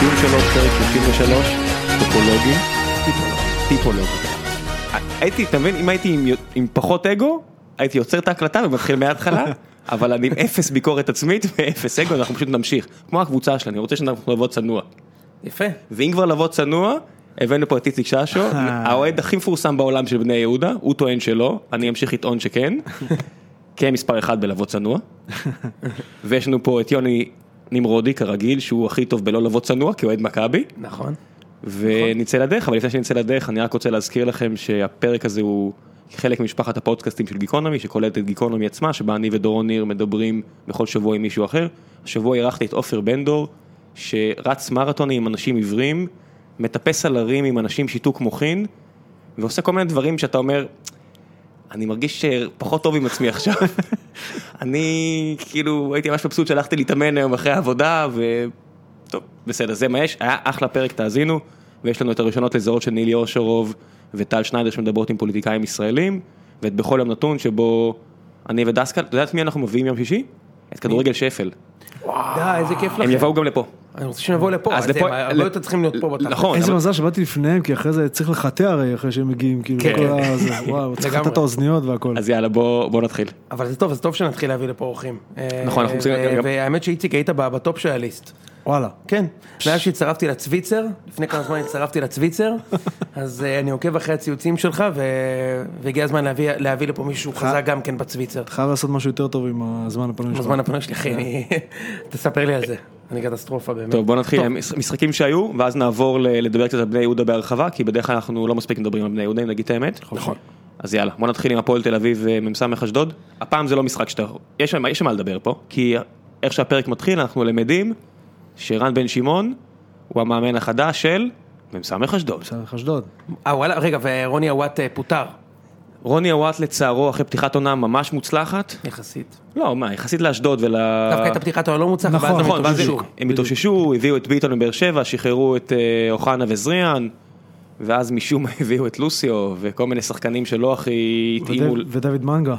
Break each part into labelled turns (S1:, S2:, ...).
S1: פרק 33, טופולוגים, טיפולוגים. הייתי, אתה מבין, אם הייתי עם יו- עם פחות אגו, הייתי עוצר את ההקלטה ומתחיל מההתחלה, אבל אני עם אפס ביקורת עצמית ואפס אגו, אנחנו פשוט נמשיך. כמו הקבוצה שלה, אני רוצה שאנחנו נבוא צנוע.
S2: יפה.
S1: ואם כבר לבוא צנוע, הבאנו פה את איציק ששו, האוהד הכי מפורסם בעולם של בני יהודה, הוא טוען שלא, אני אמשיך לטעון שכן, כן מספר אחד בלבוא צנוע, ויש לנו פה את יוני נמרודי כרגיל, שהוא הכי טוב בלא לבוא צנוע, כי הוא אוהד מכבי,
S2: נכון.
S1: ונצא לדרך, אבל לפני שנצא לדרך אני רק רוצה להזכיר לכם שהפרק הזה הוא חלק ממשפחת הפודקאסטים של גיקונומי, שכוללת את גיקונומי עצמה, שבה אני ודורון ניר מדברים בכל שבוע עם מישהו אחר. השבוע אירחתי את עופר בנדור, שרץ מרתונים עם אנשים עיוורים, מטפס על הרים עם אנשים שיתוק מוחין, ועושה כל מיני דברים שאתה אומר, אני מרגיש שפחות טוב עם עצמי עכשיו. אני כאילו הייתי ממש מבסוט שהלכתי להתאמן היום אחרי העבודה ו... טוב, בסדר, זה מה יש, היה אחלה פרק, תאזינו, ויש לנו את הראשונות לזהות של נילי אושרוב וטל שניידר שמדברות עם פוליטיקאים ישראלים, ואת בכל יום נתון שבו אני ודסקל, אתה יודע את מי אנחנו מביאים יום שישי? את כדורגל שפל.
S2: די, איזה כיף לכם.
S1: הם יבואו גם לפה.
S2: אני רוצה שהם יבואו לפה,
S1: אז
S2: אז הם
S1: לפה-
S2: הרבה
S1: ל-
S2: יותר צריכים להיות פה בתחת.
S1: נכון,
S3: איזה
S1: אבל-
S3: מזל שבאתי לפניהם, כי אחרי זה צריך לחטא הרי אחרי שהם מגיעים, כאילו,
S2: כן.
S3: כל הזה, וואו, צריך
S2: לגמרי.
S3: לחטא את האוזניות והכל.
S1: אז יאללה, בוא בוא נתחיל.
S2: אבל זה טוב, זה טוב שנתחיל להביא לפה אורחים.
S1: נכון, אנחנו צריכים
S2: אה,
S1: גם-
S2: והאמת שאיציק היית ב- בטופ של הליסט.
S3: וואלה.
S2: כן, מאז שהצטרפתי לצוויצר, לפני כמה זמן הצטרפתי לצוויצר, אז אה, אני עוקב אחרי הציוצים שלך, ו- והגיע הזמן להביא- להביא לפה
S1: אה.
S2: מישהו חזק גם כן בצוויצר.
S3: חייב לעשות משהו יותר טוב עם הזמן הפנוי שלך.
S2: בזמן הפנוי שלי, אחי, אני- תספר לי על זה. אני קטסטרופה באמת.
S1: טוב, בוא נתחיל עם המש- משחקים שהיו, ואז נעבור ל- לדבר קצת על בני יהודה בהרחבה, כי בדרך כלל אנחנו לא מספיק מדברים על בני יהודה, אם נגיד את האמת.
S2: נכון.
S1: אז יאללה, בוא נתחיל עם הפועל תל אביב אה, מ"ס אשדוד. הפעם זה לא משחק שאתה... יש על מה- יש על מה לדבר פה, כי איך שהפרק מתחיל, אנחנו למדים שרן בן שמעון הוא המאמן החדש של מ"ס אשדוד.
S3: בסדר, אשדוד.
S2: אה, וואלה, רגע, ורוני עוואט אה, פוטר,
S1: רוני אוואט לצערו, אחרי פתיחת עונה ממש מוצלחת.
S2: יחסית.
S1: לא, מה, יחסית לאשדוד ול...
S2: דווקא הייתה פתיחת העולם מוצלחת,
S3: נכון,
S2: ואז הם
S1: נכון, ואז הם-
S2: התאוששו.
S1: הם התאוששו, הביאו את ביטון מבאר שבע, שחררו את אה, אוחנה וזריאן, ואז משום מה הביאו את לוסיו, וכל מיני שחקנים שלא הכי התאימו.
S3: ודו- ודוד מנגה.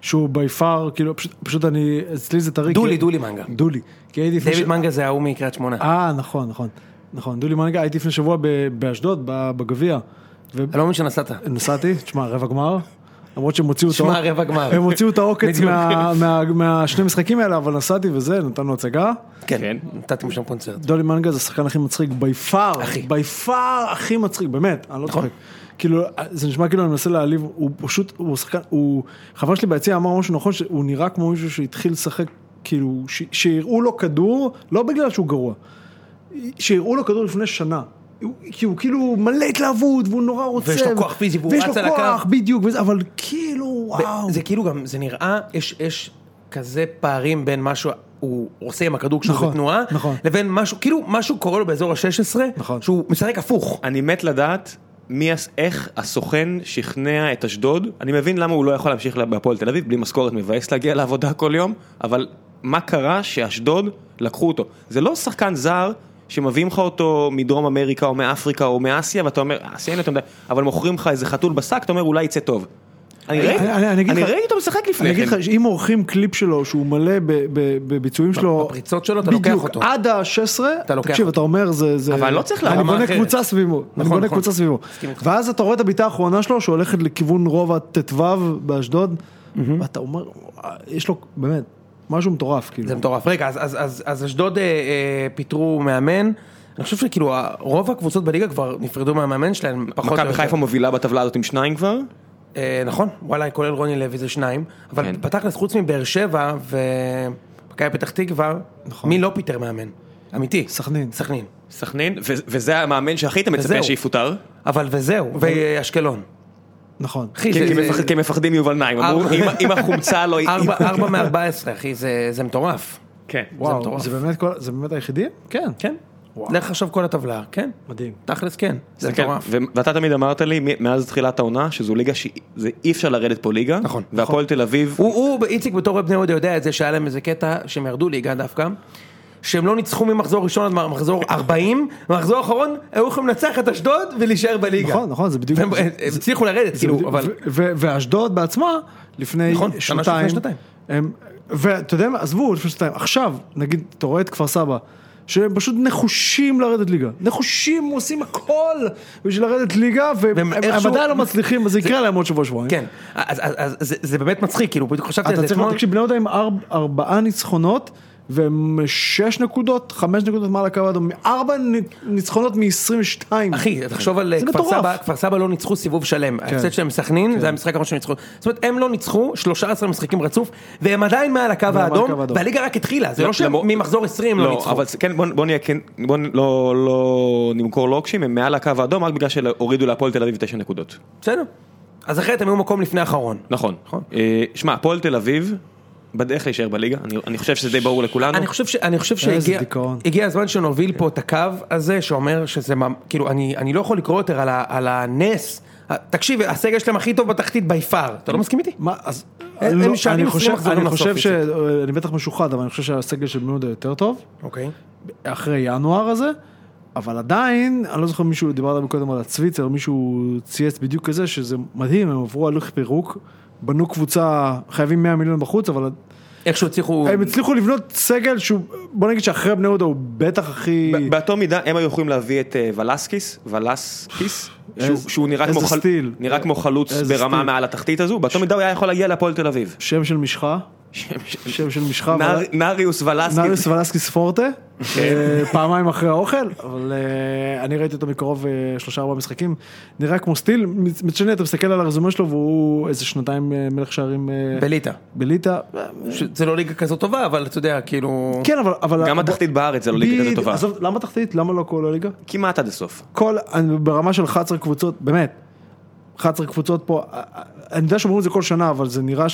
S3: שהוא בי פאר, כאילו, פשוט- פשוט אני, אצלי זה טרי.
S2: דולי,
S3: כי-
S2: דולי מנגה.
S3: דולי. כי הייתי לפני...
S2: דיוויד
S3: ש-
S2: מנגה זה ההוא מקריית שמונה.
S3: אה, נכון, נכון. נכון, דולי מנגה, הייתי לפני שבוע ב- באשדוד, ב- בגביע. ו-
S2: אני לא מבין שנסעת.
S3: נסעתי, תשמע, רבע גמר, למרות שהם הוציאו את
S2: תשמע,
S3: העוק-
S2: רבע גמר.
S3: הם הוציאו את העוקץ
S2: בדיוק.
S3: מה- מה- מהשני משחקים האלה, אבל נסעתי וזה, נתנו הצגה.
S1: כן.
S2: כן, נתתם שם קונצרט.
S3: דולי מנגה זה השחקן הכי מצחיק בי פאר,
S2: הכי.
S3: בי פאר הכי מצחיק, באמת, אני לא
S2: נכון.
S3: צוחק. כאילו, זה נשמע כאילו אני מנסה להעליב, הוא פשוט, הוא שחקן, הוא, חבר שלי ביציע אמר משהו נכון, שהוא נראה כמו מישהו שהתחיל לשחק, כאילו, ש- שיראו לו כדור, לא בגלל שהוא גרוע, שיראו לו כדור לפני שנה. הוא- כי הוא כאילו מלא התלהבות והוא נורא רוצה.
S2: ויש לו כוח פיזי והוא
S3: ויש
S2: רץ
S3: לו
S2: על הקו.
S3: כוח, בדיוק, וזה- אבל כאילו, וואו.
S2: זה כאילו גם, זה נראה, יש- יש כזה פערים בין מה שהוא עושה עם הכדור כשהוא
S3: נכון,
S2: בתנועה,
S3: נכון.
S2: לבין משהו, כאילו משהו קורה לו באזור ה-16,
S3: נכון.
S2: שהוא משחק הפוך.
S1: אני מת לדעת מי, הס- איך הסוכן שכנע את אשדוד. אני מבין למה הוא לא יכול להמשיך בהפועל תל אביב, בלי משכורת מבאס להגיע לעבודה כל יום, אבל מה קרה שאשדוד לקחו אותו? זה לא שחקן זר שמביאים לך אותו מדרום אמריקה או מאפריקה או מאסיה, ואתה אומר, אסיאני אתה יודע, אבל מוכרים לך איזה חתול בשק, אתה אומר, אולי יצא טוב. אני
S3: אני-
S1: ראיתי-
S3: אני- אני אגיד
S1: אני
S3: לך-
S1: ראיתי אותו משחק
S3: אני
S1: לפני
S3: אגיד
S1: כן.
S3: לך שאם עורכים קליפ שלו שהוא מלא ב- ב- בביצועים שלו,
S2: לא, בפריצות שלו, אתה לוקח אותו.
S3: בדיוק, עד ה-16,
S2: אתה לוקח
S3: תקשיב,
S2: אותו.
S3: אתה אומר זה, זה,
S1: אבל לא צריך
S3: אני
S1: להרמה
S3: בונה
S2: אחרת.
S3: קבוצה סביבו, אני
S2: נכון,
S3: בונה
S2: נכון.
S3: קבוצה סביבו,
S2: מסכים איתך.
S3: ואז אתה רואה את הבעיטה האחרונה שלו שהולכת לכיוון רובע ט"ו באשדוד, ואתה אומר, יש לו באמת משהו מטורף, כאילו,
S2: זה מטורף. רגע, אז- אז- אז- אז אשדוד אה, אה, פיטרו מאמן, אני חושב שכאילו ה- רוב הקבוצות בליגה כבר נפרדו מהמאמן שלהם, פחות או
S1: מכבי
S2: יותר.
S1: חיפה מובילה בטבלה הזאת עם שניים כבר.
S2: אה, נכון, וואלה, כולל רוני לוי זה שניים, אבל
S1: כן.
S2: בתכלס חוץ מבאר שבע ומכבי פתח תקווה,
S3: נכון.
S2: מי לא פיטר מאמן? אמיתי.
S3: סכנין.
S2: סכנין.
S1: סכנין, ו- וזה המאמן שהכי היית מצפה
S2: וזהו.
S1: שיפוטר.
S2: אבל וזהו, ואשקלון.
S3: נכון,
S2: אחי,
S1: כי-
S2: זה-
S1: כן, כי
S2: זה-
S1: מפחד- כי הם מפחדים מיובל נעים, אמרו,
S2: ארבע-
S1: אם- אם החומצה לא...
S2: ארבע- ארבע מארבע עשרה, אחי, זה זה מטורף.
S1: כן.
S3: וואו,
S2: מטורף.
S3: זה באמת כל- זה באמת היחידי? כן,
S2: כן.
S3: וואו.
S2: לך עכשיו כל הטבלה, כן.
S3: מדהים,
S2: תכלס כן, זה
S1: כן,
S2: מטורף.
S1: ו- ואתה תמיד אמרת לי מ- מאז תחילת העונה שזו ליגה שאי אפשר לרדת פה ליגה,
S2: נכון,
S1: והפועל תל אביב,
S2: הוא, הוא, איציק בתור בני יהודה יודע את זה שהיה להם איזה קטע שהם ירדו ליגה דווקא. שהם לא ניצחו ממחזור ראשון עד מחזור 40, במחזור האחרון היו יכולים לנצח את אשדוד ולהישאר בליגה.
S3: נכון, נכון, זה בדיוק,
S2: והם
S3: זה-
S2: הם הצליחו לרדת, כאילו,
S3: בדיוק,
S2: אבל...
S3: ו- ו- ואשדוד בעצמה, לפני
S2: נכון, שנה
S3: שנתיים,
S2: לפני שנתיים.
S3: הם- ואתה יודע מה, עזבו לפני שנתיים, עכשיו, נגיד, אתה רואה את כפר סבא, שהם פשוט נחושים לרדת ליגה. נחושים, הם עושים הכל בשביל לרדת ליגה, והם
S2: והם איכשהו-
S3: עדיין לא מצליחים, אז זה יקרה להם עוד שבוע שבועיים.
S2: כן, אז, אז, אז זה, זה באמת מצחיק, כאילו, בדיוק חשבתי על זה
S3: אתה צריך
S2: אתמול.
S3: להקשיב, בני יהודה עם ארבע- ארבעה ניצחונות. והם שש נקודות, חמש נקודות מעל הקו האדום, ארבע ניצחונות מ-22.
S2: אחי, תחשוב על אה,
S3: זה
S2: כפר
S3: מטורף. כן.
S2: סבא, כפר סבא לא ניצחו סיבוב שלם. ההפסד שלהם סכנין, זה המשחק האחרון שהם ניצחו. זאת אומרת, הם לא ניצחו 13 משחקים רצוף, והם עדיין מעל הקו
S3: מעל
S2: האדום,
S3: הקו האדום.
S2: והליגה רק התחילה, זה לא שהם
S1: למרות-
S2: ממחזור 20 לא
S1: לא,
S2: ניצחו.
S1: אבל זה- כן, בוא, בוא נהיה כן, בוא נ- לא, לא נמכור לוקשים, הם מעל הקו האדום רק בגלל שהורידו להפועל תל אביב 9 נקודות.
S2: בסדר. אז אחרת הם היו מקום לפני האחרון.
S1: נכון.
S2: נכון.
S1: אה, שמע, הפועל תל אביב בדרך להישאר בליגה, אני, אני חושב שזה די ברור לכולנו.
S2: אני חושב, ש, אני חושב
S3: איזה
S2: שהגיע
S3: דיכאון.
S2: הגיע הזמן שנוביל פה את הקו הזה שאומר שזה, ממ- כאילו, אני, אני לא יכול לקרוא יותר על, ה, על הנס. תקשיב, הסגל שלהם הכי טוב בתחתית בי פאר. אתה לא מסכים איתי?
S3: מה, אז...
S2: הם נשארים
S3: לא, אני
S2: עשרים
S3: חושב-
S2: מחזורים
S3: אני
S2: לסוף,
S3: חושב ש...
S2: איציק.
S3: אני בטח משוחד, אבל אני חושב שהסגל של בני יהודה יותר טוב,
S2: אוקיי.
S3: אחרי ינואר הזה, אבל עדיין, אני לא זוכר מישהו, דיברת קודם על הצוויצר, מישהו צייץ בדיוק כזה, שזה מדהים, הם עברו הליך פירוק, בנו קבוצה, חייבים 100 מיליון בחוץ, אבל
S2: איכשהו הצליחו...
S3: הם הצליחו לבנות סגל שהוא, בוא נגיד שאחרי בני יהודה הוא בטח הכי...
S1: ב- באותו מידה הם היו יכולים להביא את אה, ולסקיס, ולסקיס, שהוא-
S3: איזה-
S1: שהוא נראה כמו
S3: איזה
S1: חל-
S3: סטיל.
S1: נראה כמו חלוץ
S3: איזה
S1: ברמה
S3: סטיל.
S1: מעל התחתית הזו, באותו מידה הוא היה יכול להגיע להפועל תל אביב.
S3: שם של משחה, שם של משחה,
S1: נאר-
S3: אבל-
S1: נאריוס ולסקיס.
S3: נריוס ולסקיס פורטה, אה, פעמיים אחרי האוכל, אבל אה, אני ראיתי אותו מקרוב אה, שלושה ארבעה משחקים, נראה כמו סטיל, מצ- מצד שני אתה מסתכל על הרזומה שלו והוא איזה שנתיים אה, מלך שערים אה,
S2: בליטא.
S3: בליטא,
S2: שזה לא ליגה כזאת טובה, אבל אתה יודע, כאילו...
S3: כן אבל, אבל,
S1: גם התחתית בארץ זה לא ליגה כזה
S3: בדיוק,
S1: טובה.
S3: עזוב, למה תחתית? למה לא כל הליגה?
S1: כמעט עד הסוף.
S3: כל, אני ברמה של 11 קבוצות, באמת, 11 קבוצות פה, אה, אה, אני יודע שאומרים את זה כל שנה, אבל זה נראה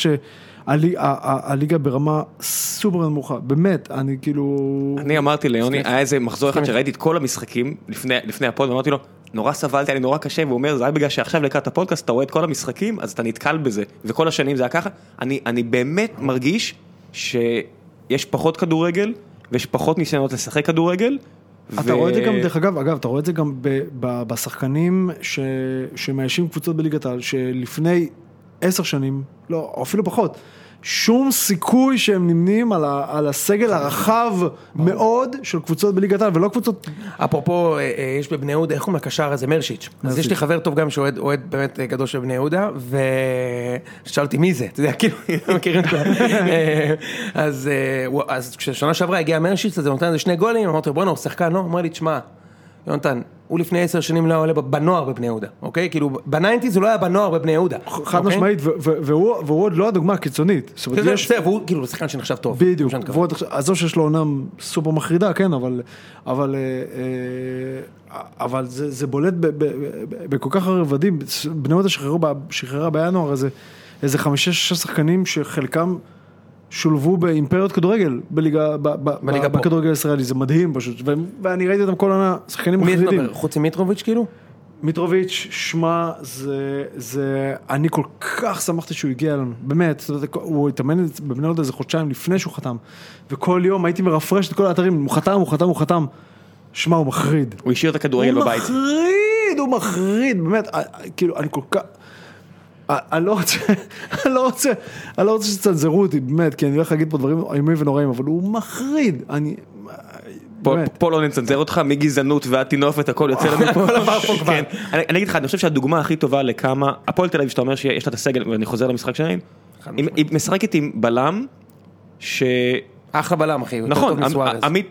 S3: שהליגה ברמה סופר נמוכה, באמת, אני כאילו...
S1: אני אמרתי ליוני, היה איזה מחזור אחד שראיתי את כל המשחקים לפני לפני הפוד, ואמרתי לו, נורא סבלתי, היה לי נורא קשה, והוא אומר, זה היה בגלל שעכשיו לקראת הפודקאסט אתה רואה את כל המשחקים, אז אתה נתקל בזה, וכל השנים זה היה ככה. אני אני באמת מרגיש שיש פחות כדורגל, ויש פחות ניסיונות לשחק כדורגל.
S3: אתה
S1: ו-
S3: רואה את זה גם, דרך אגב, אגב, אתה רואה את זה גם ב, ב, בשחקנים ש, שמאיישים קבוצות בליגת העל, שלפני עשר שנים, לא, או אפילו פחות, שום סיכוי שהם נמנים על, ה, על הסגל הרחב מאוד של קבוצות בליגת העל, ולא קבוצות...
S2: אפרופו, אה, אה, יש בבני יהודה, איך קוראים לקשר הזה? מרשיץ'. אז יש לי חבר טוב גם שאוהד אוהד באמת אה, גדול של בני יהודה, ושאלתי מי זה, אתה יודע, כאילו, מכירים את זה. אה, אז אה, הוא- אז כששנה שעברה הגיע מרשיץ', אז הוא נותן איזה שני גולים, אמרתי לו, בואנה, הוא שחקן, לא? הוא אומר לי, תשמע, יונתן, הוא לפני עשר שנים לא היה עולה בנוער בבני יהודה, אוקיי? כאילו, בניינטיז הוא לא היה בנוער בבני יהודה.
S3: חד
S2: אוקיי?
S3: משמעית, ו- ו- והוא והוא עוד לא הדוגמה הקיצונית. זאת אומרת,
S2: זה-
S3: יש-
S2: זה, והוא כאילו שחקן שנחשב טוב.
S3: בדיוק,
S2: זה מה שאני
S3: ועוד עכשיו- עזוב שיש לו עונה סופר מחרידה, כן, אבל, אבל, אה, אה, אבל זה, זה בולט ב- ב- ב- בכל כך הרבה רבדים, בני יהודה שחררו ב- שחררה בינואר איזה, איזה חמישה-שישה שחקנים שחלקם שולבו באימפריות כדורגל, בליגה, ב, ב,
S2: בליגה
S3: ב,
S2: פה.
S3: בכדורגל הישראלי, זה מדהים פשוט, ו, ואני ראיתי אותם כל עונה, שחקנים
S2: מי אתה
S3: מחרידים.
S2: מדבר? חוץ ממיטרוביץ' כאילו?
S3: מיטרוביץ', שמע, זה, זה, אני כל כך שמחתי שהוא הגיע אלינו, באמת, זאת אומרת, הוא התאמן בבני יהודה איזה חודשיים לפני שהוא חתם, וכל יום הייתי מרפרש את כל האתרים, הוא חתם, הוא חתם, הוא חתם. שמע, הוא מחריד.
S1: הוא השאיר את הכדורגל
S3: הוא
S1: בבית.
S3: מחריד, הוא מחריד, באמת, אה, אה, כאילו, אני כל כך... אה, אני לא רוצה, אני לא רוצה, אני לא רוצה שתצנזרו אותי, באמת, כי אני הולך להגיד פה דברים איומים ונוראים, אבל הוא מחריד, אני... אה,
S1: פה-
S3: באמת.
S1: פה לא נצנזר אותך, מגזענות ועד טינופת, הכל יוצא לנו פה.
S2: הכל עבר פה כבר.
S1: כן. אני אני אגיד לך, אני חושב שהדוגמה הכי טובה לכמה, הפועל תל אביב שאתה אומר שיש לה את הסגל, ואני חוזר למשחק שלהם,
S2: חד
S1: היא היא משחקת עם בלם, ש...
S2: אחלה בלם, אחי. הוא יותר
S1: נכון,
S3: אמ-
S2: טוב מסוארז.
S1: עמ- עמית...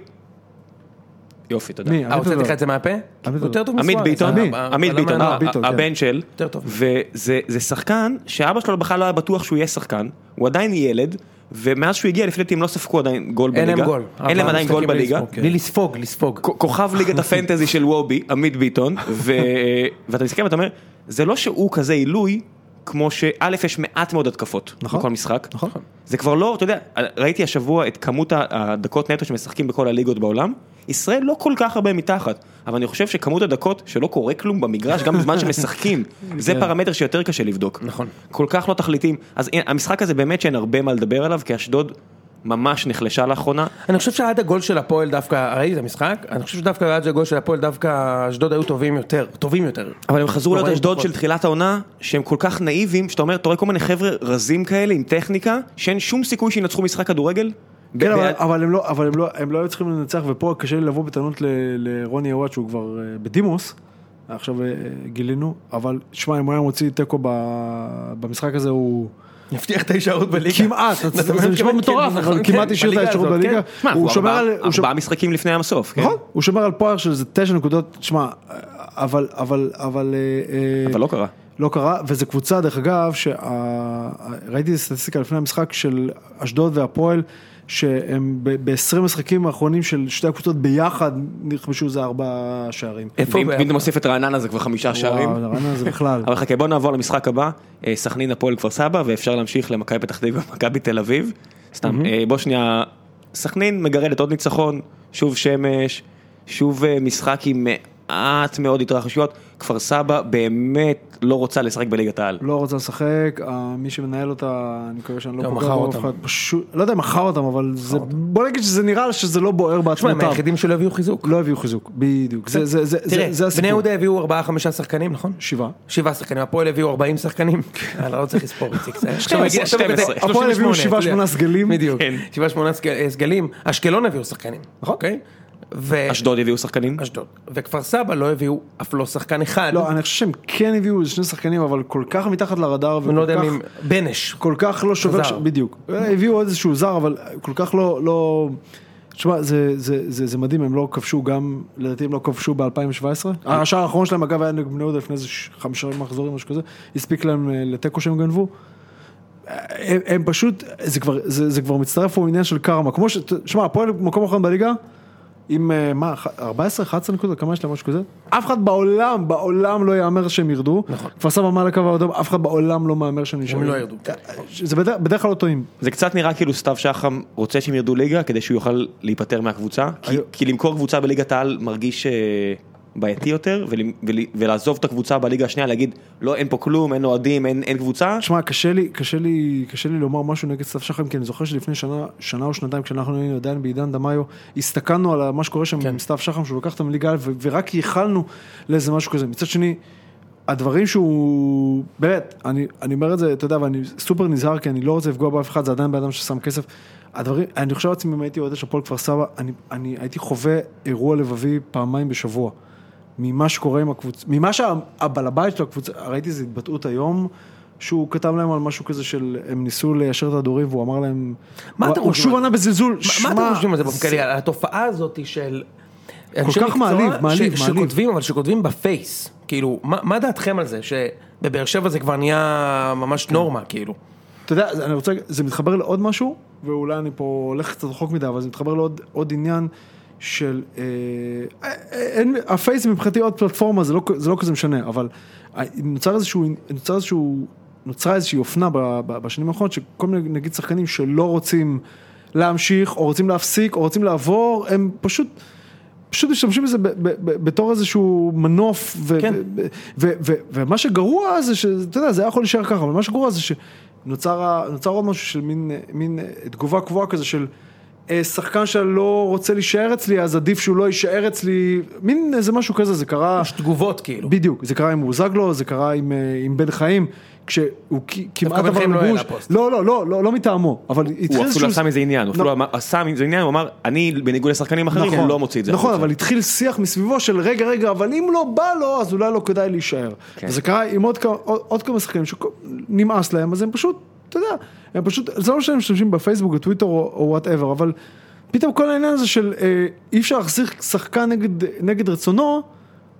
S1: יופי, תודה.
S3: מי?
S2: אה, הוצאתי לך את זה מהפה?
S3: עמית
S2: יותר טוב
S1: עמית
S2: מסוארז.
S1: ביטון,
S3: עמית.
S2: אה,
S1: עמית
S2: אבל למה
S1: ביטון,
S2: לא?
S1: ה-
S3: ביטון,
S1: ה-
S3: כן.
S1: הבן של,
S2: יותר טוב.
S1: וזה זה שחקן שאבא שלו בכלל לא היה בטוח שהוא יהיה שחקן, הוא עדיין ילד, ומאז שהוא הגיע לפי דעתי הם לא ספגו עדיין גול בליגה,
S2: אין להם גול.
S1: אין להם עדיין גול
S2: משחקים בלי
S1: בליגה,
S2: לספוג, בלי לספוג, לספוג.
S1: כ- כוכב ליגת הפנטזי של וובי, עמית ביטון, ו... ואתה מסתכל ואתה אומר, זה לא שהוא כזה עילוי, כמו שא' יש מעט מאוד התקפות,
S3: נכון.
S1: בכל משחק,
S3: נכון.
S1: זה כבר לא, אתה יודע, ראיתי השבוע את כמות ה- הדקות נטו שמשחקים בכל הליגות בעולם, ישראל לא כל כך הרבה מתחת, אבל אני חושב שכמות הדקות שלא קורה כלום במגרש, גם בזמן שמשחקים,
S3: כן.
S1: זה פרמטר שיותר קשה לבדוק.
S2: נכון.
S1: כל כך לא תכליתיים, אז הנה, המשחק הזה באמת שאין הרבה מה לדבר עליו, כי אשדוד ממש נחלשה לאחרונה,
S2: אני חושב שעד הגול של הפועל דווקא, ראיתי את המשחק, אני חושב שדווקא עד הגול של הפועל דווקא אשדוד היו טובים יותר, טובים יותר.
S1: אבל הם חזרו להיות
S2: לא ראינו
S1: אשדוד
S2: פחות.
S1: של תחילת העונה, שהם כל כך נאיבים, שאתה אומר, אתה רואה כל מיני חבר'ה רזים כאלה עם טכניקה, שאין שום סיכוי שינצחו משחק כדורגל,
S3: כן, אבל,
S1: בעד-
S3: אבל, הם לא, אבל הם, לא, הם לא היו צריכים לנצח, ופה קשה לי לבוא בטענות ל, לרוני אוואט שהוא כבר אה, בדימוס, עכשיו אה, אה, גילינו, אבל שמע, אם הוא היה מוציא תיקו ב, במשחק הזה, הוא
S2: יבטיח את ההישארות בליגה.
S3: כמעט,
S2: אתה
S3: זה
S2: מתכוון,
S3: נשמע
S2: כן,
S3: מטורף, אבל
S2: נכון,
S3: כמעט
S2: כן,
S3: השאיר את
S2: בליגה
S3: האפשרות
S2: הזאת,
S3: בליגה,
S2: כן.
S1: שמע,
S3: הוא
S1: הוא
S3: שומר
S1: ארבעה-
S3: על... הוא שומר-
S1: ארבעה משחקים לפני המסוף, כן?
S3: נכון, הוא שומר על פער של איזה תשע נקודות, שמע, אבל, אבל, אבל, אה,
S1: אבל לא קרה.
S3: לא קרה, וזו קבוצה, דרך אגב, שראיתי סטטיסטיקה לפני המשחק של אשדוד והפועל, שהם ב-20 משחקים האחרונים של שתי הקבוצות ביחד נכבשו איזה ארבע שערים.
S2: איפה
S1: ואם
S2: הוא
S1: ואם אתה מוסיף את רעננה זה כבר חמישה שערים.
S3: וואו, הרעיון הזה בכלל.
S1: אבל חכה בוא נעבור למשחק הבא, אה, סכנין הפועל כפר סבא ואפשר להמשיך למכבי פתח תקווה ומכבי תל אביב. סתם, אה, בוא שנייה, סכנין מגרדת עוד ניצחון, שוב שמש, שוב אה, משחק עם מעט מאוד התרחשויות, כפר סבא באמת לא רוצה לשחק בליגת העל.
S3: לא רוצה לשחק, אה, מי שמנהל אותה, אני מקווה שאני לא
S2: גם
S3: פוגע
S2: מכר
S3: באף
S2: אותם.
S3: אחד, פשוט, לא יודע אם מכר אותם, אבל זה, בוא נגיד שזה נראה שזה לא בוער
S2: שמע, הם
S3: בעצמותיו.
S2: היחידים שלא הביאו חיזוק.
S3: לא הביאו חיזוק, בדיוק, זה- זה זה- זה-
S2: תראה,
S3: זה
S2: בני
S3: הסיפור.
S2: יהודה הביאו 4-5 שחקנים, נכון?
S3: שבעה.
S2: שבעה שחקנים, הפועל הביאו 40 שחקנים, יאללה, לא צריך לספור איציק, זה- עכשיו הוא יגיד- עכשיו הוא יגיד-
S1: 12.
S2: 38,
S3: הפועל הביאו
S2: אתה יודע.
S3: שבעה, שמונה סגלים.
S2: בדיוק,
S1: כן.
S2: שבעה שמונה סג- אה, סגלים, אשקלון הביאו שחקנים, נכון?
S1: אשדוד הביאו שחקנים?
S2: אשדוד, וכפר סבא לא הביאו אף לא שחקן אחד,
S3: לא, אני חושב שהם כן הביאו איזה שני שחקנים, אבל כל כך מתחת לרדאר,
S2: אני לא
S3: וכל
S2: יודע
S3: כך,
S2: אם בנש,
S3: כל כך לא שובר, ש...
S2: זר.
S3: בדיוק. אה, הביאו עוד איזשהו זר, אבל כל כך לא, לא... תשמע, זה, זה, זה, זה מדהים, הם לא כבשו גם, לדעתי הם לא כבשו ב-2017. אה, השער האחרון שלהם, אגב, היה נגד בני יהודה לפני איזה ש- חמישה מחזורים, משהו כזה, הספיק להם אה, לתיקו שהם גנבו. הם, הם פשוט, זה כבר, זה, זה כבר מצטרף פה עניין של קרמה. כמו ש... שמע, הפועל במקום אחרון בליגה, עם אה, מה, 14, 11 נקודות, כמה יש להם משהו כזה? אף אחד בעולם, בעולם לא יאמר שהם ירדו. נכון. כפר סבא מעל הקו האדום, אף אחד בעולם לא מהמר שהם נשארים.
S2: לא ירדו.
S3: אה, זה בדרך, בדרך כלל לא טועים.
S1: זה קצת נראה כאילו סתיו שחם רוצה שהם ירדו ליגה כדי שהוא יוכל להיפטר מהקבוצה, כי,
S3: היו-
S1: כי למכור קבוצה בליגת העל מרגיש אה, בעייתי יותר, ול, ול, ולעזוב את הקבוצה בליגה השנייה, להגיד לא אין פה כלום, אין אוהדים, אין, אין קבוצה,
S3: תשמע, קשה לי, קשה לי, קשה לי לומר משהו נגד סתיו שחם, כי אני זוכר שלפני שנה, שנה או שנתיים, כשאנחנו היינו עדיין בעידן דמאיו, הסתכלנו על מה שקורה שם עם סתיו שחם, שהוא לקח אותם ליגה א', ו- ורק ייחלנו לאיזה משהו כזה. מצד שני, הדברים שהוא, באמת, אני, אני אומר את זה, אתה יודע, ואני סופר נזהר, כי אני לא רוצה לפגוע באף אחד, זה עדיין בן אדם ששם כסף. הדברים, אני חושב לעצמי, אם הייתי אוהד של הפועל כפר סבא, אני, אני הייתי חווה אירוע לבבי פעמיים בשבוע. ממה שקורה עם הקבוצה, ממה שהבעל הבית של הקבוצה, ראיתי איזו התבטאות היום, שהוא כתב להם על משהו כזה של, הם ניסו ליישר את הדורים והוא אמר להם,
S2: מה
S3: הוא-
S2: אתם
S3: הוא
S2: חושבים
S3: שוב
S2: על
S3: ענה בזלזול,
S2: מה- מה אתם
S3: שמע,
S2: חושבים על זה בכללי, על התופעה הזאת של... אנשי
S3: כך
S2: מקצוע
S3: מעליב, מעליב,
S2: ש-
S3: מעליב.
S2: שכותבים, אבל שכותבים בפייס, כאילו, מה מה דעתכם על זה, שבבאר שבע זה כבר נהיה ממש
S3: כן.
S2: נורמה, כאילו.
S3: אתה יודע, זה- אני רוצה, זה מתחבר לעוד משהו, ואולי אני פה הולך קצת רחוק מדי, אבל זה מתחבר לעוד עוד עניין של... אה, אה, אין, הפייס מבחינתי עוד פלטפורמה, זה לא, זה לא כזה משנה, אבל אה, נוצר איזשהו, נוצר איזשהו, נוצרה איזושהי אופנה ב, ב, בשנים האחרונות, שכל מיני, נגיד, שחקנים שלא רוצים להמשיך, או רוצים להפסיק, או רוצים לעבור, הם פשוט... פשוט משתמשים בזה ב- ב- ב- בתור איזשהו מנוף, ו-
S2: כן.
S3: ו- ו- ו- ומה שגרוע זה ש... אתה יודע, זה היה יכול להישאר ככה, אבל מה שגרוע זה שנוצר ה- נוצר עוד משהו של מין, אה, מין אה, תגובה קבועה כזה של אה, שחקן שלא רוצה להישאר אצלי, אז עדיף שהוא לא יישאר אצלי, מין איזה משהו כזה, זה קרה...
S2: יש תגובות, כאילו.
S3: בדיוק, זה קרה עם בוזגלו, זה קרה עם, אה, עם בן חיים, כשהוא כ- כמעט
S2: בן
S3: עבר
S2: חיים לא העלה
S3: לגוש,
S2: פוסט.
S3: לא, לא, לא, לא, לא מטעמו, אבל התחיל
S1: הוא אפילו
S3: איזשהו-
S1: לא עשה מזה עניין, הוא
S3: לא.
S1: אפילו אמר- עשה מזה עניין, הוא אמר אני בניגוד לשחקנים אחרים, אני לא מוציא את זה.
S3: נכון,
S1: החוצה."
S3: אבל התחיל שיח מסביבו של רגע, רגע, אבל אם לא בא לו, אז אולי לא כדאי להישאר.
S1: כן.
S3: וזה קרה עם עוד כמה, עוד, עוד כמה שחקנים שנמאס להם, אז הם פשוט, אתה יודע, הם פשוט, זה לא שהם משתמשים בפייסבוק, בטוויטר או וואטאבר, אבל פתאום כל העניין הזה של אה, אי אפשר להחזיק שחקן נגד, נגד רצונו,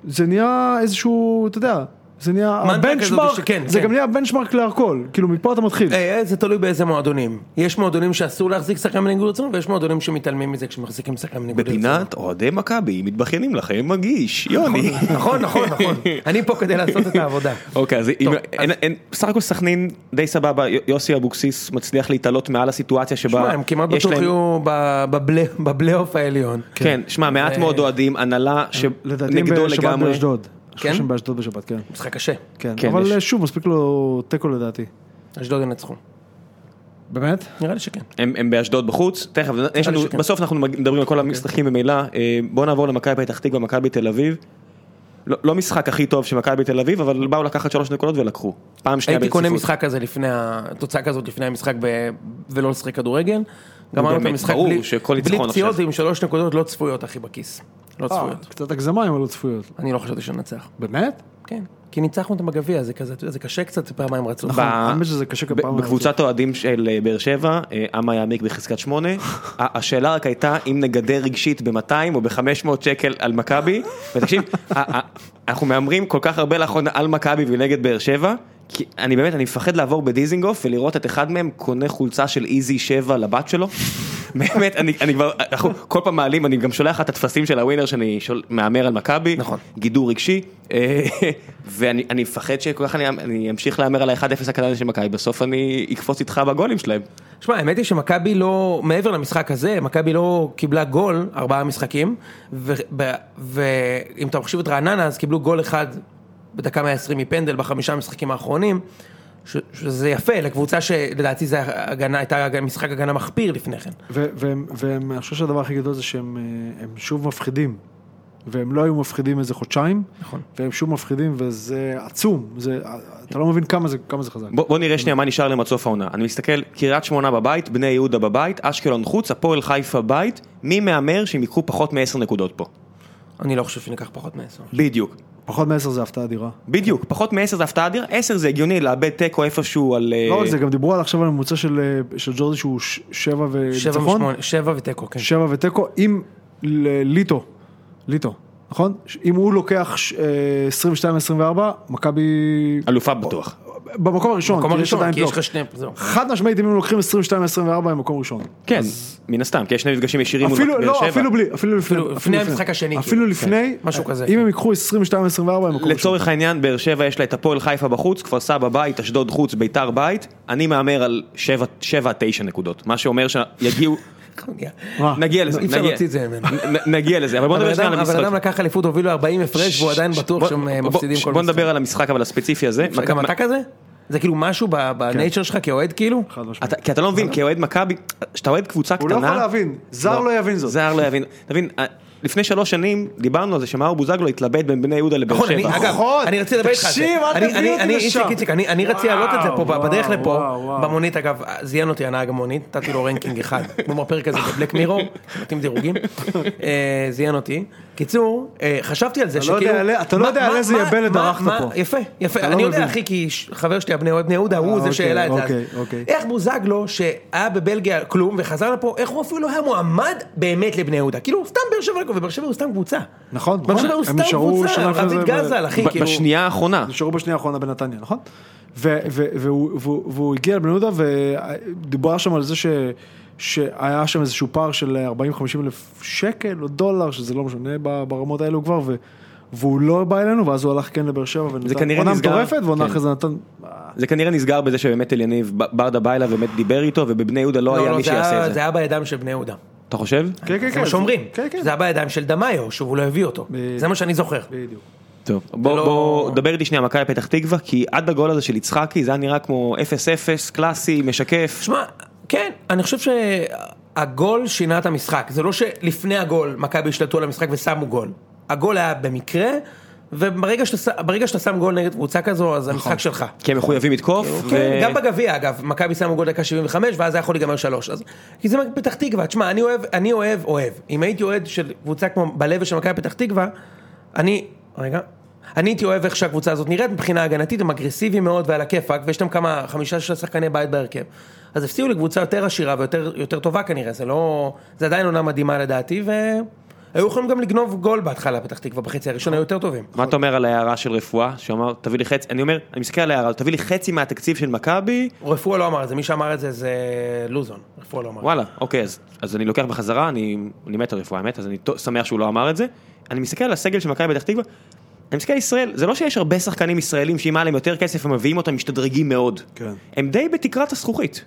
S3: זה נהיה איזשהו, אתה יודע, זה נהיה
S2: מנטרה
S3: הבנצ'מרק,
S2: כזאת שכן,
S3: זה
S2: כן.
S3: גם נהיה הבנצ'מרק להכל, כאילו מפה אתה מתחיל.
S2: אה, אה, זה תלוי באיזה מועדונים. יש מועדונים שאסור להחזיק שחקן בניגוד רצון, ויש מועדונים שמתעלמים מזה כשמחזיקים שחקן בניגוד רצון.
S1: בפינת אוהדי מכבי מתבכיינים לכם מגיש, יוני.
S2: נכון, נכון, נכון. אני פה כדי לעשות את העבודה.
S1: אוקיי, אז
S2: טוב,
S1: אם- אין- אין- בסך הכל סכנין די סבבה, י- יוסי אבוקסיס מצליח להתעלות מעל הסיטואציה
S2: שמע,
S1: שבה
S2: הם כמעט
S1: יש
S2: בטוח
S1: להם
S2: יהיו ב- בבלי- בבלייאוף העליון.
S1: כן, שמע, מעט מאוד אוהדים, הנהלה
S3: לדעתי הם
S1: שנגדו
S3: בשבת
S1: לגמרי.
S3: באשדוד. אני חושב
S2: כן?
S3: שהם באשדוד בשבת, כן.
S2: משחק קשה.
S3: כן,
S1: כן,
S3: אבל
S1: יש.
S3: אה, שוב, מספיק לו תיקו לדעתי.
S2: אשדוד ינצחו.
S3: באמת?
S2: נראה לי שכן.
S1: הם, הם באשדוד בחוץ, תכף, יש לנו,
S2: שכן.
S1: בסוף אנחנו מדברים על כל המשחקים ממילא, אה, בוא נעבור למכבי פתח תקווה, מכבי תל אביב. לא, לא משחק הכי טוב של מכבי תל אביב, אבל באו לקחת שלוש נקודות ולקחו. פעם שנייה
S2: הייתי קונה
S1: ברציפות.
S2: משחק כזה לפני, ה- תוצאה כזאת לפני המשחק ב... ולא לשחק כדורגל, גמרנו את
S1: באמת,
S2: המשחק
S1: ברור
S2: בלי-
S1: שכל ניצחון
S2: בלי פציעות
S1: עכשיו.
S2: ועם שלוש נקודות לא צפויות, אחי, בכיס. לא
S3: אה,
S2: צפויות.
S3: קצת הגזמה עם הלא צפויות.
S2: אני לא חשבתי שננצח.
S3: באמת?
S2: כן. כי ניצחנו אותם בגביע, זה כזה, אתה יודע, זה קשה קצת פעמיים רצו.
S1: נכון.
S3: האמת שזה קשה כל
S1: ב-
S3: פעם.
S1: בקבוצת אוהדים של אה, באר שבע, אה, אמה יעמיק בחזקת שמונה, ה- השאלה רק הייתה אם נגדר רגשית ב-200 או ב-500 שקל על מכבי, ותקשיב, ה- ה- אנחנו מהמרים כל כך הרבה לאחרונה על מכבי ונגד באר שבע, כי אני באמת, אני מפחד לעבור בדיזינגוף ולראות את אחד מהם קונה חולצה של איזי 7 לבת שלו. באמת, אני, אני כבר, אנחנו כל פעם מעלים, אני גם שולח לך את הטפסים של הווינר שאני שול, מהמר על מכבי,
S2: נכון.
S1: גידור רגשי, אה, ואני אני מפחד שכל כך אני, אני אמשיך להמר על ה-1-0 הקטן של מכבי, בסוף אני אקפוץ איתך בגולים שלהם.
S2: שמע, האמת היא שמכבי לא, מעבר למשחק הזה, מכבי לא קיבלה גול ארבעה משחקים, ואם אתה מחשיב את רעננה, אז קיבלו גול אחד בדקה 120 מפנדל בחמישה המשחקים האחרונים, ש, שזה יפה לקבוצה שלדעתי זה הגנה, הייתה הגנה- משחק הגנה מחפיר לפני כן.
S3: ואני חושב שהדבר הכי גדול זה שהם אה, הם שוב מפחידים. והם לא היו מפחידים איזה חודשיים,
S2: נכון.
S3: והם שוב מפחידים וזה עצום, זה, אתה לא מבין כמה זה, כמה זה חזק.
S1: בוא, בוא נראה שנייה מה נשאר להם עד סוף העונה. אני מסתכל, קריית שמונה בבית, בני יהודה בבית, אשקלון חוץ, הפועל חיפה בית, מי מהמר שהם ייקחו פחות מ-10 נקודות פה?
S2: אני לא חושב שניקח פחות מעשר.
S1: בדיוק.
S3: פחות מעשר זה הפתעה אדירה.
S1: בדיוק, פחות מ-10 זה הפתעה אדירה, 10 זה הגיוני לאבד תיקו איפשהו על... אה,
S3: לא רק זה, גם דיברו על עכשיו על הממוצע של, אה, של ג'ורדי שהוא ש- שבע
S2: שבע
S3: וניצחון,
S2: ושמונה, שבע ותיקו, כן.
S3: שבע ותיקו, אם ל- ליטו, ליטו, נכון? ש- אה, אם הוא לוקח 22-24, מכבי
S1: אלופה בטוח.
S3: במקום הראשון,
S2: מקום
S3: כי יש
S2: הראשון,
S3: עדיין
S2: כי יש
S3: פלייאוף.
S2: לך שני, זהו.
S3: חד משמעית אם הם לוקחים 22-24 הם מקום ראשון.
S1: כן, מן הסתם, כי יש שני מפגשים ישירים מול
S3: אפילו,
S1: באר
S3: לא,
S1: שבע.
S3: אפילו בלי, אפילו לפני,
S2: לפני המשחק השני,
S3: אפילו
S2: כאילו.
S3: לפני, אה,
S2: כן, משהו כזה,
S3: אם
S2: כן.
S3: הם ייקחו 22-24 הם מקום ראשון.
S1: לצורך העניין, באר שבע יש לה את הפועל חיפה בחוץ, כפר סבא בית, אשדוד חוץ, ביתר בית, אני מהמר על 7-9 נקודות, מה שאומר שיגיעו,
S3: מה?
S1: נגיע לזה,
S2: אה, אי אפשר
S1: נגיע-
S2: להוציא את זה ממנו.
S1: נ- נ- נגיע לזה, אבל בוא
S2: אבל
S1: נדבר שנייה על
S2: אדם- אבל
S1: המשחק.
S2: אדם לקח אליפות, הובילו 40 הפרש, והוא עדיין בטוח
S1: בוא-
S2: שהם אה,
S1: בוא-
S2: מפסידים כל משחק.
S1: בוא נדבר על המשחק אבל הספציפי הזה,
S2: מכבי- גם אתה כזה? זה כאילו משהו ב- בנייצ'ר שלך כאוהד כאילו?
S3: חד משמעית.
S1: אתה- כי אתה לא מבין, כאוהד מכבי, כשאתה אוהד קבוצה
S3: הוא
S1: קטנה,
S3: לא יכול להבין, זר לא יבין זאת.
S1: זר לא יבין, תבין, אה, לפני שלוש שנים דיברנו על זה שמאור בוזגלו התלבט בין בני יהודה לבאר
S2: נכון, אני,
S1: שבע.
S2: אגב,
S3: נכון.
S2: אני רציתי לדבר איתך על זה.
S3: תקשיב, אל
S2: אני-
S3: תביא
S2: אני-
S3: אותי
S2: אני-
S3: לשם.
S2: איציק, איציק, אני אני רציתי להעלות את זה פה
S3: וואו,
S2: בדרך לפה,
S3: וואו, וואו.
S2: במונית אגב, זיין אותי הנהג המונית, נתתי לו רנקינג אחד, כמו בפרק הזה בבלק מירור, נותנים דירוגים, אה, זיין אותי. קיצור, אה, חשבתי על זה
S3: אתה לא
S2: שכאילו...
S3: יודע עלי- אתה לא
S2: מה-
S3: יודע על
S2: מה-
S3: איזה
S2: מה-
S3: יבלת
S2: מה-
S3: דרכת
S2: מה-
S3: פה.
S2: יפה, יפה,
S3: אתה לא
S2: אני יודע
S3: מבין.
S2: אחי, כי ש- חבר שלי הבני אוהד בני יהודה, הוא זה
S3: אוקיי,
S2: שהעלה את זה אז.
S3: אוקיי, אוקיי.
S2: איך בוזגלו, שהיה בבלגיה כלום וחזר לפה, איך הוא אפילו לא היה מועמד באמת לבני יהודה? כאילו, הוא סתם באר שבע, ובאר שבע הוא סתם קבוצה.
S3: נכון,
S2: באר שבע הוא
S3: נכון. הם
S2: סתם
S3: נשארו
S2: קבוצה,
S3: שנה אחרי
S2: רביד
S3: זה ב-
S2: גזל, אחי,
S1: ב-
S2: כאילו.
S1: בשנייה האחרונה,
S3: נשארו בשנייה האחרונה בנתניה, נכון? ו- ו- והוא- והוא והוא הגיע לבני יהודה ודיבר שם על זה ש... שהיה שם איזשהו פער של 40-50 אלף שקל או דולר, שזה לא משנה ב- ברמות האלו כבר, ו... והוא לא בא אלינו, ואז הוא הלך כן לבאר שבע, ונתן
S1: כנראה
S3: עונה
S1: נסגר.
S3: מטורפת, ועונה
S1: כן.
S3: אחרי זה נתן...
S1: זה כנראה נסגר בזה שבאמת אל יניב ב- ברדה בא אליו ובאמת דיבר איתו ובבני יהודה לא
S2: לא,
S1: היה
S2: לא,
S1: מי
S2: זה היה-
S1: שיעשה את
S2: זה
S1: זה.
S2: היה בידיים של בני יהודה.
S1: אתה חושב?
S3: כן, כן,
S2: זה
S3: כן.
S2: מה שאומרים.
S3: כן, כן.
S2: זה היה בידיים של דמאיו, שוב, הוא לא הביא אותו.
S3: בדיוק.
S2: זה מה שאני זוכר.
S3: בדיוק.
S1: טוב, בוא,
S2: לא-
S1: בוא, דבר איתי שנייה מכבי פתח תקווה, כי עד הגול הזה של יצחקי זה היה נראה כמו 0-0, קלאסי, משקף.
S2: שמע, כן, אני חושב שהגול שינה את המשחק. זה לא שלפני הגול מכבי השתלטו על המשחק ושמו גול. הגול היה במקרה, וברגע שאתה ש- ברגע שאתה שם גול נגד קבוצה כזו, אז המשחק שלך.
S1: כי הם מחויבים לתקוף.
S2: כן,
S1: ו-
S2: גם בגביע אגב, מכבי שמו גול דקה 75 ואז זה יכול להיגמר 3, אז כי זה מכבי פתח תקווה, תשמע, אני אוהב, אני אוהב, אוהב, אם הייתי אוהד של קבוצה כמו בלב של מכבי פתח תקווה, אני, רגע, אני הייתי אוהב איך שהקבוצה הזאת נראית מבחינה הגנתית, הם אגרסיביים מאוד ועל הכיפאק, ויש להם כמה, חמישה שישה שחקני בית בהרכב, אז הפסיעו לקבוצה יותר עשירה ויותר יותר טובה כנראה, זה לא, זה עדיין עונה מדהימה לדעתי, והיו יכולים גם לגנוב גול בהתחלה פתח תקווה, בחצי הראשון היו יותר טובים.
S1: מה אתה אומר על ההערה של רפואה, שאמר, תביא לי חצי, אני אומר, אני מסתכל על ההערה, תביא לי חצי מהתקציב של מכבי,
S2: רפואה לא אמר את זה, מי שאמר את זה זה לוזון, רפואה לא אמר את זה.
S1: וואלה, אוקיי, אז, אז אני לוקח בחזרה, אני, אני מת על רפואה, האמת, אז אני ט- שמח שהוא לא אמר את זה. אני מסתכל על הסגל של מכבי פתח תקווה, אני מסתכל על ישראל, זה לא שיש הרבה שחקנים ישראלים שאם היה להם יותר כסף, הם מביאים אותם, משתדרגים מאוד.
S3: כן.
S1: הם די בתקרת הזכוכית.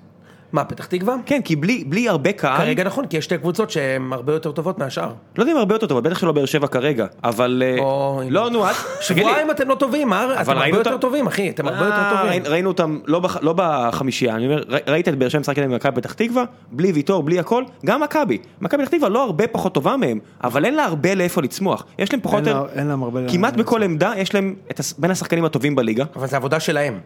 S2: מה, פתח תקווה?
S1: כן, כי בלי, בלי הרבה קהל,
S2: כרגע נכון, כי יש שתי קבוצות שהן הרבה יותר טובות מהשאר.
S1: לא יודע אם הרבה יותר טוב, אבל בטח שלא באר שבע כרגע, אבל... אה,
S2: או,
S1: לא, נו, את... תגיד לי.
S2: שבועיים אתם לא טובים, אה? אתם הרבה
S1: ראינו
S2: יותר
S1: אותם-
S2: טובים, אחי, אתם הרבה יותר
S1: אה,
S2: טובים.
S1: ראי- ראינו אותם לא בח- לא בחמישייה, אני אומר, ר- ראית את באר שבע משחק נגד מכבי פתח תקווה, בלי ויטור, בלי הכל, גם מכבי. מכבי פתח תקווה לא הרבה פחות טובה מהם, אבל אין לה הרבה לאיפה לצמוח. יש להם פחות או
S3: אין
S1: יותר,
S3: לה- אין להם הרבה...
S1: כמעט בכל עמדה יש להם את הס- בין השחקנים הטובים בליגה.
S2: אבל זו עבודה שלהם.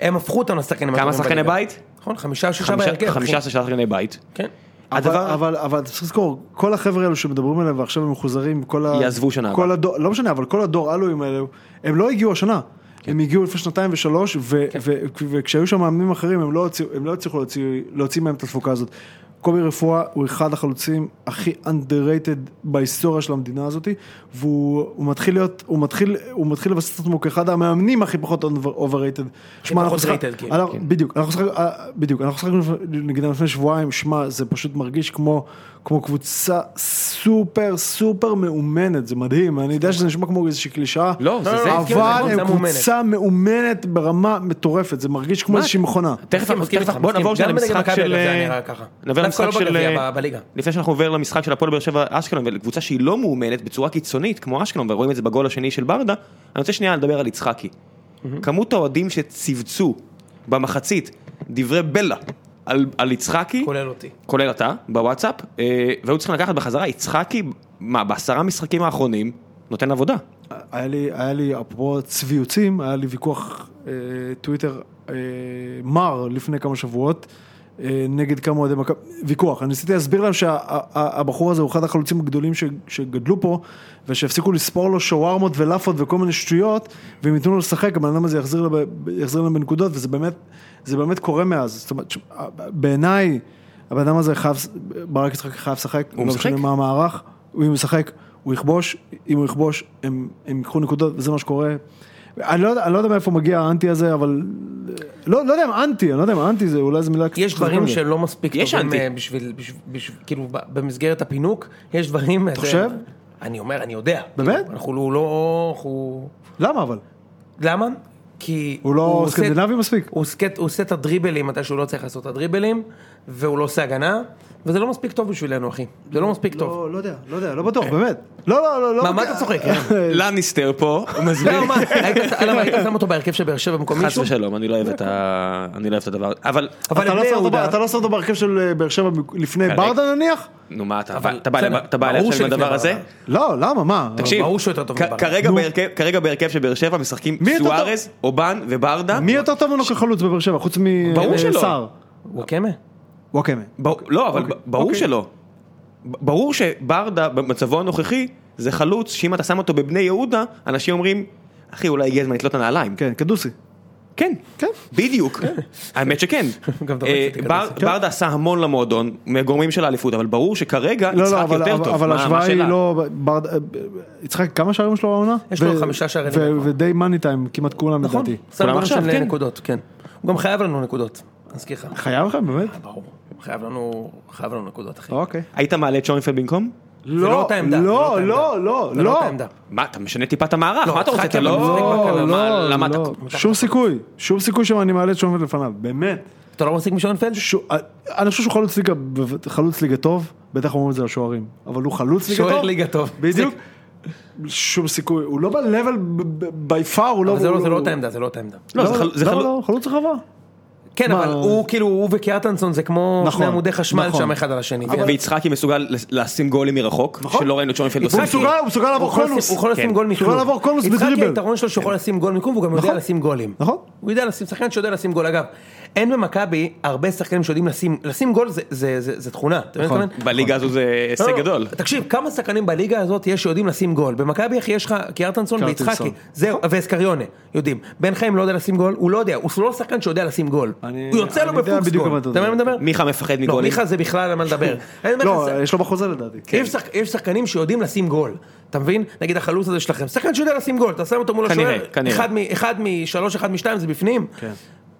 S2: הם הפכו אותם לשחקנים
S1: כמה
S2: הטובים
S1: שחקני
S2: בליגה.
S1: בית?
S2: נכון, חמישה, שישה
S1: חמישה-
S2: בהרכב, אחי.
S1: חמישה עשר שחקני בית.
S2: כן.
S1: הדבר-
S3: אבל, אבל, אבל צריך לזכור, כל החבר'ה האלו שמדברים עליהם ועכשיו הם מחוזרים, כל ה...
S1: יעזבו שנה
S3: כל
S1: הבאה.
S3: הדור, לא משנה, אבל כל הדור אלוהים האלו, הם לא הגיעו השנה.
S1: כן.
S3: הם הגיעו לפני שנתיים ושלוש, ו- ו- וכשהיו שם מאמנים אחרים, הם לא הוציאו- הם לא הצליחו להוציא- להוציא מהם את התפוקה הזאת. קובי רפואה הוא אחד החלוצים הכי underrated בהיסטוריה של המדינה הזאת, והוא הוא מתחיל להיות, הוא מתחיל, הוא מתחיל לבסס את עצמו כאחד המאמנים הכי פחות overrated. שמע, אנחנו
S2: פחות
S3: שיחק-
S2: rated, כאילו,
S3: אנחנו-
S2: כן.
S3: בדיוק, אנחנו שחק- אה, בדיוק, אנחנו שחקנו לפ- נגדם לפני שבועיים, שמע, זה פשוט מרגיש כמו, כמו קבוצה סופר סופר מאומנת, זה מדהים, אני יודע שזה נשמע כמו איזושהי קלישאה,
S1: לא, זה זה,
S2: כאילו, זה
S3: אבל
S2: קבוצה
S3: הם קבוצה מאומנת ברמה מטורפת, זה מרגיש כמו
S1: מה?
S3: איזושהי מכונה.
S1: תכף,
S2: מסכים, מסכים
S1: תכף,
S2: איתך,
S1: בוא
S2: מסכים.
S1: נעבור שנייה
S2: גם בנגד
S1: למשחק
S2: מכבי,
S1: של... אה,
S2: אגב, זה היה נראה ככה.
S1: נעבור
S2: דווקא
S1: למשחק
S2: לא
S1: של... אה,
S2: בגביע, ב- בליגה.
S1: לפני שאנחנו עובר למשחק של הפועל באר שבע אשקלון, ולקבוצה שהיא לא מאומנת בצורה קיצונית כמו אשקלון, ורואים את זה בגול השני של ברדה, אני רוצה שנייה לדבר על יצחקי. כמות האוהדים שצווצו במחצית דברי בלע על, על יצחקי,
S2: כולל אותי.
S1: כולל אתה, בוואטסאפ, אה, והיו צריכים לקחת בחזרה, יצחקי, מה, בעשרה משחקים האחרונים, נותן עבודה.
S2: אה.
S3: היה לי, היה לי, אפרופו צביוצים, היה לי ויכוח אה, טוויטר אה, מר לפני כמה שבועות. אה, נגד כמה אוהדי מכבי, ויכוח, אני ניסיתי להסביר להם שהבחור הזה הוא אחד החלוצים הגדולים ש, שגדלו פה ושהפסיקו לספור לו שווארמות ולאפות וכל מיני שטויות ואם ייתנו לו לשחק הבן אדם הזה יחזיר, לב, יחזיר להם בנקודות וזה באמת, זה באמת קורה מאז, זאת אומרת, ש- בעיניי הבן אדם הזה חייב, ברק יצחק חייב לשחק,
S1: הוא
S3: לא
S1: משחק?
S3: משנה מה המערך, הוא אם ישחק, הוא יכבוש, אם הוא יכבוש, הם, הם ייקחו נקודות, וזה מה שקורה. אני לא, יודע- אני לא יודע מאיפה מגיע האנטי הזה, אבל... לא, לא יודע אם אנטי, אני לא יודע אם אנטי זה אולי זו מילה...
S2: יש
S3: קצת
S2: דברים
S3: מורכבת.
S2: שלא מספיק
S1: יש
S2: טובים
S1: אנטי.
S2: אה, בשביל, בשביל, בשביל, כאילו ב- במסגרת הפינוק, יש דברים... אתה
S3: חושב?
S2: אני אומר, אני יודע.
S3: באמת?
S2: אנחנו לא- לא... אנחנו...
S3: למה אבל?
S2: למה? כי...
S3: הוא לא
S2: עושה-
S3: סקנדינבי מספיק?
S2: הוא עושה- הוא עושה את הדריבלים מתי שהוא לא צריך לעשות את הדריבלים, והוא לא עושה הגנה, וזה לא מספיק טוב בשבילנו, אחי. זה לא מספיק טוב. אה.
S3: לא, לא יודע, לא יודע, לא בטוח, באמת. לא, לא, לא, לא...
S2: מה- מה אתה צוחק? אה?
S1: לניסטר פה, מזמין.
S2: לא, מה, היית- למה, היית שם אותו בהרכב של באר שבע במקום
S1: חס
S2: מישהו?
S1: ושלום, אני לא אוהב את ה... אני לא אוהב את הדבר, אבל...
S2: אבל
S3: אתה לא
S2: בני
S3: שם אותו ב-
S2: יהודה- אה.
S3: אתה לא שם אותו בהרכב של אה, באר שבע מ- לפני
S1: כרגע.
S3: ברדה נניח?
S1: נו מה אתה,
S2: אבל-
S1: אתה בא אליי-
S2: בסדר,
S1: אתה בא אליי
S2: ברור
S1: עכשיו עם
S2: שלפני
S1: הדבר הזה?
S2: ברדה.
S3: לא, למה, מה?
S1: תקשיב,
S2: ברור שהוא יותר טוב
S1: כ-
S2: מברדה.
S1: כרגע בהרכב- כרגע בהרכב של באר שבע משחקים
S3: מי יותר טוב?
S1: סוארז, אובן וברדה.
S3: מי יותר טוב ממנו כחלוץ בבאר שבע, חוץ
S1: ברור שלא.
S3: מסער?
S2: וואקמה?
S3: וואקמה.
S1: ב- לא, אבל ב- ברור
S3: אוקיי.
S1: שלא. ב- ברור שברדה במצבו הנוכחי זה חלוץ שאם אתה שם אותו בבני יהודה, אנשים אומרים, אחי אולי הגיע הזמן לתלות את הנעליים.
S3: כן, קדוסי.
S1: כן,
S3: כן.
S1: בדיוק, האמת שכן.
S2: גם דורש
S1: אה,
S2: את הכדור
S1: בר-
S3: כן.
S2: הזה.
S1: ברדה עשה המון למועדון, מגורמים של האליפות, אבל ברור שכרגע יצחק
S3: לא, אבל,
S1: יותר
S3: אבל,
S1: טוב.
S3: אבל
S1: מה- מה
S3: ההשוואה היא
S1: השאלה?
S3: לא... ברד... יצחק, כמה שערים שלו העונה?
S2: יש לו חמישה שערי ליגה כבר.
S3: ו... ודי מאני טיים, כמעט כולם
S2: נכון.
S3: לדעתי.
S2: שם
S1: כולם
S2: גול
S1: עכשיו,
S2: של
S1: כן.
S2: נקודות, כן. הוא גם חייב לנו נקודות, אזכיר לך.
S3: חייב לך, באמת?
S2: ברור. חייב לנו, חייב לנו נקודות, אחי.
S3: אוקיי.
S1: היית מעלה את שונפלד במקום?
S2: לא אותה עמדה, אה, זה לא
S3: לא,
S2: אותה
S3: לא,
S2: עמדה.
S3: לא,
S2: זה
S3: לא.
S2: אותה עמדה.
S1: מה, אתה משנה טיפה את המערך,
S2: לא,
S1: מה אתה רוצה?
S2: משחק
S1: אתה
S2: עם
S1: לא...
S2: המשחק
S3: לא,
S1: מה,
S3: לא,
S1: למה אתה...
S3: לא. שום סיכוי, שום סיכוי שאני מעלה את שומפלד לפניו, באמת.
S2: אתה לא מחזיק משונפלד?
S3: ש- אני חושב שהוא חלוץ ליגה, חלוץ ליגה טוב, בטח אומרים את זה לשוערים, אבל הוא חלוץ ליגה טוב.
S2: שוער ליגה טוב.
S3: בדיוק. שום סיכוי, הוא לא ב-level by far, הוא לא...
S2: אבל זה
S3: הוא
S2: לא זה לא אותה עמדה, זה לא אותה עמדה.
S1: לא, זה חל- זה
S3: למה
S1: חלוץ-
S3: לא? חלוץ רחבה.
S2: כן,
S3: מה?
S2: אבל הוא כאילו, הוא וקיארטנסון זה כמו
S3: נכון,
S2: שני עמודי חשמל
S3: נכון.
S2: שם אחד על השני.
S1: ו- ויצחקי מסוגל לש- לשים גולים מרחוק,
S3: נכון.
S1: שלא ראינו את שונפלד
S3: הוא
S1: עושה.
S3: מסוגל- הוא מסוגל לעבור
S2: יכול לשים-
S3: קונוס.
S2: הוא יכול לשים
S1: לא כן.
S2: גול
S3: הוא
S2: מכלום.
S3: יכול לעבור קונוס
S2: יצחקי
S3: בדריבל. כן.
S2: היתרון שלו שהוא יכול לשים גול מכלום, והוא גם יודע
S3: נכון.
S2: לשים גולים.
S3: נכון.
S2: הוא יודע לשים, שחקן שיודע לשים גול. אגב, אין במכבי הרבה שחקנים שיודעים לשים, לשים גול זה- זה זה- זה תכונה. אתה מבין מה אני מתכוון?
S1: בליגה הזו זה הישג
S2: לא,
S1: נכון.
S2: לא,
S1: גדול.
S2: תקשיב, כמה שחקנים בליגה הזאת יש שיודעים לשים גול? במכבי אחי יש לך קיארטנסון
S3: קיארטנסון.
S2: ויצחקי, זהו, ואסקריונה, יודעים. בן חיים לא יודע לשים גול, הוא לא יודע, הוא לא שחקן שיודע לשים גול.
S3: אני-
S2: הוא יוצא לו
S3: אני יודע
S2: בפוקס
S3: בדיוק
S2: גול.
S3: מה אתה
S2: אתה מבין מה אני מדבר?
S1: מיכה מפחד
S2: לא,
S1: מגולים.
S2: מיכה זה בכלל על מה לדבר. אני אומר לך,
S3: לא,
S2: זה-
S3: יש לו בחוזה לדעתי.
S2: יש שחק- יש שחקנים שיודעים לשים גול, אתה מבין? נגיד החלוץ הזה שלכם, שחקן שיודע לשים גול, אתה שם אותו מול
S1: כנראה,
S2: השוער,
S1: כנראה.
S2: אחד מ- אחד משלוש, אחד משתיים, זה בפנים?
S3: כן.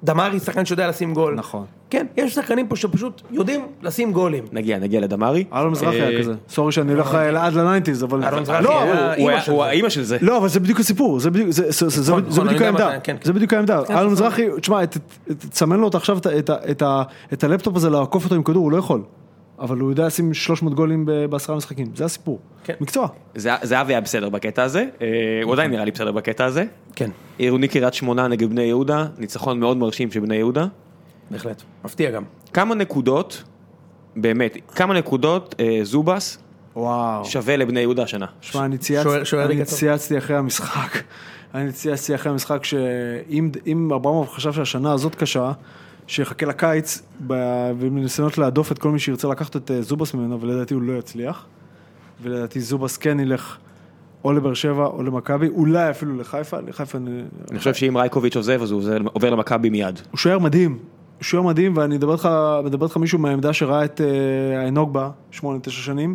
S2: דמרי שחקן שיודע לשים גול.
S3: נכון.
S2: כן, יש שחקנים פה שפשוט יודעים לשים גולים.
S1: נגיע, נגיע לדמרי.
S3: אלון מזרחי
S1: אה,
S3: היה כזה. סורי שאני הולך אה, עד לניינטיז, אבל...
S2: אלון מזרחי
S3: לא,
S2: היה-
S3: אבל-
S1: הוא- הוא
S2: אימא
S1: היה-
S2: של
S1: הוא
S2: זה.
S1: האימא של זה.
S3: לא, אבל זה בדיוק הסיפור, זה בדיוק, זה, זה, זה, זה,
S2: נכון,
S3: זה בדיוק
S2: אני יודע
S3: העמדה,
S2: מתי, כן, כן.
S3: זה בדיוק העמדה,
S2: כן,
S3: אלון
S2: נכון.
S3: מזרחי, תשמע, ת- ת- תסמן לו את עכשיו את ה- את ה- את ה- את הלפטופ הזה לעקוף אותו עם כדור, הוא לא יכול, אבל הוא יודע לשים 300 גולים ב- בעשרה משחקים, זה הסיפור,
S2: כן.
S3: מקצוע,
S1: זה- זהבי היה בסדר בקטע הזה, אה, הוא עדיין נראה לי בסדר בקטע הזה.
S2: כן.
S1: עירוני קריית שמונה נגד בני יהודה, ניצחון מאוד מרשים של בני יהודה.
S2: בהחלט, מפתיע גם.
S1: כמה נקודות, באמת, כמה נקודות אה, זובס
S3: וואו,
S1: שווה לבני יהודה השנה?
S3: שמע, אני
S2: שוער-
S3: צייצתי,
S2: שוער
S3: אני
S2: ליגה טוב.
S3: צייצתי אחרי המשחק, אני צייצתי אחרי המשחק שאם אם אברמוב חשב שהשנה הזאת קשה, שיחכה לקיץ, ב- ובניסיונות להדוף את כל מי שירצה לקחת את אה, זובס ממנו, ולדעתי הוא לא יצליח. ולדעתי זובס כן ילך או לבאר שבע או למכבי, אולי אפילו לחיפה, לחיפה אני...
S1: אני חושב שאם רייקוביץ' עוזב אז הוא עוזר- עובר למכבי מיד.
S3: הוא שוער מדהים, הוא שוער מדהים, ואני מדבר איתך, מדבר איתך מישהו מהעמדה שראה את אה, איינוגבה, שמונה, תשע שנים,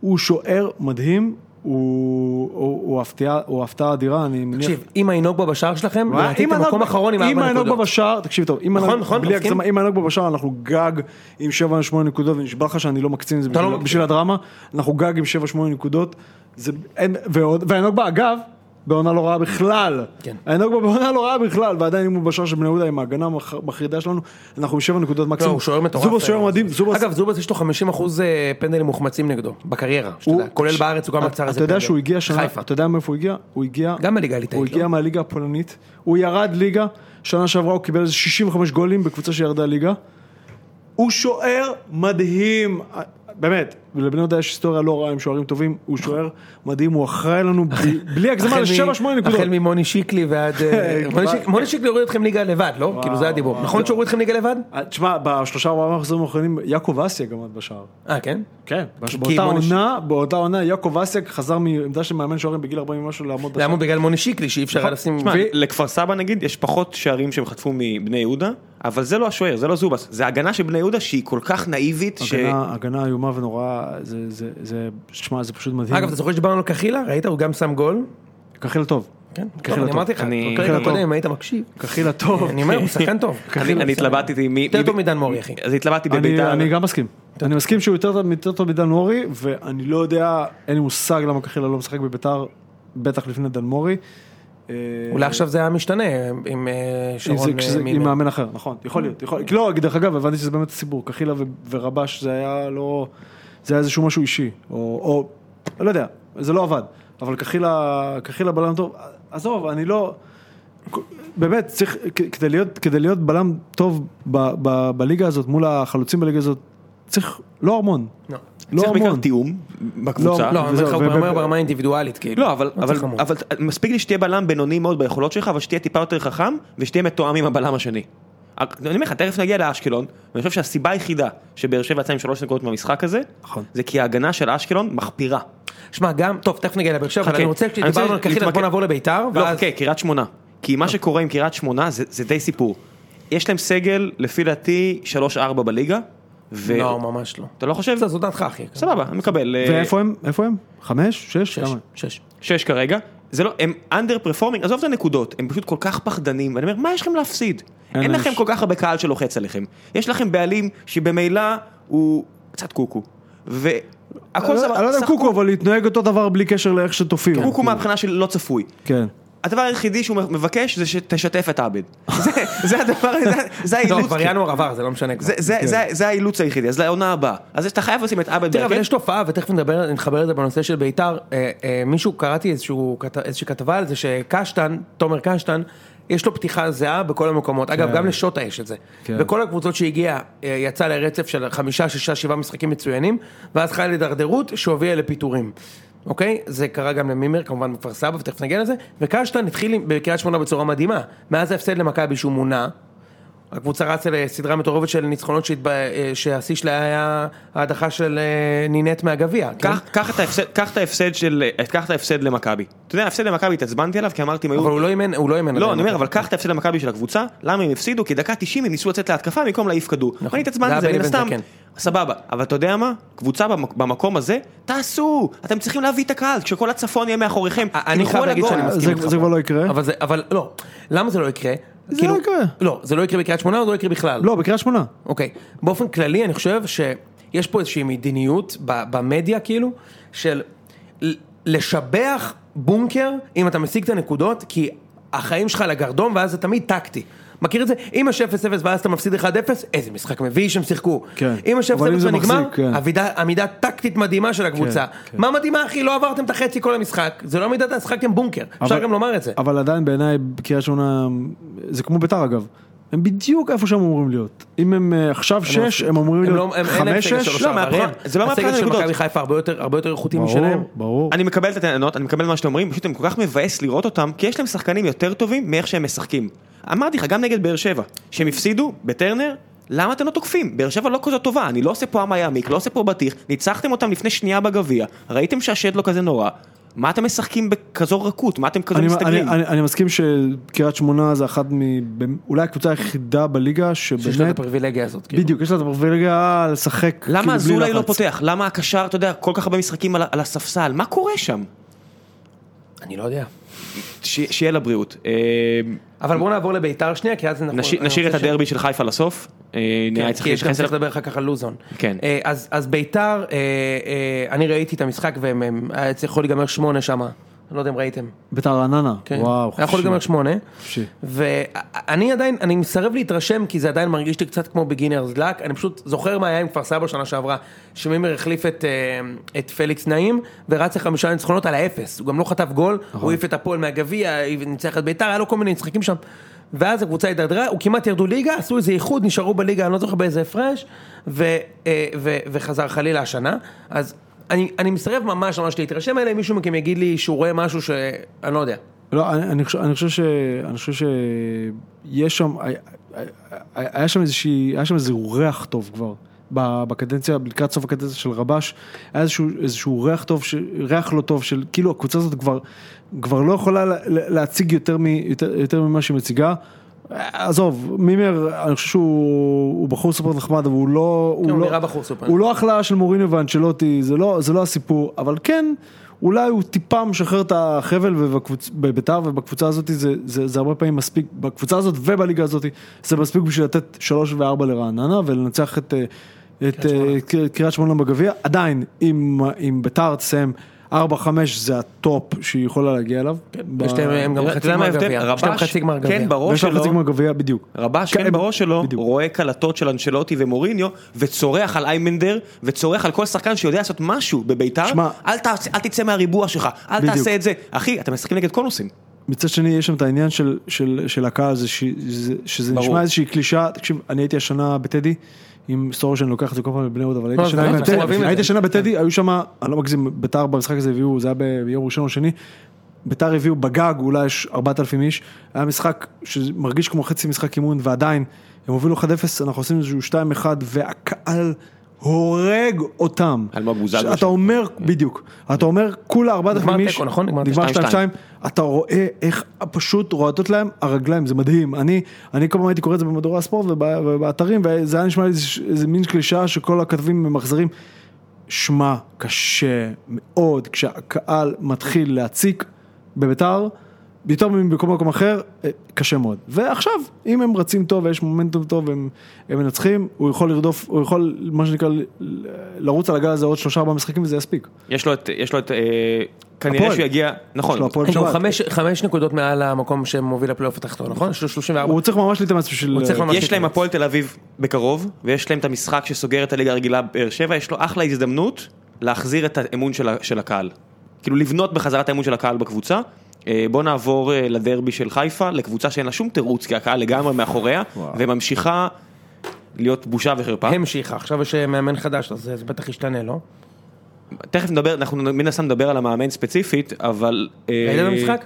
S3: הוא שוער מדהים, הוא, הוא, הוא, הפתיעה, הוא הפתעה אדירה, אני מניח...
S2: תקשיב, אם אינוגבה בשער שלכם,
S3: וואי,
S2: לדעתי
S3: אם
S2: אתם מקום
S3: איינוגבה-
S2: אחרון עם
S3: אם
S2: ארבע
S3: איינוגבה
S2: נקודות.
S3: בשער, תקשיב טוב, אם
S2: נכון,
S3: איינוגבה-
S2: נכון,
S3: בלי
S2: מסכים.
S3: הגזמה, אם איינוגבה בשער אנחנו גג עם 7-8 נקודות, ונשבע לך שאני לא מקצין את זה
S2: אתה לא
S3: בשביל-
S2: מקצין.
S3: בשביל הדרמה, אנחנו גג עם 7-8 נקודות, זה- אין- ועוד- ואיינוגבה אגב, בעונה לא רעה בכלל,
S2: כן.
S3: איינוגבה בעונה לא רעה בכלל, ועדיין אם הוא בשער של בני יהודה עם ההגנה המח- המחרידה שלנו, אנחנו עם 7 נקודות
S2: לא,
S3: מקסימום,
S2: הוא שוער מטורף. אה,
S3: זובס שוער מדהים, זובס,
S2: אגב, זובס יש לו 50 אחוז אה, פנדלים מוחמצים נגדו, בקריירה,
S3: הוא- אה,
S2: שתדע. כולל בארץ, הוא גם
S3: אתה-
S2: עצר איזה
S3: אתה יודע שהוא הגיע שנה,
S2: חיפה.
S3: אתה יודע מאיפה הוא הגיע? הוא הגיע,
S2: גם בליגה הליטאית,
S3: הוא
S2: לא?
S3: הגיע מהליגה הפולנית, הוא ירד ליגה, שנה שעברה הוא קיבל איזה 65 גולים בקבוצה שירדה ליגה. הוא שוער מדהים, באמת, ולבני יהודה יש היסטוריה לא רעה עם שוערים טובים, הוא שוער מדהים, הוא אחראי לנו ב- בלי הגזמה
S2: החל מ-
S3: ל-7-8 נקודות.
S2: החל ממוני שיקלי ועד... אה,
S3: כבר-
S2: מוני שיק- מוני שיקלי הוריד אתכם ליגה לבד, לא? כאילו זה הדיבור. נכון שהוריד אתכם ליגה לבד?
S3: אה, תשמע, בשלושה ארבעה מחזורים האחרונים, יעקב אסיה גם עד בשער.
S2: אה, כן?
S1: נכון.
S3: כן.
S2: כי- כי
S3: באותה
S2: מוני ש-
S3: עונה, באותה עונה, יעקב אסיה חזר מעמדה של מאמן שוערים בגיל 40 ומשהו לעמוד
S2: זה
S3: בשער.
S2: היה בגלל מוני שיקלי, שאי אפשר היה לשים...
S1: תשמע,
S2: ו-
S1: לכפר סבא נגיד יש פחות שערים שהם חטפו מבני יהודה, אבל זה לא השוער, זה לא זובס, זה הגנה של בני יהודה שהיא כל כך נאיבית, ש...
S3: הגנה, הגנה איומה ונוראה, זה, זה, זה, שמע, זה פשוט מדהים.
S2: אגב, אתה זוכר שדיברנו על קחילה? ראית? הוא גם שם גול?
S3: קחילה טוב.
S2: כן.
S3: קחילה
S2: טוב, אני
S3: טוב.
S2: אמרתי לך,
S1: אני-
S2: בפרק
S3: קחילה טוב.
S2: הקודם, אם היית מקשיב.
S3: קחילה טוב.
S2: אני אומר, הוא שחקן טוב.
S1: אני אני התלבטתי מי... אה,
S2: יותר
S1: מי-
S2: טוב מדן מורי, אחי.
S1: אז התלבטתי
S3: אני,
S1: בביתר.
S3: אני גם מסכים. אני מסכים שהוא יותר, טוב- יותר טוב מדן מורי, ואני לא יודע, אין לי מושג למה קחילה לא משחק בביתר, בטח לפני דן מורי. אה,
S2: אולי עכשיו זה היה משתנה עם אה,
S3: אם זה-
S2: שרון
S3: כשזה-
S2: אה,
S3: עם
S2: מימר.
S3: מאמן אחר, נכון, יכול להיות, יכול להיות, לא, דרך אגב, הבנתי שזה באמת הסיפור, קחילה ו- ורבש זה היה לא, זה היה איזשהו משהו אישי, או, או, לא יודע, זה לא עבד, אבל קחילה, קחילה בלם טוב, עזוב, אני לא, באמת, צריך, כ- כדי להיות, כדי להיות בלם טוב ב, ב, בליגה הזאת, מול החלוצים בליגה הזאת, צריך, לא המון,
S2: לא.
S3: לא
S1: צריך בעיקר
S3: המון,
S1: תיאום בקבוצה.
S2: לא, אני
S3: וזהו,
S2: אומר לך, הוא
S3: וב-
S2: אומר ברמה האינדיבידואלית, כאילו.
S1: לא, אבל, אבל,
S2: צריך המון.
S1: אבל מספיק לי שתהיה בלם בינוני מאוד ביכולות שלך, אבל שתהיה טיפה יותר חכם, ושתהיה מתואם עם הבלם השני. אני אומר לך, תכף נגיע לאשקלון, ואני חושב שהסיבה היחידה שבאר שבע יצא עם שלוש נקודות מהמשחק הזה,
S3: נכון.
S1: זה כי ההגנה של אשקלון מחפירה.
S2: שמע, גם, טוב, תכף נגיע לבאר שבע, אבל
S1: חכה.
S2: אני רוצה, כשדיברנו על קחילה,
S1: להתמקד-
S2: בוא נעבור לביתר,
S1: לא,
S2: ואז...
S1: חכה, קריית שמונה. כי
S3: לא.
S1: מה שקורה עם קריית שמונה זה זה די סיפור. יש להם סגל, לפי דעתי, 3-4 בליגה. ו-
S2: לא, ממש לא.
S1: אתה לא חושב?
S2: בסדר, זו דעתך, אחי.
S1: סבבה, אני מקבל. אה,
S3: ואיפה הם, איפה הם? חמש? שש?
S2: שש,
S3: כמה?
S2: שש.
S1: שש כרגע, זה לא, הם אנדר פרפורמינג, עזוב את הנקודות, הם פשוט כל כך פחדנים, ואני אומר, מה יש לכם להפסיד?
S3: אין
S1: אין,
S3: להם
S1: לכם
S3: ש-
S1: כל כך הרבה קהל שלוחץ עליכם, יש לכם בעלים שבמילא הוא קצת קוקו, והכל סבבה,
S3: אני לא יודע
S1: סך
S3: קוקו,
S1: הכל
S3: אבל להתנהג אותו דבר בלי קשר לאיך שתופיעו.
S1: קוקו מהבחינה של לא צפוי.
S3: כן.
S1: הדבר היחידי שהוא מבקש זה שתשתף את עבד, זה, זה הדבר, זה, זה
S2: לא,
S1: האילוץ,
S2: כבר ינואר עבר, זה לא משנה כבר.
S1: זה, זה, זה, זה האילוץ היחידי, אז לעונה הבאה, אז אתה חייב לשים את עבד
S2: תראה, אבל
S1: בהרכב.
S2: יש תופעה, ותכף נדבר, נתחבר לזה בנושא של ביתר, אה, אה, מישהו, קראתי איזשהו כת- איזושהי כתבה על זה שקשטן, תומר קשטן, יש לו פתיחה זהה בכל המקומות, אגב, גם לשוטה יש את זה.
S3: כן.
S2: בכל הקבוצות שהגיע, אה, יצא לרצף של חמישה, שישה, שבעה משחקים מצוינים, ואז חיה להידרדרות שהובילה לפיטורים. אוקיי? זה קרה גם למימר, כמובן בכפר סבא, ותכף נגיע לזה, וקשטן התחיל עם- בקריית שמונה בצורה מדהימה. מאז ההפסד למכבי שהוא מונה, הקבוצה רצה לסדרה מטורפת של ניצחונות שהתב- אה, שהשיא שלה היה ההדחה של אה, נינט מהגביע. כן?
S1: קח- קח את ההפסד- קח את ההפסד של, קח את ההפסד למכבי. אתה יודע, ההפסד למכבי התעצבנתי עליו כי אמרתי, אם היו
S2: אבל הוא לא אימן, הוא לא
S1: לא,
S2: אימן. עדיין.
S1: אני אומר, אבל קח את ההפסד למכבי של הקבוצה, למה הם הפסידו? כי דקה 90 הם ניסו לצאת להתקפה במקום להעיף כדור. ואני
S2: נכון. זה
S1: התעצבנתי זה,
S2: היה
S1: מן
S2: בני בן
S1: הסתם.
S2: זקן.
S1: סבבה, אבל אתה יודע מה? קבוצה במק- במקום הזה, תעשו! אתם צריכים להביא את הקהל, כשכל הצפון יהיה מאחוריכם.
S2: אני
S1: תלכו
S2: חייב
S1: על
S2: להגיד
S1: הגול.
S2: שאני מסכים
S3: זה-
S2: איתך.
S3: זה כבר לא יקרה.
S2: אבל זה, אבל לא. למה זה לא יקרה?
S3: זה לא יקרה.
S2: לא, זה לא יקרה בקריית שמונה או זה לא יקרה בכלל?
S3: לא, בקריית שמונה.
S2: אוקיי. באופן כללי, אני חושב שיש פה איזושהי מדיניות ב- במדיה, כאילו, של ל- לשבח בונקר אם אתה משיג את הנקודות, כי החיים שלך על הגרדום, ואז זה תמיד טקטי. מכיר את זה? אם יש 0-0 ואז אתה מפסיד 1-0, איזה משחק מביש הם שיחקו.
S3: כן.
S2: אם יש 0-0
S3: אבל אם זה
S2: ונגמר,
S3: מחזיק, כן.
S2: עמידה, עמידה טקטית מדהימה של הקבוצה.
S3: כן.
S2: מה מדהימה, אחי? לא עברתם את החצי כל המשחק. זה לא עמידת, שחקתם בונקר. אפשר
S3: אבל-
S2: גם לומר את זה.
S3: אבל עדיין בעיניי קריית שמונה, זה כמו ביתר אגב, הם בדיוק איפה שהם אמורים להיות. אם הם אה, עכשיו שש,
S2: מסכים.
S3: הם אמורים
S2: הם לא-
S3: להיות
S2: הם- אין להם
S3: חמש,
S2: סגל של
S3: שש.
S2: שלושה
S1: לא, מהבחינה-
S2: זרים.
S1: זה לא מהבחינה
S2: הסגל של
S1: הנקודות.
S2: מכבי חיפה הרבה יותר- הרבה יותר איכותי משלהם.
S3: ברור, ברור.
S1: אני מקבל את הטענות, אני מקבל מה שאתם אומרים, פשוט הם כל כך מבאס לראות אותם, כי יש להם שחקנים יותר טובים מאיך שהם משחקים. אמרתי לך, גם נגד באר שבע, שהם הפסידו בטרנר, למה אתם לא תוקפים? באר שבע לא כזאת טובה, אני לא עושה פה עם היעמיק, לא עושה פה בטיח, ניצחתם אותם לפני שנייה בגביע, ראיתם שהשד לא כזה נורא, מה אתם משחקים בכזו רכות? מה אתם כזה
S3: אני, אני,
S1: מסתכלים?
S3: אני, אני מסכים שקריית שמונה זה אחת מ... במ- אולי הקבוצה היחידה בליגה
S2: שיש לה את
S3: שבאמת...
S2: הפריבילגיה הזאת. כאילו.
S3: בדיוק, יש לה את הפריבילגיה לשחק כאילו
S1: למה
S3: בלי
S1: אזולאי לא
S3: לחץ.
S1: פותח? למה הקשר, אתה יודע, כל כך הרבה משחקים על ה- על הספסל? מה קורה שם?
S2: אני לא יודע.
S1: ש- שיהיה לבריאות. אה,
S2: אבל בואו נעבור לביתר שנייה, כי אז אנחנו...
S1: נשאיר-
S2: נכון, אני
S1: נשאיר את
S2: רוצה ש-
S1: הדרבי של חיפה לסוף. אה, נראה לי
S2: כן,
S1: צריך
S2: כי יש גם
S1: להתייחס
S2: צריך
S1: אליו.
S2: לדבר אחר כך על לוזון.
S1: כן.
S2: אה, אז אז ביתר, אה, אה, אני ראיתי את המשחק והם, הם- היה צריך- יכול להיגמר שמונה שם. לא יודע אם ראיתם.
S3: ביתר רעננה,
S2: כן.
S3: וואו,
S2: היה יכול להיגמר שמונה.
S3: חופשי.
S2: ואני עדיין, אני מסרב להתרשם, כי זה עדיין מרגיש לי קצת כמו בגינרס לק. אני פשוט זוכר מה היה עם כפר סבא שנה שעברה, שמימר החליף את, אה, את פליקס נעים, ורץ לחמישה ניצחונות על האפס. הוא גם לא חטף גול, הוא העיף את הפועל מהגביע, ניצח את ביתר, היה לו כל מיני משחקים שם. ואז הקבוצה התדרדרה, הוא כמעט ירדו ליגה, עשו איזה איחוד, נשארו בליגה, אני לא זוכר באיזה הפרש, ו, אה, ו, וחזר חלילה השנה. אז אני, אני מסרב ממש ממש להתרשם, אלא אם מישהו מכם יגיד לי שהוא רואה משהו שאני לא יודע.
S3: לא, אני, אני, חושב, אני, חושב ש, אני חושב שיש שם, היה- היה שם איזושהי, היה שם איזה ריח טוב כבר. ב- בקדנציה, לקראת סוף הקדנציה של רבש, היה איזשהו, איזשהו ריח טוב, ש- ריח לא טוב של, כאילו הקבוצה הזאת כבר, כבר לא יכולה לה- להציג יותר, מ, יותר, יותר ממה שהיא מציגה. עזוב, מימר, אני חושב שהוא הוא בחור סופר נחמד, אבל הוא לא...
S2: כן, הוא
S3: לא-
S2: נראה בחור סופר.
S3: הוא לא החלאה של מוריניו ואנצ'לוטי, זה לא, זה לא הסיפור, אבל כן, אולי הוא טיפה משחרר את החבל ובקבוצ- בביתר ובקבוצה הזאת, זה, זה, זה הרבה פעמים מספיק, בקבוצה הזאת ובליגה הזאת, זה מספיק בשביל לתת שלוש וארבע לרעננה ולנצח את, אה, את אה, קר- קריית שמונה בגביע, עדיין, אם, אם ביתר תסיים ארבע חמש זה הטופ שהיא יכולה להגיע אליו. ב-
S2: יש להם הם גם
S1: אתה
S2: חצי
S1: יודע מה
S2: גמר
S1: ההבדל?
S2: גביע. יש להם חצי גמר
S1: רבש,
S2: גביע.
S1: כן, בראש
S3: ויש לה חצי
S1: שלו,
S3: גמר גביע, בדיוק.
S1: רבש, כן, בראש שלו,
S3: בדיוק.
S1: רואה קלטות של אנשלוטי ומוריניו, וצורח על איימנדר, וצורח על כל שחקן שיודע לעשות משהו בביתר,
S3: שמע-
S1: אל תעשה- אל תצא מהריבוע שלך, אל
S3: בדיוק.
S1: תעשה את זה. אחי, אתם משחקים נגד קונוסים.
S3: מצד שני יש שם את העניין של, של, של הקהל הזה, ש- שזה, שזה
S1: ברור.
S3: נשמע איזושהי קלישאה, תקשיב, אני הייתי השנה בטדי, עם סורי שאני לוקח את זה כל פעם לבני יהודה, אבל הייתי
S2: לא, זה
S3: השנה
S2: לא, אנחנו
S3: בטדי,
S2: אוהבים את
S3: הייתי
S2: זה.
S3: השנה בטדי, היו שם, אני לא מגזים, ביתר במשחק הזה הביאו, זה היה ביום ראשון או שני, ביתר הביאו בגג אולי יש 4,000 איש, היה משחק שמרגיש כמו חצי משחק אימון, ועדיין, הם הובילו 1-0, אנחנו עושים איזשהו 2-1, והקהל... הורג אותם.
S1: אלמוג בוזגלו שם.
S3: אתה אומר, בדיוק, אתה אומר כולה 4,000 איש,
S2: תיקו, נכון? נגמר
S3: נגמר
S1: 2-2.
S3: 2-2, אתה רואה איך פשוט רועדות להם הרגליים, זה מדהים. אני, אני כל פעם הייתי קורא את זה במדורי הספורט ובא- ובאתרים, וזה היה נשמע לי איזה, איזה מין קלישאה שכל הכתבים ממחזרים. שמע, קשה מאוד כשהקהל מתחיל להציק בביתר, יותר מבכל מקום אחר, אה, קשה מאוד. ועכשיו, אם הם רצים טוב ויש מומנטום טוב והם הם מנצחים, הוא יכול לרדוף, הוא יכול, מה שנקרא, ל- לרוץ על הגל הזה עוד שלושה ארבעה משחקים וזה יספיק.
S2: נכון.
S1: יש לו את, יש לו את, אה, כנראה
S3: הפועל.
S1: שהוא יגיע,
S3: יש לו
S1: נכון,
S3: הפועל
S2: הם גם
S3: שבת.
S2: חמש- חמש נקודות מעל המקום שמוביל לפלייאוף התחתון, נכון?
S1: אה,
S2: יש לו 34.
S3: הוא צריך ממש להתאמץ בשביל... אה,
S2: הוא צריך ממש-
S1: יש להם הפועל תל אביב בקרוב, ויש להם את המשחק שסוגר את הליגה הרגילה בבאר שבע, יש לו אחלה הזדמנות להחזיר את האמון של, ה- של הקהל. כאילו לבנות בחזרה את האמון של הקהל בקבוצה. אה, בוא נעבור אה, לדרבי של חיפה, לקבוצה שאין לה שום תירוץ, כי הקהל לגמרי מאחוריה, וממשיכה להיות בושה וחרפה.
S2: המשיכה, עכשיו יש אה, מאמן חדש, אז זה זה בטח ישתנה, לא?
S1: אה, תכף נדבר, אנחנו מן הסתם נדבר על המאמן ספציפית, אבל... אה,
S2: ראית במשחק?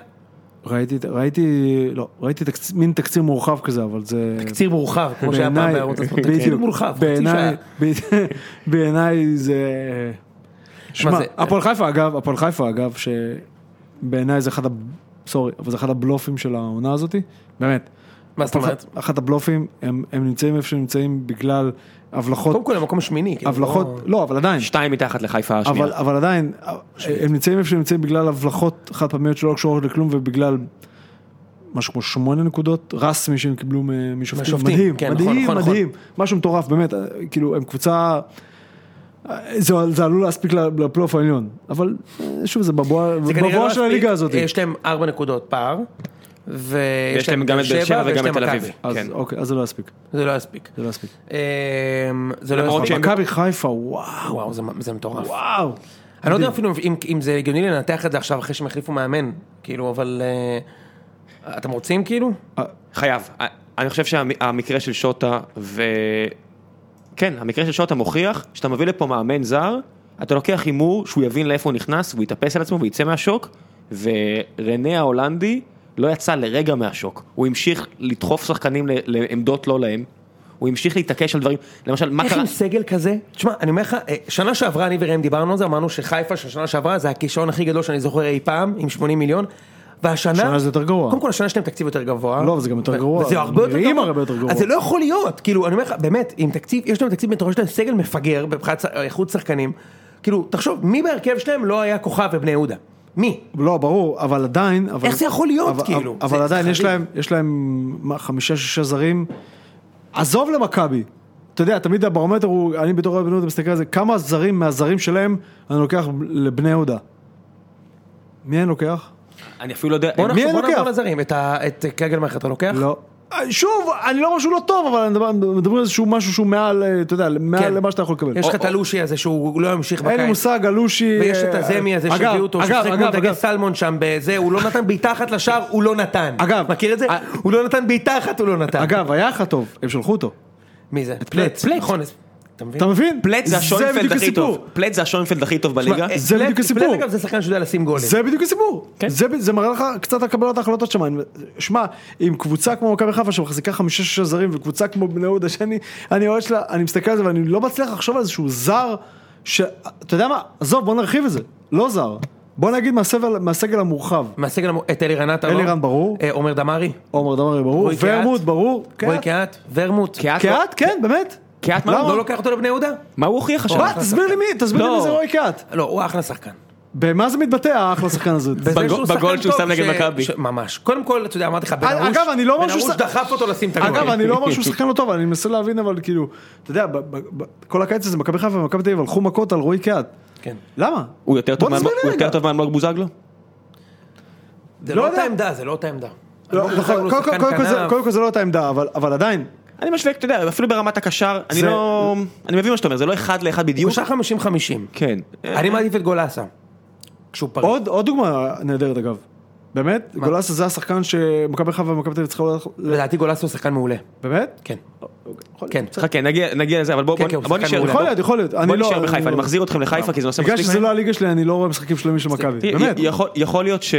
S3: ראיתי, ראיתי, לא, ראיתי תקצ... מין תקציר מורחב כזה, אבל זה...
S2: קציר מורחב, כמו שהיה פעם בערוץ הספורט. קציר
S3: בדיוק,
S2: מורחב, חצי
S3: בעיניי,
S2: שעה.
S3: ב- בעיניי זה... שמע,
S2: זה-
S3: הפועל חיפה אגב, הפועל חיפה אגב, שבעיניי זה אחד ה... סורי, אבל זה אחד הבלופים של העונה הזאתי, באמת.
S2: מה זאת אומרת?
S3: הפועל ח- אחד הבלופים, הם, הם נמצאים איפה שהם נמצאים בגלל הבלחות,
S2: קודם כל המקום שמיני. כאילו,
S1: נכון,
S3: הבלחות,
S2: לא-
S3: לא, אבל עדיין,
S1: שתיים מתחת לחיפה השנייה.
S3: אבל, אבל עדיין, הם נמצאים איפה שהם נמצאים בגלל הבלחות חד פעמיות שלא קשורות לכלום ובגלל משהו כמו שמונה נקודות רסמי שהם קיבלו מ- משופטים.
S2: מהשופטים,
S3: מדהים,
S2: כן, נכון,
S3: מדהים,
S2: נכון, נכון.
S3: מדהים. משהו מטורף, באמת, אה, כאילו, הם קבוצה... אה, זה, זה עלול להספיק ל- לפלייאוף העליון, אבל אה, שוב זה בבועה
S2: זה כנראה
S3: בבועה
S2: לא
S3: של
S2: יספיק.
S3: הליגה הזאת.
S2: יש להם ארבע נקודות פער. ויש
S1: יש להם גם את באר שבע
S2: ויש
S1: וגם את
S2: להם
S1: תל אביב.
S2: מכבי.
S3: אז
S1: כן.
S3: אוקיי, אז זה לא יספיק,
S2: זה לא יספיק.
S3: זה לא יספיק.
S2: אמ, זה לא
S1: למרות
S2: יספיק.
S1: שהם-
S3: מכבי חיפה, וואו,
S2: וואו, זה- זה מטורף.
S3: וואו.
S2: אני לא יודע אפילו אם, אם זה הגיוני לנתח את זה עכשיו אחרי שהם החליפו מאמן, כאילו, אבל... אה, אתם רוצים כאילו?
S1: חייב. אה, אני חושב שהמקרה של שוטה ו... כן, המקרה של שוטה מוכיח שאתה מביא לפה מאמן זר, אתה לוקח הימור שהוא יבין לאיפה הוא נכנס, הוא יתאפס על עצמו ויצא מהשוק, ורנה ההולנדי לא יצא לרגע מהשוק. הוא המשיך לדחוף שחקנים ל- לעמדות לא להם, הוא המשיך להתעקש על דברים, למשל, מה
S2: איך
S1: קרה?
S2: עם סגל כזה? תשמע, אני אומר לך, אה, שנה שעברה אני וראם דיברנו על זה, אמרנו שחיפה של שנה שעברה זה הכישרון הכי גדול שאני זוכר אי פעם, עם 80 מיליון, והשנה...
S3: שנה זה יותר גרוע.
S2: קודם כל השנה שלהם תקציב יותר גבוה.
S3: לא, אבל זה גם יותר
S2: ו-
S3: גרוע.
S2: וזה הרבה יותר
S3: נראים
S2: גרוע.
S3: הרבה יותר גרוע.
S2: אז זה לא יכול להיות, כאילו, אני אומר לך, באמת, עם תקציב, יש להם תקציב מטורף, יש להם סגל מפגר, מבחינת ש- אה, איכות שחקנים. כאילו, תחשוב, מי בהרכב שלהם לא היה כוכב ובני יהודה? מי?
S3: לא, ברור, אבל עדיין... אבל,
S2: איך זה יכול להיות,
S3: אבל,
S2: כאילו?
S3: אבל
S2: זה-
S3: עדיין
S2: זה
S3: יש
S2: חריג.
S3: להם, יש להם מה, חמישה, שישה זרים. עזוב למכבי. אתה יודע, תמיד הברומטר הוא, אני בתור אוהד בני יהודה מסתכל על זה, כמה זרים מהזרים שלהם אני לוקח לבני יהודה. מי אני לוקח?
S1: אני אפילו לא יודע,
S2: בוא
S3: מי
S2: נחשוב, בוא
S3: לוקח?
S2: נעבור לזרים, את ה- את קגלמך אתה לוקח?
S3: לא. שוב, אני לא אומר שהוא לא טוב, אבל אני מדבר- מדברים על איזשהו משהו שהוא מעל, אה, אתה יודע, מעל
S2: כן.
S3: למה שאתה יכול לקבל.
S2: יש לך
S1: או-
S2: את הלושי הזה שהוא לא ימשיך בקיץ.
S3: אין לי מושג, אלושי...
S2: ויש
S3: אה,
S2: את הזמי הזה
S3: אגב,
S2: שהביאו אותו,
S3: אגב,
S2: ששיחק מול
S3: אגב,
S2: דגי
S3: אגב.
S2: סלמון שם בזה, הוא לא נתן בעיטה אחת לשער, הוא לא נתן.
S3: אגב,
S2: מכיר את זה?
S3: אה,
S2: הוא לא נתן בעיטה אחת, הוא לא נתן.
S3: אגב, היה לך טוב, הם שלחו אותו.
S2: מי זה?
S3: פלט.
S2: פלט. נכון, אז- אתה מבין?
S3: אתה מבין?
S1: פלט זה השוינפלד
S3: בדיוק
S1: הכי טוב,
S3: הסיפור.
S1: פלט זה השוינפלד הכי טוב בליגה,
S3: אה, זה
S2: פלט-
S3: בדיוק הסיפור.
S2: פלט אגב זה שחקן שיודע לשים גולים.
S3: זה בדיוק הסיפור.
S1: כן.
S3: זה ב- זה מראה לך קצת על קבלת ההחלטות שם. אני- שמע, עם קבוצה כמו מכבי חיפה שמחזיקה חמישה-שישה זרים, וקבוצה כמו בני יהודה שאני אני אוהד שלה, אני מסתכל על זה ואני לא מצליח לחשוב על איזשהו זר, ש... אתה יודע מה? עזוב, בוא נרחיב את זה. לא זר. בוא נגיד מהסבל- מהסגל המורחב.
S2: מהסגל המו- את אלירן עטר. לא?
S3: אלירן, ברור.
S2: אה, עומר דמארי.
S3: עומר דמרי ברור,
S2: רועי קהת.
S3: ורמוט ברור,
S2: רועי
S3: קהת.
S2: קהת. ורמוט.
S1: קהת?
S3: קהת, כן, באמת.
S1: קהת, מה?
S3: למה?
S2: לא לוקח אותו לבני יהודה?
S1: מה הוא הוכיח השנה?
S3: מה, תסביר לי מי, תסביר לי
S1: לא.
S3: מי זה רועי קהת.
S2: לא, הוא אחלה שחקן.
S3: במה זה מתבטא האחלה שחקן הזה?
S2: בזה
S1: בגו-
S2: שהוא שחקן
S1: בגול שהוא
S2: טוב
S1: שם נגד
S2: ש-
S1: מכבי.
S2: ש- ממש. קודם כל, אתה יודע, אמרתי לך, בן
S3: אגב,
S2: ארוש,
S3: אני לא אומר
S2: בן
S3: שהוא
S2: ארוש
S3: ש-
S2: דחף אותו לשים את הגול.
S3: אגב, אני לא אומר שהוא שחקן לא טוב, אני מנסה להבין, אבל כאילו, אתה יודע, ב- ב- ב- כל הקיץ הזה מכבי חיפה ומכבי תל אביב הלכו מכות על רועי קהת.
S2: כן.
S3: למה?
S1: הוא יותר טוב
S3: בוא
S1: מה-
S3: תסביר לי
S1: הוא יותר
S3: רגע.
S1: טוב מאלמוג בוזגלו?
S2: זה
S3: לא
S2: לא אותה
S3: יודע.
S2: עמדה, זה לא אותה עמדה.
S3: לא,
S2: אלמוג
S3: נכון,
S2: בוזגלו הוא
S3: קודם כל-
S2: שחקן
S3: קודם כל זה-
S2: כנף.
S3: קודם כל זה לא אותה עמדה, אבל- אבל עדיין,
S1: אני משווה, אתה יודע, אפילו ברמת הקשר, אני
S3: זה-
S1: לא... אני מבין מה שאתה אומר, זה לא אחד לאחד
S2: הוא
S1: בדיוק.
S2: שחקן 50-50.
S1: כן.
S2: אני מעדיף את גולאסה. כשהוא פריט.
S3: עוד עוד דוגמה נהדרת אגב. באמת? גולסה זה השחקן שמכבי חיפה ומכבי תל אביב צריכה ללכת...
S2: לדעתי גולאסה הוא שחקן מעולה.
S3: באמת?
S2: כן.
S3: אוקיי. יכול להיות.
S2: כן.
S1: חכה, נגיע נגיע לזה, אבל בואו
S2: כן, כן, הוא שחקן
S1: נשאר.
S2: מעולה.
S1: בוא-
S3: יכול להיות, יכול להיות.
S1: בוא
S3: אני לא-
S1: נשאר
S3: אני
S1: בחיפה,
S3: לא-
S1: אני מחזיר אתכם לחיפה, כי זה נושא
S3: בגלל
S1: מספיק
S3: שזה לא הליגה שלי, אני לא רואה משחקים שלמים של מכבי.
S1: תראה,
S3: באמת.
S1: י- יכול- יכול להיות ש...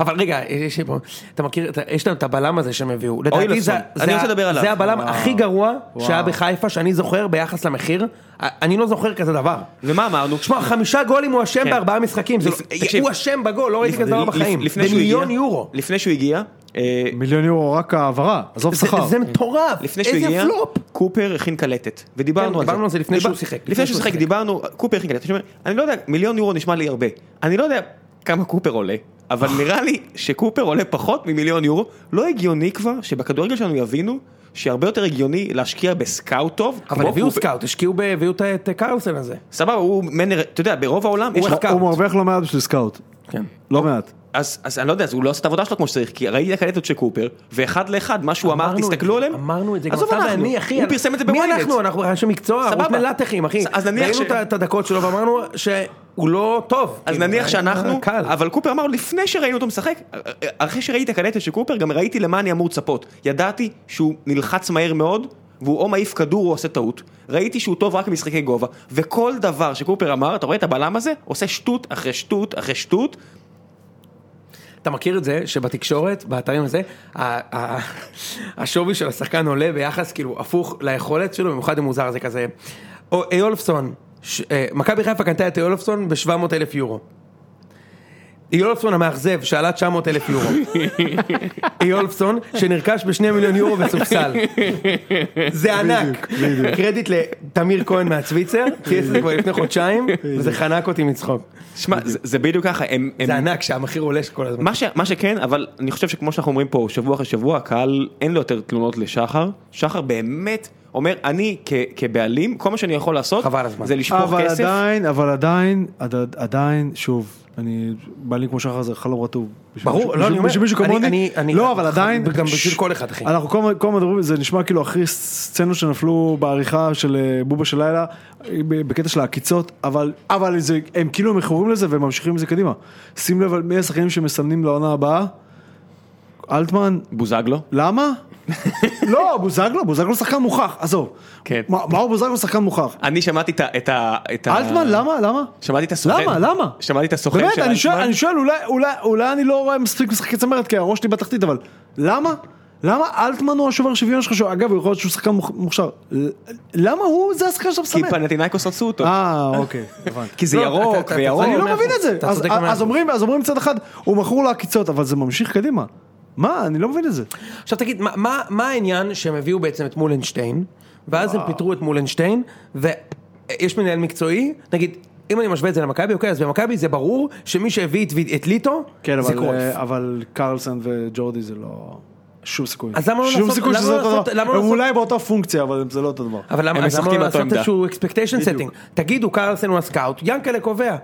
S2: אבל רגע, יש לי פה, אתה מכיר, אתה- יש לנו את הבלם הזה שהם הביאו.
S1: אוילסון.
S2: לדעתי זה-
S1: אני
S2: זה
S1: רוצה
S2: ה-
S1: לדבר עליו.
S2: זה הבלם
S3: וואו.
S2: הכי גרוע שהיה
S3: וואו.
S2: בחיפה שאני זוכר ביחס למחיר. אני לא זוכר כזה דבר.
S1: ומה אמרנו?
S2: שמע, חמישה גולים הוא אשם
S1: כן.
S2: בארבעה משחקים. זה לא-
S1: לפ- תקשיב.
S2: הוא אשם בגול, לא ראיתי כזה דבר
S1: לפ-
S2: בחיים.
S1: לפ- לפני שהוא הגיע-
S2: במיליון יורו.
S1: לפני שהוא הגיע, אה,
S3: מיליון יורו רק העברה, עזוב
S2: זה-
S3: שכר.
S2: זה מטורף.
S1: לפני שהוא
S2: איזה
S1: הגיע,
S2: פלופ.
S1: קופר הכין קלטת, ודיברנו
S2: כן,
S1: על זה.
S2: דיברנו על זה לפני
S1: דיבר-
S2: שהוא שיחק.
S1: לפני שהוא שיחק, דיברנו, קופר הכין קלטת. אני אומר, אני לא יודע, מיליון יורו נשמע לי הרבה. אני לא יודע כמה קופר עולה, אבל נראה לי שקופר עולה פחות ממיליון יורו. לא הגיוני כבר שבכדורגל שלנו יבינו שהרבה יותר הגיוני להשקיע בסקאוט טוב,
S2: אבל
S1: כמו
S2: הביאו
S1: קופר.
S2: סקאוט, השקיעו, ב- הביאו את- את קרלסן הזה.
S1: סבבה, הוא מנר, אתה יודע, ברוב העולם, יש
S2: הוא
S1: לך-
S2: סקאוט.
S3: הוא מרוויח לא מעט בשביל סקאוט.
S2: כן.
S3: לא מעט.
S1: אז אז אני לא יודע, אז הוא לא עשה את העבודה שלו כמו שצריך, כי ראיתי את הקלטות של קופר, ואחד לאחד, מה שהוא אמר,
S2: אמרנו את
S1: תסתכלו
S2: זה,
S1: עליהם.
S2: אמרנו את זה, גם
S1: עזוב,
S2: אתה
S1: אנחנו.
S2: ואני, אחי.
S1: הוא פרסם את זה
S2: מי
S1: בוויינט.
S2: אנחנו? אנחנו אנשי מקצוע,
S1: סבבה.
S2: סבבה. מלאטחים, אחי.
S1: אז נניח ש-
S2: ראינו את ה- את הדקות שלו ואמרנו שהוא לא טוב.
S1: אז
S2: כאילו,
S1: נניח
S2: זה
S1: שאנחנו,
S2: קל.
S1: אבל קופר אמר לפני שראינו אותו משחק, אה, אחרי שראיתי את הקלטת של קופר, גם ראיתי למה אני אמור לצפות. ידעתי שהוא נלחץ מהר מאוד, והוא או מעיף כדור או עושה טעות. ראיתי שהוא טוב רק במשחקי גובה, וכל דבר שקופר אמר, אתה רואה את הבלם הזה? עושה שטות אחרי שטות אחרי שטות.
S2: אתה מכיר את זה שבתקשורת, באתרים הזה, ה- ה- השווי של השחקן עולה ביחס כאילו הפוך ליכולת שלו, במיוחד אם הוא זר זה כזה. או איולפסון, ש- אה, מכבי חיפה קנתה את איולפסון ב-700 אלף יורו. איולפסון המאכזב שעלה 900 אלף יורו. איולפסון שנרכש בשני מיליון יורו וסופסל. זה ענק. קרדיט לתמיר כהן מהצוויצר, צייץ את זה כבר לפני חודשיים, וזה חנק אותי מצחוק.
S1: שמע, זה זה בדיוק ככה, הם... הם-
S2: זה ענק שהמחיר עולה כל הזמן.
S1: מה, ש, מה שכן, אבל אני חושב שכמו שאנחנו אומרים פה, שבוע אחרי שבוע, הקהל אין לו יותר תלונות לשחר. שחר באמת אומר, אני כ, כבעלים, כל מה שאני יכול לעשות,
S2: חבל הזמן.
S1: זה לשפוך
S3: אבל
S1: כסף.
S3: עדיין, אבל עדיין, עד- עדיין, שוב, אני, בא לי כמו שחר זה חלום רטוב. בשביל-
S2: ברור,
S3: בשביל-
S2: לא, אני אומר,
S3: בשביל מישהו
S2: אני-
S3: כמוני,
S2: אני- אני-
S3: לא, אבל עדיין,
S2: גם
S3: ש-
S2: בשביל כל אחד, אחי.
S3: אנחנו כל הזמן- כל הזמן מדברים, זה נשמע כאילו אחרי סצנות שנפלו בעריכה של אה, בובה של לילה, אה, ב- בקטע של העקיצות, אבל, אבל זה, הם כאילו מכורים לזה והם ממשיכים עם זה קדימה. שים לב על מי השחקנים שמסמנים לעונה הבאה, אלטמן,
S1: בוזגלו.
S3: למה? לא, בוזגלו, בוזגלו שחקן מוכח, עזוב.
S1: כן.
S3: מה- מאור בוזגלו שחקן מוכח.
S1: אני שמעתי את ה... את ה... את ה-
S3: אלטמן, למה? למה?
S1: שמעתי את הסוכן.
S3: למה? למה?
S1: שמעתי את הסוכן
S3: באמת,
S1: של
S3: אני שואל,
S1: אלטמן.
S3: אני שואל, אולי, אולי, אולי אני לא רואה מספיק משחקי צמרת, כי הראש שלי בתחתית, אבל למה? למה אלטמן הוא השובר שוויון שלך, שהוא- אגב, הוא יכול להיות שהוא שחקן מוכ- מוכשר. ל- למה הוא, זה השחקן שאתה
S1: כי
S3: מסמן?
S1: פנטינאיקוס רצו אותו.
S3: אה, אוקיי, הבנתי.
S1: כי זה
S2: לא, אתה-
S1: ירוק
S2: אתה-
S1: וירוק.
S3: אני
S2: מאה
S3: לא מבין
S2: אחוז.
S3: את זה.
S2: אתה
S3: אז-
S2: צודק במאה
S3: אז
S2: אחוז.
S3: אומרים, אז אומרים מצד אחד, הוא מכור לו עקיצות, אבל זה ממשיך קדימה. מה, אני לא מבין את זה.
S2: עכשיו תגיד, מה, מה, מה העניין שהם הביאו בעצם את מולנשטיין, ואז הם פיטרו את מולנשטיין, ויש מנהל מקצועי, נגיד, אם אני משווה את זה למכבי, אוקיי, אז במכבי זה ברור שמי שהביא את, את ליטו,
S3: כן,
S2: זה
S3: אבל,
S2: קרויף.
S3: אה, אבל קרלסן וג'ורדי זה לא... שום סיכוי.
S2: אז למה לא
S3: שום
S2: לעשות-
S3: סיכוי
S2: למה
S3: שזה
S2: לא
S3: אותו
S2: לעשות-
S3: דבר.
S2: למה לא
S3: הם
S2: לעשות-
S3: אולי באותה פונקציה, אבל זה לא אותו דבר.
S2: אבל למה,
S1: הם
S2: אז למה
S1: משחקים
S2: לא
S1: באותו
S2: לעשות
S1: עמדה.
S2: איזשהו expectation setting? תגידו, קרלסן הוא הסקאוט, ינקלה קובע.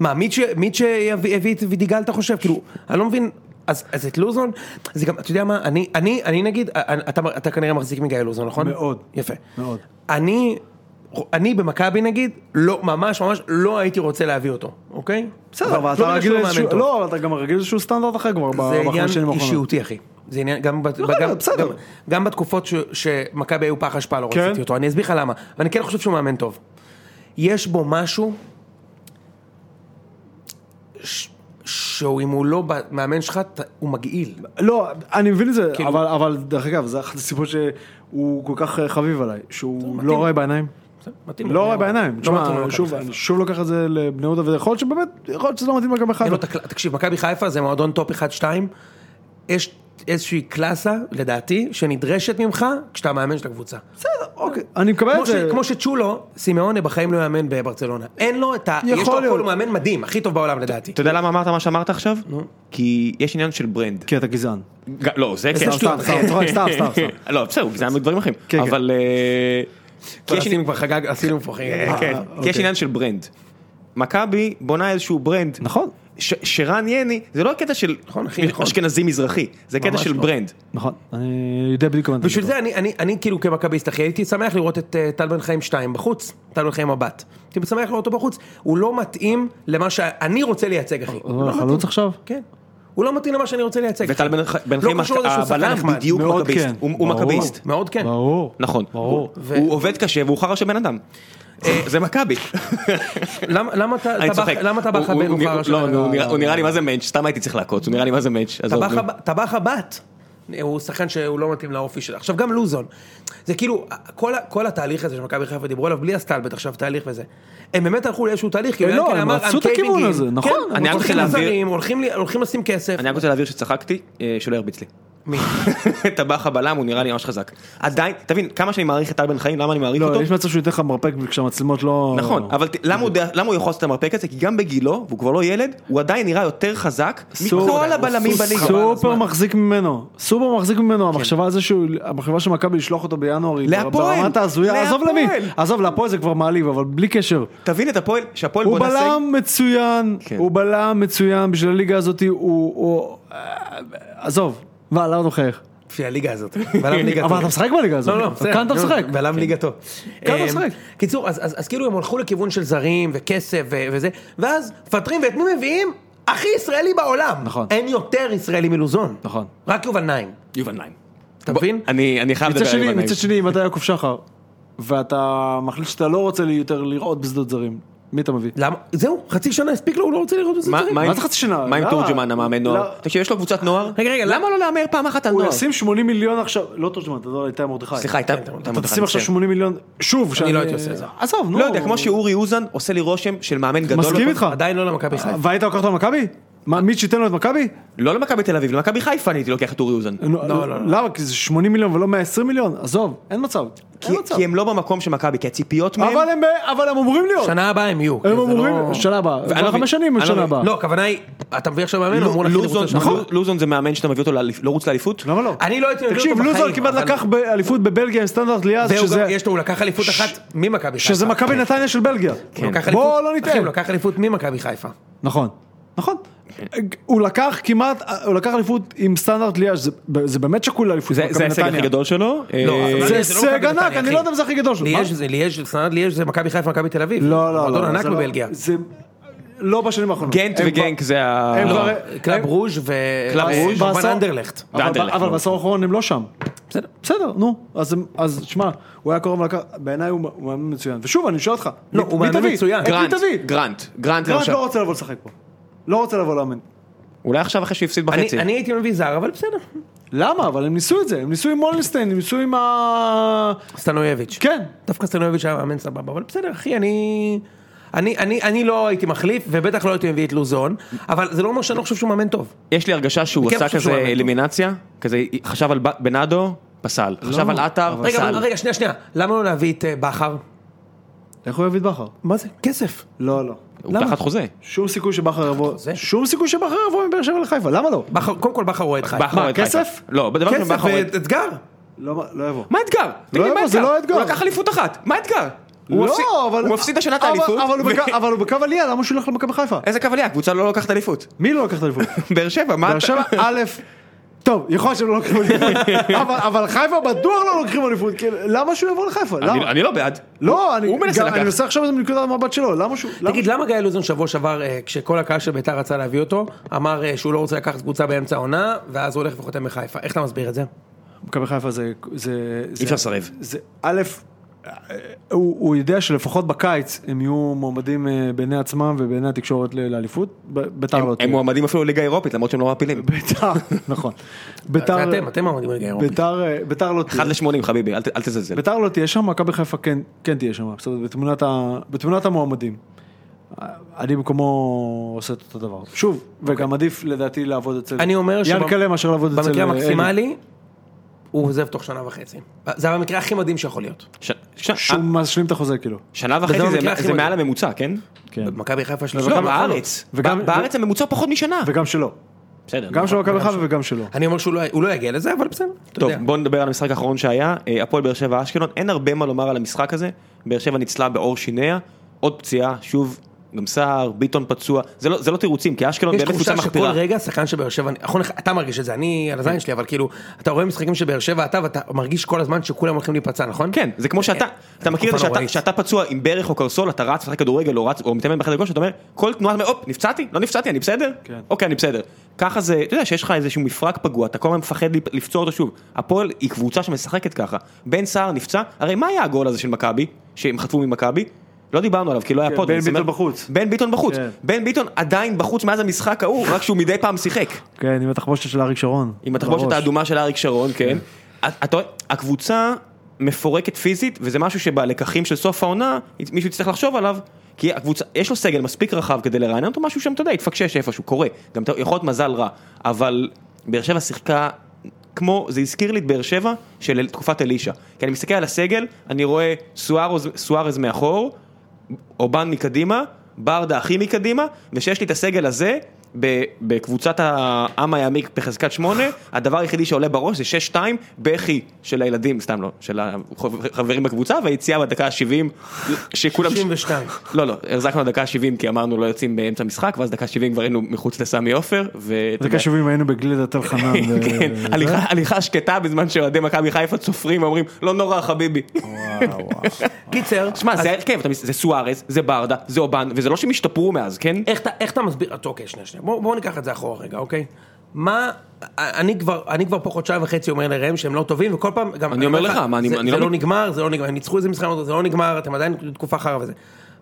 S2: מה, מיץ' מיץ' הביא הביא את וידיגל, אתה חושב? כאילו, אני לא מבין, אז אז את לוזון, זה גם, אתה יודע מה, אני, אני, אני נגיד, אה, אתה, אתה כנראה מחזיק מגיא לוזון, נכון?
S3: מאוד.
S2: יפה.
S3: מאוד.
S2: אני, אני במכבי נגיד, לא, ממש ממש לא הייתי רוצה להביא אותו, אוקיי?
S3: בסדר, אבל
S2: לא
S3: אתה
S2: בגלל
S3: רגיל
S2: שהוא מאמן
S3: איזשהו...
S2: טוב.
S3: לא, אבל אתה גם רגיל איזשהו סטנדרט אחר כבר
S2: זה
S3: בחמש
S2: עניין
S3: שנים האחרונות.
S2: אישיותי, אחי. זה עניין, גם, ב-
S3: לא,
S2: גם,
S3: בסדר.
S2: גם, גם בתקופות ש, שמכבי היו פח אשפה לא
S3: כן.
S2: רציתי אותו, אני אסביר לך למה, ואני כן חושב שהוא מאמן טוב. יש בו משהו ש, שהוא אם הוא לא ב- מאמן שלך, ת- הוא מגעיל.
S3: לא, אני מבין את זה,
S2: כאילו-
S3: אבל- אבל דרך אגב, זה אחת הסיבות שהוא כל כך אה, חביב עליי, שהוא לא רואה בעיניים.
S2: מתאים לו,
S3: לא רואה
S2: בני יהודה.
S3: בעיניים.
S2: לא
S3: תשמע,
S2: מתאים לו למכבי
S3: שוב,
S2: חיפה.
S3: אני שוב לוקח את זה לבני יהודה, ויכול להיות שבאמת, יכול להיות שזה לא מתאים למכבי
S2: אין לו
S3: חיפה.
S2: את הקל- תקשיב, מכבי חיפה זה מועדון טופ 1-2, יש איזושהי קלאסה, לדעתי, שנדרשת ממך כשאתה מאמן של הקבוצה.
S3: בסדר, אוקיי, אני מקבל
S2: כמו,
S3: את
S2: ש,
S3: זה.
S2: כמו שצ'ולו, סימאונה בחיים לא יאמן בברצלונה. אין לו את ה...
S3: יכול
S2: יש לו הכל,
S3: להיות.
S2: הוא מאמן מדהים, הכי טוב בעולם לדעתי.
S1: אתה יודע למה אמרת מה שאמרת עכשיו? כי יש עניין של ברנד.
S3: כי אתה גזען.
S1: ג- לא, זה כן.
S2: איזה שטויות.
S3: סתם, אה, סתם, צוחק, סתם, סתם, סתם.
S1: לא, בסדר, זה היה דברים אחרים.
S3: כן, כן.
S1: אבל... אה, כי
S2: טוב,
S1: יש עניין-
S2: עשינו כבר חגג, עשינו פה חגג.
S1: כן,
S3: אה,
S1: כי
S3: אוקיי.
S1: יש עניין של ברנד. מכבי בונה איזשהו ברנד.
S3: נכון.
S1: ש- שרן יני, זה לא הקטע של
S2: נכון, אחי, נכון.
S1: אשכנזי מזרחי, זה קטע
S2: ממש
S1: של
S2: לא.
S1: ברנד.
S3: נכון, אני יודע בדיוק מה אתה
S2: בשביל
S3: מדבר.
S2: זה אני, אני, אני כאילו כמכביסט אחי, הייתי שמח לראות את אה, טל בן חיים 2 בחוץ, טל בן חיים מבט. הייתי שמח לראות אותו בחוץ, הוא לא מתאים למה שאני רוצה לייצג אחי.
S3: הוא
S2: לא
S3: אה, חלוץ
S2: מתאים.
S3: עכשיו?
S2: כן. הוא לא מתאים למה שאני רוצה לייצג.
S1: וטל בן- בן
S2: לא
S1: חיים,
S2: קשור לזה שהוא שחקן
S1: הבלם
S2: נחמד.
S1: בדיוק
S3: מאוד
S1: מכביסט,
S3: כן.
S1: הוא- הוא
S3: ברור.
S1: מכביסט.
S2: מאוד כן.
S3: ברור.
S1: נכון,
S3: ברור. אה,
S1: הוא- הוא עובד קשה והוא חרא של בן אדם. זה מכבי.
S2: למה למה אתה
S1: אני
S2: אתה
S1: צוחק.
S2: בא- למה אתה בא
S1: הוא-
S2: לך
S1: הוא-
S2: בן
S1: הוא נראה-
S2: אופה
S1: לא, הוא נראה- הוא נראה לי מה זה מענץ', סתם הייתי צריך לעקוץ, הוא נראה לי מה זה מענץ'. עזוב, נו.
S2: טבחה בת. הוא שחקן שהוא לא מתאים לאופי שלו. עכשיו גם לוזון. זה כאילו, כל, ה- כל התהליך הזה שמכבי חיפה דיברו עליו, בלי הסטלבט עכשיו, תהליך וזה. הם באמת הלכו לאיזשהו תהליך, כאילו,
S3: לא,
S2: ינקל
S3: הם
S2: אמר,
S3: רצו
S2: "I'm
S3: את הכיוון
S2: caving in".
S3: הזה, נכון,
S2: כן,
S3: הם
S2: אני
S1: רצו
S2: הולכים
S1: להעביר-
S2: לזרים, הולכים ל- הולכים לשים כסף.
S1: אני רק רוצה להבהיר שצחקתי, אה, שלא ירביץ לי.
S2: מי?
S1: טבח הבלם הוא נראה לי ממש חזק. עדיין, תבין, כמה שאני מעריך את טל בן חיים, למה אני מעריך
S3: לא,
S1: אותו?
S3: יש מצב שהוא ייתן לך מרפק כשהמצלמות לא...
S1: נכון, אבל ת- למה הוא יודע- למה הוא יכול לעשות את המרפק הזה? כי גם בגילו, והוא כבר לא ילד, הוא עדיין נראה יותר חזק מכל הבלמים
S2: סופר.
S1: בליגה.
S3: סופר
S2: הזמן.
S3: מחזיק ממנו, סופר מחזיק ממנו,
S1: כן.
S3: המחשבה על זה שהוא, המחשבה של מכבי לשלוח אותו בינואר, היא כבר
S1: להפועל!
S3: ברמת ההזויה, עזוב
S1: להפועל!
S3: למי, עזוב להפועל זה כבר מעליב, אבל בלי קשר.
S1: תבין את הפועל, שהפועל
S3: הוא
S1: בונה סגל.
S3: בלם מצוין,
S1: כן.
S3: הוא בלם מצוין, בשביל הליגה הזאת הוא- הוא, אה, עזוב, ואללה הוא נוכח.
S2: בשביל הליגה הזאת. בלם ליגה טוב.
S3: אבל אתה משחק בליגה הזאת,
S2: לא, לא, בסדר.
S3: כאן אתה
S2: לא,
S3: משחק.
S2: בלם ליגה טוב.
S3: כאן אתה
S2: אה,
S3: משחק.
S2: קיצור, אז- אז אז כאילו הם הלכו לכיוון של זרים וכסף ו- וזה, ואז מפטרים ואת מי מביאים? הכי ישראלי בעולם.
S3: נכון.
S2: אין יותר ישראלי מלוזון.
S3: נכון.
S2: רק יובל נעים.
S1: יובל נעים.
S2: אתה
S1: בוא,
S2: מבין?
S1: אני אני חייב
S3: מצד
S1: לדבר על
S3: שני,
S1: יובל נעים.
S3: מצד שני, אם אתה יעקב שחר, ואתה מחליט שאתה לא רוצה יותר לראות בשדות זרים, מי אתה מביא?
S2: למה? זהו, חצי שנה הספיק לו, הוא לא רוצה לראות את זה.
S1: מה-
S2: זרים.
S1: עם-
S3: מה זה חצי שנה?
S1: מה עם
S3: למה?
S1: תורג'מן המאמן נוער?
S3: לא.
S1: תקשיב, יש לו קבוצת נוער?
S2: רגע, רגע,
S1: למה לא להמר פעם אחת על
S3: הוא
S1: נוער?
S3: ישים 80 מיליון עכשיו, לא תורג'מן, אתה לא איתי מרדכי.
S1: סליחה, הייתה...
S3: אתה תשים עכשיו 80 מיליון, שוב, שאני-
S2: לא הייתי עושה את זה.
S3: עזוב, נו.
S1: לא יודע, כמו שאורי אוזן עושה לי רושם של מאמן גדול.
S3: מסכים איתך?
S2: עדיין לא למכבי חיפה.
S3: והיית לוקח אותו למכבי? מה, מיץ' ייתן לו את מכבי?
S1: לא למכבי תל אביב, למכבי חיפה אני הייתי לוקח את אורי אוזן.
S3: לא,
S2: לא, לא.
S3: למה? כי זה 80 מיליון ולא 120 מיליון? עזוב, אין מצב.
S1: כי-
S3: אין מצב.
S1: כי הם לא במקום של מכבי, כי הציפיות מהם...
S3: אבל הם ב- אבל הם אמורים להיות.
S2: שנה הבאה הם יהיו.
S3: אה, הם
S2: זה
S3: אמורים,
S2: לא-
S3: שנה הבאה.
S1: אני לא
S3: כבר חמש
S1: מבין,
S3: שנים
S1: אני לא
S3: שנה
S1: מבין.
S3: הבאה.
S2: לא, הכוונה היא, אתה מביא עכשיו מאמן,
S3: לא,
S1: לו-
S2: אמור להכין
S1: לא, לוזון-
S2: לקבוצה שלנו.
S1: נכון, לוזון זה מאמן שאתה מביא אותו לאליפ- לרוץ לאליפות?
S3: למה לא?
S2: אני לא הייתי מביא
S3: תקשיב,
S2: אותו בחיים,
S3: לוזון כמעט
S2: אבל-
S3: לקח באליפות בבלגיה עם סטנדרט ליאז,
S2: והוא
S3: שזה-
S2: גם, יש לו, הוא לקח אליפות אחת ממכבי חיפה. כן.
S3: שזה מכבי נתניה של בלגיה.
S2: הוא לקח כן.
S3: בואו
S2: אליפות-
S3: לא
S2: אחי, הוא
S3: נטעה.
S2: לקח אליפות ממכבי חיפה.
S3: נכון, נכון.
S2: כן.
S3: הוא לקח כמעט, הוא לקח אליפות עם סטנדרט ליאז' זה- זה באמת שקול לאליפות.
S1: זה
S3: מכבי
S1: זה ההישג
S3: נתניה.
S1: הכי גדול שלו. אה,
S2: לא, אבל
S3: זה
S2: לא מכבי
S3: הישג
S2: נתניה,
S3: ענק, אני
S2: אחי.
S3: לא יודע אם זה הכי גדול שלו.
S2: ליאז'
S3: מה?
S2: זה ליאז', סנד ליאז' זה מכבי חיפה, מכבי תל אביב.
S3: לא, לא, לא.
S2: מועדון
S3: זה
S2: ענק
S3: לא-
S2: בבלגיה.
S3: זה לא בשנים האחרונות.
S1: גנט
S3: הם
S1: וגנק
S3: כבר-
S1: זה ה...
S3: הם
S1: לא.
S3: כבר-
S2: אה, קלאב רוז' ו...
S1: קלאב רוז'
S2: ו- אה,
S3: בעשור-
S2: ואנדרלכט.
S3: אבל-
S1: ואנדרלכט,
S3: אבל
S1: נכון.
S3: בעשור האחרון הם לא שם.
S2: בסדר.
S3: בסדר, נו, אז, הם- אז שמע, הוא היה קרוב לקר, בעיניי הוא הוא מאמן מצוין. ושוב, אני שואל אותך,
S2: לא,
S3: מי-
S2: הוא
S3: מי
S2: מאמן
S3: תביא?
S2: מצוין.
S3: את מי
S1: גרנט,
S3: תביא?
S1: גרנט, גרנט
S3: גרנט
S1: למשל.
S3: לא רוצה לבוא לשחק פה. לא רוצה לבוא לאמן.
S1: אולי עכשיו אחרי שהפסיד
S2: אני,
S1: בחצי.
S2: אני הייתי מביא זר, אבל בסדר.
S3: למה? אבל הם ניסו את זה, הם ניסו עם מולנשטיין, הם ניסו עם ה...
S2: סטנויביץ'.
S3: כן.
S2: דווקא סטנויביץ' היה מאמן סבבה, אבל בסדר, אחי, אני... אני, אני, אני לא הייתי מחליף, ובטח לא הייתי מביא את לוזון, אבל זה לא אומר שאני לא חושב שהוא מאמן טוב.
S1: יש לי הרגשה שהוא
S2: כן
S1: עשה
S2: חושב
S1: כזה
S2: שהוא מאמן טוב.
S1: אלימינציה, כזה חשב על ב- בנאדו, פסל. חשב על עטר,
S2: רגע, אבל-
S1: פסל.
S2: רגע, שנייה, שנייה, למה לא להביא את אה, בכר?
S3: איך הוא יביא את בכר?
S2: מה זה? כסף.
S3: לא, לא.
S1: הוא תחת חוזה.
S3: שום סיכוי שבכר יבוא,
S2: חוזה.
S3: שום סיכוי שבכר יבוא מבאר שבע לחיפה, למה לא?
S2: בכר, קודם כל בכר רואה את חיפה.
S1: בכר אוהד חיפה.
S3: כסף?
S1: לא, בדבר ראשון
S2: כסף
S1: בכר אוהד-
S2: ואתגר.
S3: לא לא יבוא.
S1: מה האתגר? תגיד לי,
S3: יבוא,
S1: מה
S3: זה לא האתגר.
S1: הוא לקח אליפות אחת, מה האתגר? הוא הפסיד-
S3: לא, אבל...
S1: הוא הפסיד השנה את
S3: אבל-
S1: האליפות.
S3: אבל הוא
S1: ו-
S3: בק- אבל הוא בקו עלייה, למה שהוא ילך למכבי חיפה?
S1: איזה קו עלייה, הקבוצה לא לוקחת אליפות.
S3: מי לא לקח את האליפות?
S1: באר שבע, מה
S3: באר
S1: אתה...
S3: שבע א', טוב, יכול להיות שהם לא לוקחים אליפות, אבל- אבל חיפה בטוח לא לוקחים אליפות, כאילו, למה שהוא יבוא לחיפה?
S1: אני-
S3: למה?
S1: אני לא בעד.
S3: לא, אני
S1: הוא מנסה
S3: גם-
S1: לקחת.
S3: אני מנסה עכשיו מנקודת המבט שלו, למה שהוא... למה-
S2: תגיד, למה גיא לוזון שבוע שעבר, אה, כשכל הקהל של ביתר רצה להביא אותו, אמר אה, שהוא לא רוצה לקחת קבוצה באמצע העונה, ואז הוא הולך וחותם בחיפה. איך אתה מסביר את זה?
S3: מכבי חיפה זה... זה- זה-
S1: אפשר לסרב.
S3: זה א', הוא, הוא יודע שלפחות בקיץ הם יהיו מועמדים אה, בעיני עצמם ובעיני התקשורת ל- לאליפות, ב- ביתר לא
S1: הם
S3: תהיה.
S1: מועמדים אפילו לליגה האירופית, למרות שהם לא מעפילים.
S3: ביתר, נכון. ביתר,
S2: זה אתם, אתם העומדים בליגה
S1: אוקיי.
S2: האירופית.
S3: ביתר, אה, ביתר לא תהיה.
S1: 1 ל-80 חביבי, אל ת- אל תזלזל.
S3: ביתר לא תהיה שם, מכבי חיפה כן, כן תהיה שם, בסדר, בתמונת, ה, בתמונת המועמדים. אה, אני במקומו עושה את אותו דבר. שוב,
S1: אוקיי.
S3: וגם עדיף לדעתי לעבוד אצל
S2: אני אומר
S3: ינקלה מאשר לעבוד אצל... אה,
S2: במקרה
S3: אלי.
S2: המקסימלי, הוא עוזב תוך שנה וחצי. זה המקרה הכי מדהים שיכול להיות.
S1: ש- ש-
S3: שהוא משלים את החוזה כאילו.
S1: שנה וחצי
S2: בדרום
S1: זה-
S2: המקרה הכי
S1: זה מעל
S2: מדהים.
S1: הממוצע, כן?
S3: כן.
S2: במכבי חיפה שלישון.
S1: גם
S2: נכון?
S1: לא, בארץ.
S3: וגם-
S1: ב- בארץ הממוצע פחות משנה.
S3: וגם שלו.
S1: בסדר.
S3: גם של מכבי
S2: וגם
S3: חיפה
S2: שלו.
S3: וגם שלו.
S2: אני אומר שהוא לא- הוא לא יגיע לזה, אבל בסדר, אתה
S1: טוב,
S2: יודע.
S1: בוא נדבר על המשחק האחרון שהיה, אה, הפועל באר שבע אשקלון, אין הרבה מה לומר על המשחק הזה, באר שבע ניצלה בעור שיניה, עוד פציעה, שוב, גם סער, ביטון פצוע, זה לא, זה לא תירוצים, כי אשקלון
S2: יש
S1: באמת קבוצה
S2: תחושה שכל
S1: מחפירה. כן.
S2: רגע שחקן של באר שבע, נכון, אתה מרגיש את זה, אני על הזין שלי, אבל כאילו, אתה רואה משחקים של באר שבע, אתה ואתה מרגיש כל הזמן שכולם הולכים להיפצע, נכון?
S1: כן, זה כמו שאתה, אתה מכיר את זה
S2: תקופה
S1: שאתה,
S2: נוראית.
S1: שאתה פצוע עם ברך או קרסול, אתה רץ, משחק כדורגל או רץ, או מתאמן בחדר כושר, אתה אומר, כל תנועה, אתה אומר, הופ, נפצעתי? לא נפצעתי, אני בסדר?
S3: כן.
S1: אוקיי, אני בסדר. ככה זה, אתה יודע שיש לך איזשהו מפרק פגוע, אתה כל הזמן מפחד להיפ- לפצוע אותו שוב. הפועל היא קבוצה שמשחקת ככה. בן סער נפצע, הרי מה היה הגול הזה של מכבי, שהם חטפו ממכבי? לא דיברנו עליו, כי לא היה
S3: כן,
S1: פוד.
S3: בן
S1: זאת אומרת,
S3: ביטון בחוץ.
S1: בן ביטון בחוץ.
S3: כן.
S1: בן ביטון עדיין בחוץ מאז המשחק ההוא, רק שהוא מדי פעם שיחק.
S3: כן, עם התחבושת של אריק שרון.
S1: עם התחבושת
S3: בראש.
S1: האדומה של אריק שרון, כן. את- אתה רואה, הקבוצה מפורקת פיזית, וזה משהו שבלקחים של סוף העונה, מישהו יצטרך לחשוב עליו, כי הקבוצה, יש לו סגל מספיק רחב כדי לרענן אותו, משהו שם, אתה יודע, התפקשש איפשהו, קורה. גם אתה- יכול להיות מזל רע, אבל באר שבע שיחקה... כמו, זה הזכיר לי את באר שבע של תקופת אלישע. כי אני מסתכל על הסגל, אני רואה סוארז- סוארז מאחור, אובן מקדימה, ברדה הכי מקדימה, ושיש לי את הסגל הזה ב- בקבוצת העם היעמיק בחזקת שמונה, הדבר היחידי שעולה בראש זה 6-2 בכי של הילדים, סתם לא, של החברים בקבוצה, והיציאה בדקה ה-70, שכולם...
S2: 62.
S1: לא, לא, החזקנו דקה ה-70 כי אמרנו לא יוצאים באמצע משחק, ואז דקה ה-70 כבר היינו מחוץ לסמי עופר, ו...
S3: זה קשובים היינו בגלידת אה, תל חנן. ו-
S1: כן,
S3: זה.
S1: הליכה- הליכה שקטה בזמן שאוהדי מכבי חיפה צופרים ואומרים לא נורא חביבי.
S2: קיצר,
S1: שמע
S2: אז
S1: זה ההרכב, אתה מס- זה סוארז, זה ברדה, זה אובן, וזה לא שהם השתפרו מאז, כן?
S2: איך אתה- איך אתה מסביר, טוב, אוקיי, שנייה, שנייה, בואו בוא ניקח את זה אחורה רגע, אוקיי? מה, אני כבר, אני כבר פה חודשיים וחצי אומר לראם שהם לא טובים, וכל פעם, גם,
S1: אני אומר לך, מה, אני-
S2: זה,
S1: אני
S2: זה
S1: לא-
S2: לא נגמר, זה לא נגמר, הם ניצחו איזה משחק, זה לא נגמר, אתם עדיין תקופה חרא וזה.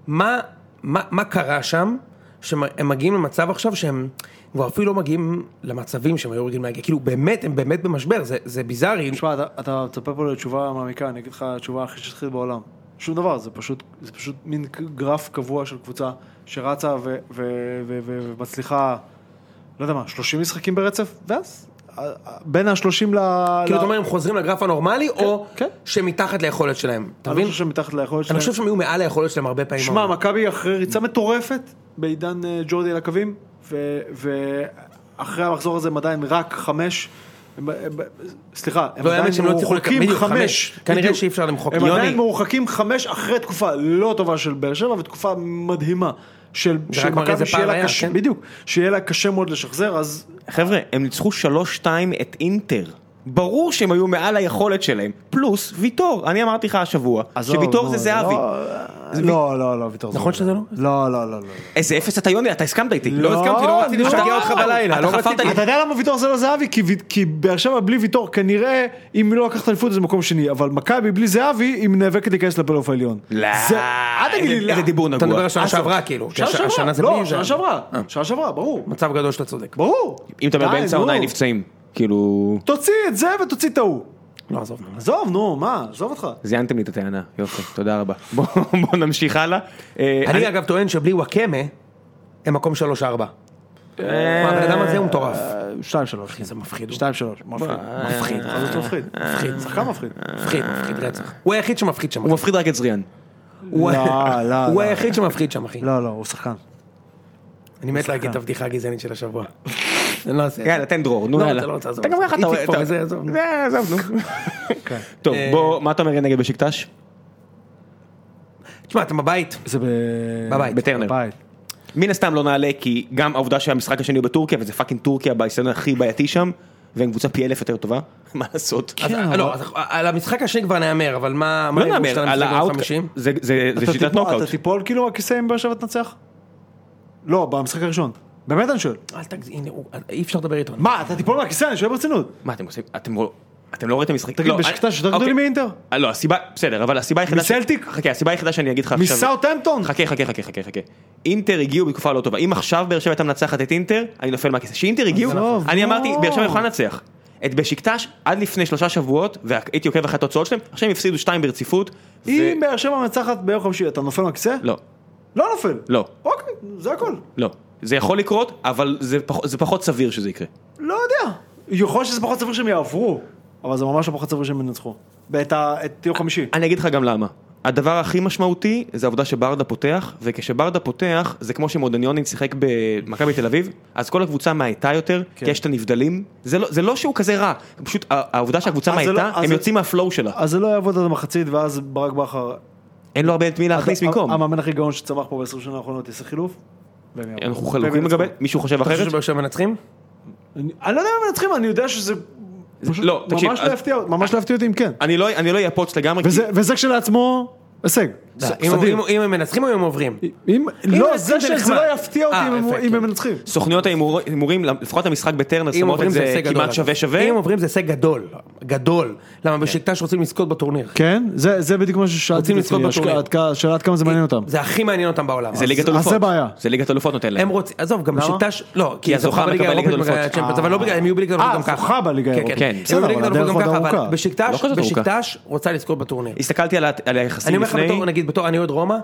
S2: מה, מה, מה קרה שם, שהם מגיעים למצב עכשיו שהם כבר אפילו לא מגיעים למצבים שהם היו רגילים להגיע, כאילו באמת, הם באמת במשבר, זה, זה ביזארי.
S3: תשמע, אתה- אתה מצפה פה לתשובה מעמיקה, אני אגיד לך התשובה הכי שטחית בעולם. שום דבר, זה פשוט, זה פשוט מין גרף קבוע של קבוצה שרצה ו- ו- ו- ו- ומצליחה, לא יודע מה, 30 משחקים ברצף, ואז אה, אה, בין ה-30 ל...
S2: כאילו,
S3: ל-
S1: לא.
S2: אתה אומר, הם חוזרים לגרף הנורמלי, או
S3: כן.
S2: שמתחת ליכולת שלהם, אתה
S3: אני לא
S2: מבין?
S3: חושב שהם מתחת ליכולת
S2: אני
S3: שלהם.
S2: חושב שהם היו מעל היכולת שלהם הרבה פעמים.
S3: שמע, מכבי אחרי ריצה מטורפת בעידן אה, ג'ורדי על הקווים, ו- ואחרי המחזור הזה הם עדיין רק חמש. הם- הם- סליחה, הם
S2: לא היה מאמן שהם
S3: עדיין
S2: לא הצליחו
S3: מורחקים
S2: לקבל- בדיוק,
S3: חמש.
S2: חמש. כנראה
S3: בדיוק.
S2: שאי אפשר למחוק.
S3: הם
S2: יוני.
S3: עדיין מורחקים חמש אחרי תקופה לא טובה של באר שבע ותקופה מדהימה של
S2: זה
S3: של
S2: רק מראה איזה
S3: מכבי שיהיה
S2: פער
S3: לה
S2: היה,
S3: קשה,
S2: כן.
S3: בדיוק, שיהיה לה קשה מאוד לשחזר, אז
S1: חבר'ה, הם ניצחו 3-2 את אינטר. ברור שהם היו מעל היכולת שלהם, פלוס ויטור, אני אמרתי לך השבוע,
S3: עזוב,
S1: שוויטור
S3: נו,
S1: זה זהבי.
S3: לא, לא, לא, לא, ויטור זה
S2: נכון
S3: זהבי.
S2: שזה לא?
S3: לא, לא, לא, לא.
S1: איזה אפס אתה יוני, אתה הסכמת איתי.
S3: לא,
S1: לא הסכמתי, לא רציתי
S3: לא.
S1: לשגע אותך בלילה,
S2: אתה
S1: לא
S2: חפרת
S1: רציתי.
S2: לי.
S3: אתה יודע למה ויטור זה לא זהבי? כי וי- כי באר שבע בלי ויטור כנראה, אם היא לא לקחת אליפות זה מקום שני, אבל מכבי בלי זהבי, היא נאבקת להיכנס לפלייאוף העליון.
S1: לא, אה,
S3: זה- אל תגיד לי
S1: איזה-
S3: לא.
S1: איזה דיבור
S2: אתה מדבר
S1: נגוע.
S2: על שנה שעברה כאילו, כי
S3: שנה
S2: הש- השנה זה
S3: שעברה,
S2: בלי
S3: לא,
S2: זה.
S3: שנה שעברה, שנה שעברה, ברור,
S2: מצב גדול שאתה צודק.
S3: ברור.
S1: אה. אם אתה אומר
S3: די,
S1: באמצע
S3: נו.
S1: העונה הם נפצעים, כאילו...
S3: תוציא את זה ותוציא את ההוא.
S2: לא, עזוב. נו.
S3: עזוב, נו, מה, עזוב אותך.
S1: זיינתם לי את הטענה, יופי, תודה רבה. בואו בואו נמשיך הלאה. אה,
S2: אני אגב טוען שבלי וואקמה, הם מקום 3-4. מה, הבן אדם הזה הוא מטורף.
S3: שתיים שלוש.
S2: אה, זה מפחיד. הוא.
S3: שתיים שלוש. מפחיד.
S1: אה,
S2: מפחיד.
S3: בכל זאת מפחיד. מפחיד. שחקן מפחיד.
S2: מפחיד, מפחיד רצח. הוא היחיד שמפחיד שם.
S1: הוא מפחיד רק את זריאן.
S2: הוא
S3: לא, לא,
S2: הוא
S3: לא.
S2: היחיד שמפחיד שם, אחי.
S3: לא, לא, הוא שחקן.
S2: אני מת להגיד את הבדיחה הגזענית של השבוע. אני לא אעשה את זה.
S1: יאללה, תן דרור, נו
S2: לא,
S1: יאללה.
S2: אתה לא רוצה, עזוב,
S1: אתה גם
S2: עזוב.
S1: ככה אתה רואה...
S2: איציק פה,
S1: אתה-
S2: זה, עזוב, נו. אה,
S1: זה, עזוב, נו.
S3: כן.
S1: טוב, בוא, מה אתה אומר נגד בשקטש?
S2: תשמע, אתם בבית.
S3: זה ב...
S2: בבית.
S1: בטרנר.
S3: בבית.
S1: מן הסתם לא נעלה, כי גם העובדה שהמשחק השני הוא בטורקיה, וזה פאקינג טורקיה, באיסטדיון הכי בעייתי שם, והם קבוצה פי אלף יותר טובה, מה לעשות?
S2: אז-
S3: אבל-
S2: לא, אז על המשחק השני כבר נהמר, אבל מה...
S1: לא
S2: מה ההימור
S1: נאמר,
S2: שלנו
S1: על
S2: למשחק
S1: האאוט...
S2: החמישים?
S1: זה זה- זה
S3: אתה
S1: שיטת
S3: תיפול-
S1: נוקאוט.
S3: אתה תיפול כאילו הכיסא עם באר שבע תנצח? לא, במשחק הראשון. באמת אני שואל.
S2: אל תגזים, הנה, הוא- אי אפשר לדבר איתו.
S3: מה, אתה תיפול מהכיסא? אני שואל ברצינות.
S1: מה אתם עושים? אתם לא... אתם לא ראיתם משחק...
S3: תגיד,
S1: לא,
S3: בשקטש יותר
S1: אוקיי.
S3: גדולים מאינטר?
S1: אה, לא, הסיבה, בסדר, אבל הסיבה היחידה... ש-
S3: מסלטיק?
S1: חכה, הסיבה היחידה שאני אגיד לך עכשיו...
S3: מסאוטהמפטון?
S1: חכה, חכה, חכה, חכה, חכה. אינטר הגיעו בתקופה לא טובה. אם עכשיו באר שבע הייתה מנצחת את אינטר, אני נופל מהכיסא. שאינטר הגיעו,
S3: עזוב,
S1: אני
S3: לא.
S1: אמרתי, באר שבע יכולה לנצח. את בשקטש עד לפני שלושה שבועות, והייתי עוקב אחרי התוצאות שלהם, עכשיו הם הפסידו שתיים ברציפות. ו-
S3: אם באר שבע מנצחת ביום חמישי, אתה נופל מהכיסא?
S1: לא,
S3: לא נופל.
S1: לא,
S3: אוקיי, זה הכל.
S1: לא. זה יכול לקרות, אבל זה פח- זה פחות סביר שזה יקרה.
S3: לא יודע. יכול שזה פחות סביר שהם יעברו, אבל זה ממש לא פחות סביר שהם ינצחו. ואת ה- את יום חמישי.
S1: אני אגיד לך גם למה. הדבר הכי משמעותי זה העובדה שברדה פותח, וכשברדה פותח זה כמו שמודניוני שיחק במכבי תל אביב, אז כל הקבוצה מאייתה יותר,
S3: כן.
S1: כי יש את הנבדלים, זה לא, זה לא שהוא כזה רע, פשוט ה- העובדה שהקבוצה
S2: אה,
S3: אז זה
S1: מאייתה,
S3: לא- אז
S1: הם
S3: זה-
S1: יוצאים מהפלואו שלה,
S3: אז זה לא יעבוד עד המחצית, ואז ברק בכר...
S1: אין לו הרבה את מי
S2: אה,
S1: להכניס
S3: המ-
S1: במקום.
S3: המאמן הכי גאון שצמח פה בעשר שנה האחרונות יעשה חילוף? והם
S2: אה,
S3: יעברו.
S1: אנחנו
S3: והם
S1: חלוקים
S3: ינצחו.
S1: לגבי, מישהו חושב
S2: אתה חושב
S1: אחרת?
S2: שבאר שבע מנצחים?
S3: אני אני לא יודע אם מנצחים, אני יודע שזה... פשוט
S1: לא, תקשיב,
S3: ממש
S1: אז-
S3: לא הפתיע- ממש לא הפתיע אותי אם כן.
S2: אה,
S1: אני לא אני לא אאפוץ לגמרי, כי-
S3: וזה- וזה כשלעצמו הישג.
S2: די,
S3: ס-
S2: אם-
S3: סדיר.
S2: אם- אם הם מנצחים או הם עוברים?
S3: אם, לא,
S2: מנצחים
S3: זה
S2: זה
S3: שזה
S2: נחמד.
S3: לא יפתיע אותי
S2: אה,
S3: אם הם-
S2: יפה,
S3: אם
S2: כן.
S3: הם מנצחים.
S1: סוכנויות ההימור- ההימורים, לפחות המשחק בטרנר,
S2: אם
S1: שמות
S2: עוברים
S1: את
S2: זה
S1: זה
S2: הישג גדול.
S1: כמעט
S2: אגב.
S1: שווה שווה, כן.
S2: אם עוברים זה הישג גדול. גדול. למה בשקטש רוצים לזכות בטורניר.
S3: כן, זה זה בדיוק מה ששאלתי
S2: רוצים
S3: את
S2: לזכות
S3: עצמי,
S2: בטורניר.
S3: עד כ- שאלה עד כמה זה מעניין אותם.
S2: זה הכי מעניין אותם בעולם.
S1: זה ליגת
S3: אז
S1: אלופות,
S3: זה בעיה.
S1: זה ליגת אלופות נותן
S2: הם
S1: להם,
S2: רוצים, עזוב, גם
S3: למה?
S2: בשקטש, לא, כי
S1: הזוכה
S2: הזוכה בליגה
S1: מקבל ליגת
S2: האירופית, בליגה
S1: אלופות.
S2: הצ'מפיונס, אבל לא בליגה, הם יהיו בליגה האירופית
S3: אה,
S2: גם ככה.
S3: זוכה בליגה האירופית.
S2: כן,
S1: כן,
S2: כן, הם
S3: בסדר,
S2: יהיו בליגה
S3: אבל
S2: האירופית גם ככה,
S3: הדרך עוד
S2: אבל
S3: ארוכה.
S1: לא
S2: בשקטש,
S1: כזאת ארוכה.
S2: בשקטש רוצה לזכות בטורניר.
S1: הסתכלתי על ה- על
S2: אני
S1: היחסים
S2: אומר לך
S1: לפני,
S2: בתור, נגיד, בתור, אני עוד רומא,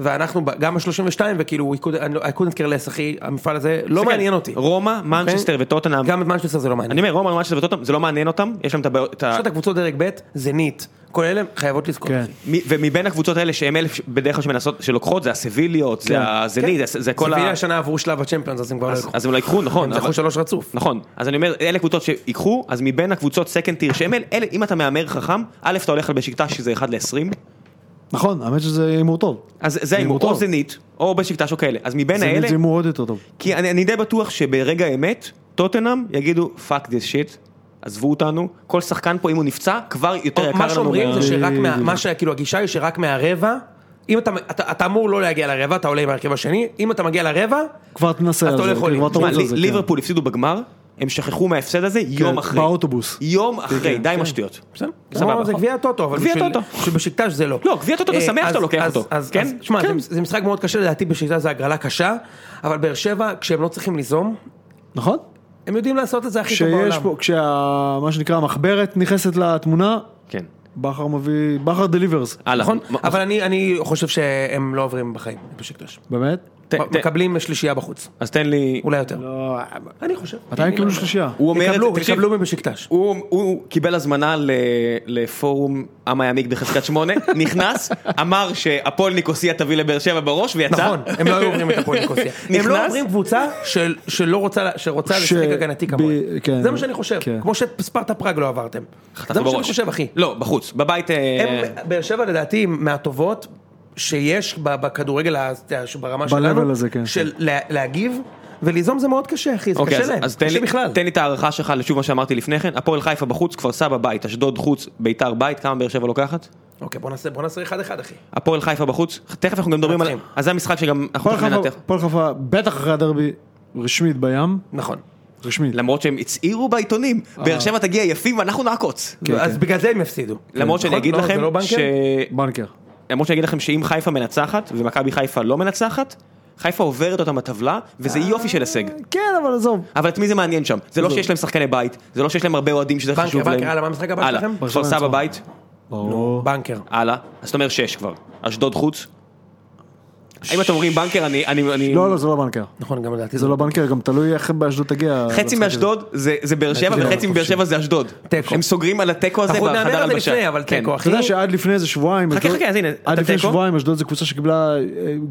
S2: ואנחנו ב- גם ה-32, וכאילו, אקודת קרלס, אחי, המפעל הזה, לא
S1: תסתכל,
S2: מעניין אותי. אוקיי?
S1: רומא, מנצ'סטר וטוטנאם,
S2: גם את מנצ'סטר זה לא מעניין.
S1: אני אומר, רומא, מנצ'סטר וטוטנאם, זה לא מעניין אותם, יש להם את הבעיות, את ה-
S2: אחת הקבוצות דרג ב', זנית, כל אלה חייבות לזכות.
S3: כן.
S2: אחי.
S1: מ- ומבין הקבוצות האלה שהם אלה ש- בדרך כלל שמנסות, שלוקחות, זה הסביליות, זה הזנית, זה- זה כל
S2: כן. סביליה
S1: ה...
S2: השנה עברו שלב הצ'מפיונס, אז הם כבר לא ילכו.
S1: אז הם לא יקחו, נכון,
S2: הם זכו
S1: אבל-
S2: שלוש רצוף.
S1: נכון, אז אני אומר, אלה קבוצות שיקחו, אז מבין הקבוצות סקנד טיר שהם אלה, אלה- אם אתה מהמר חכם, א' אתה הולך על בשקטש שזה 1 ל-20,
S3: נכון, האמת שזה הימור טוב.
S1: אז זה ההימור,
S3: טוב.
S1: או זנית, או בשקטש או כאלה, אז מבין
S3: זה
S1: האלה,
S3: זה הימור עוד יותר טוב.
S1: כי אני אני די בטוח שברגע האמת, טוטנאם יגידו, פאק דיס שיט, עזבו אותנו, כל שחקן פה אם הוא נפצע, כבר יותר יקר לנו.
S2: מה שאומרים
S1: מה-
S2: זה שרק מה...
S3: בדיוק.
S2: מה שכאילו הגישה היא שרק מהרבע, אם אתה- אתה אתה אמור לא להגיע לרבע, אתה עולה עם ההרכב השני, אם אתה מגיע לרבע,
S3: כבר תנסה
S2: אז
S3: על
S2: אתה
S3: זה,
S2: לא יכול
S3: כבר
S2: למצוא.
S1: תשמע,
S3: תרוץ על זה.
S1: לי-
S3: כן.
S1: ליברפול הפסידו בגמר, הם שכחו מההפסד
S2: כן,
S1: הזה יום אחרי.
S3: באוטובוס.
S1: יום אחרי, די עם השטויות.
S2: בסדר,
S1: סבבה,
S2: סבבה. זה
S1: נכון.
S2: גביע הטוטו, אבל
S1: גביע
S2: בשביל-
S1: הטוטו.
S2: שבשקטש זה לא.
S1: לא, גביע הטוטו, אתה
S2: אה,
S1: שמח שאתה
S2: אז-
S1: לוקח
S2: אז-
S1: אותו,
S2: אז-
S1: כן?
S2: אז- שמע,
S1: כן.
S2: זה- זה משחק מאוד קשה, לדעתי בשקטש זה הגרלה קשה, אבל באר שבע, כשהם לא צריכים ליזום,
S3: נכון?
S2: הם יודעים לעשות את זה הכי טוב
S3: כשיש
S2: בעולם.
S3: פה, כשה... מה שנקרא המחברת נכנסת לתמונה,
S1: כן.
S3: בכר מביא, בכר דליברס.
S1: הלאה.
S2: נכון?
S1: מ-
S2: אבל אני- אני חושב שהם לא עוברים בחיים בשקטש.
S3: באמת?
S1: ת- ת-
S2: מקבלים שלישייה בחוץ,
S1: אז תן לי...
S2: אולי יותר.
S3: לא,
S2: אני חושב.
S3: מתי הם קיבלו שלישייה?
S1: הוא אומר את זה,
S2: יקבלו,
S1: תקשיב,
S2: יקבלו מבשקטש.
S1: הוא- הוא קיבל הזמנה ל- לפורום עם הימיק בחזקת שמונה, נכנס, אמר שהפועל ניקוסיה תביא לבאר שבע בראש ויצא.
S2: נכון, הם לא היו עוברים את הפועל ניקוסיה. הם לא
S1: נכנס?
S2: עוברים קבוצה של- שלא רוצה, שרוצה
S3: ש-
S2: לשחק הגנתי כמוהם.
S3: ב- כן.
S2: זה מה שאני חושב,
S3: כן.
S2: כמו שספרטה פראג לא עברתם. זה מה שאני
S1: בראש.
S2: חושב, אחי.
S1: לא, בחוץ, בבית... אה,
S2: הם- באר שבע לדעתי הם מהטובות שיש ב- בכדורגל ה- ברמה
S3: ב-level
S2: שלנו,
S3: הזה, כן.
S2: של לה- להגיב וליזום זה מאוד קשה, אחי, זה
S1: אוקיי,
S2: קשה
S1: אז,
S2: להם,
S1: אז תן,
S2: קשה
S1: לי,
S2: בכלל.
S1: תן לי את ההערכה שלך לשוב מה שאמרתי לפני כן, הפועל חיפה בחוץ, כפר סבא בית, אשדוד חוץ, ביתר בית, כמה באר שבע לוקחת?
S2: אוקיי, בוא נעשה, בוא נעשה אחד אחד, אחי.
S1: הפועל חיפה בחוץ, תכף אנחנו גם מדברים על...
S2: מנצחים.
S1: אז זה המשחק שגם אנחנו
S3: הפועל
S1: תכף
S3: חיפה-
S1: ננתח.
S3: הפועל חיפה, בטח אחרי הדרבי, רשמית בים,
S2: נכון.
S3: רשמית.
S1: למרות שהם הצהירו בעיתונים,
S2: אה.
S1: באר שבע תגיע יפים ואנחנו נעקוץ.
S3: כן,
S2: אז
S3: כן.
S2: בגלל זה הם יפסידו.
S1: למרות שאני
S2: נכון?
S1: אגיד
S2: לא, זה
S1: לכם,
S2: לא בנקר?
S1: ש...
S3: בנקר.
S1: למרות שאני אגיד לכם שאם חיפה מנצחת ומכבי חיפה לא מנצחת, חיפה עוברת אותם בטבלה, וזה יופי של הישג.
S3: כן, אבל עזוב.
S1: אבל את מי זה מעניין שם? זה לא שיש להם שחקני בית, זה לא שיש להם הרבה אוהדים שזה
S2: בנקר,
S1: חשוב
S2: בנקר,
S1: להם.
S2: הלאה, מה המשחק הבא
S1: הלאה,
S2: שלכם?
S1: כפר סבא
S3: ברצלונה.
S1: בית,
S3: ברור.
S2: בנקר.
S1: הלאה, אז אתה אומר שש כבר, אשדוד חוץ. האם אתם אומרים בנקר, אני... אני- אני-
S3: לא, לא, זה לא בנקר.
S2: נכון, גם לדעתי
S3: זה לא בנקר, גם תלוי איך באשדוד תגיע.
S1: חצי
S3: למשחק הזה.
S1: מאשדוד זה זה באר שבע
S3: לא,
S1: וחצי מבאר
S3: חופשי.
S1: שבע זה אשדוד.
S2: תיקו.
S1: הם סוגרים על התיקו הזה
S2: אנחנו
S1: בחדר
S2: עוד
S1: הלבשה.
S2: נאמר על זה לפני, אבל לא.
S1: כן.
S2: תיקו, אחי.
S3: אתה יודע שעד לפני איזה שבועיים,
S1: חכה,
S3: אשדוד-
S1: חכה, אז הנה,
S3: עד
S1: אתה
S3: לפני
S1: תיקו?
S3: שבועיים אשדוד זו קבוצה שקיבלה אה,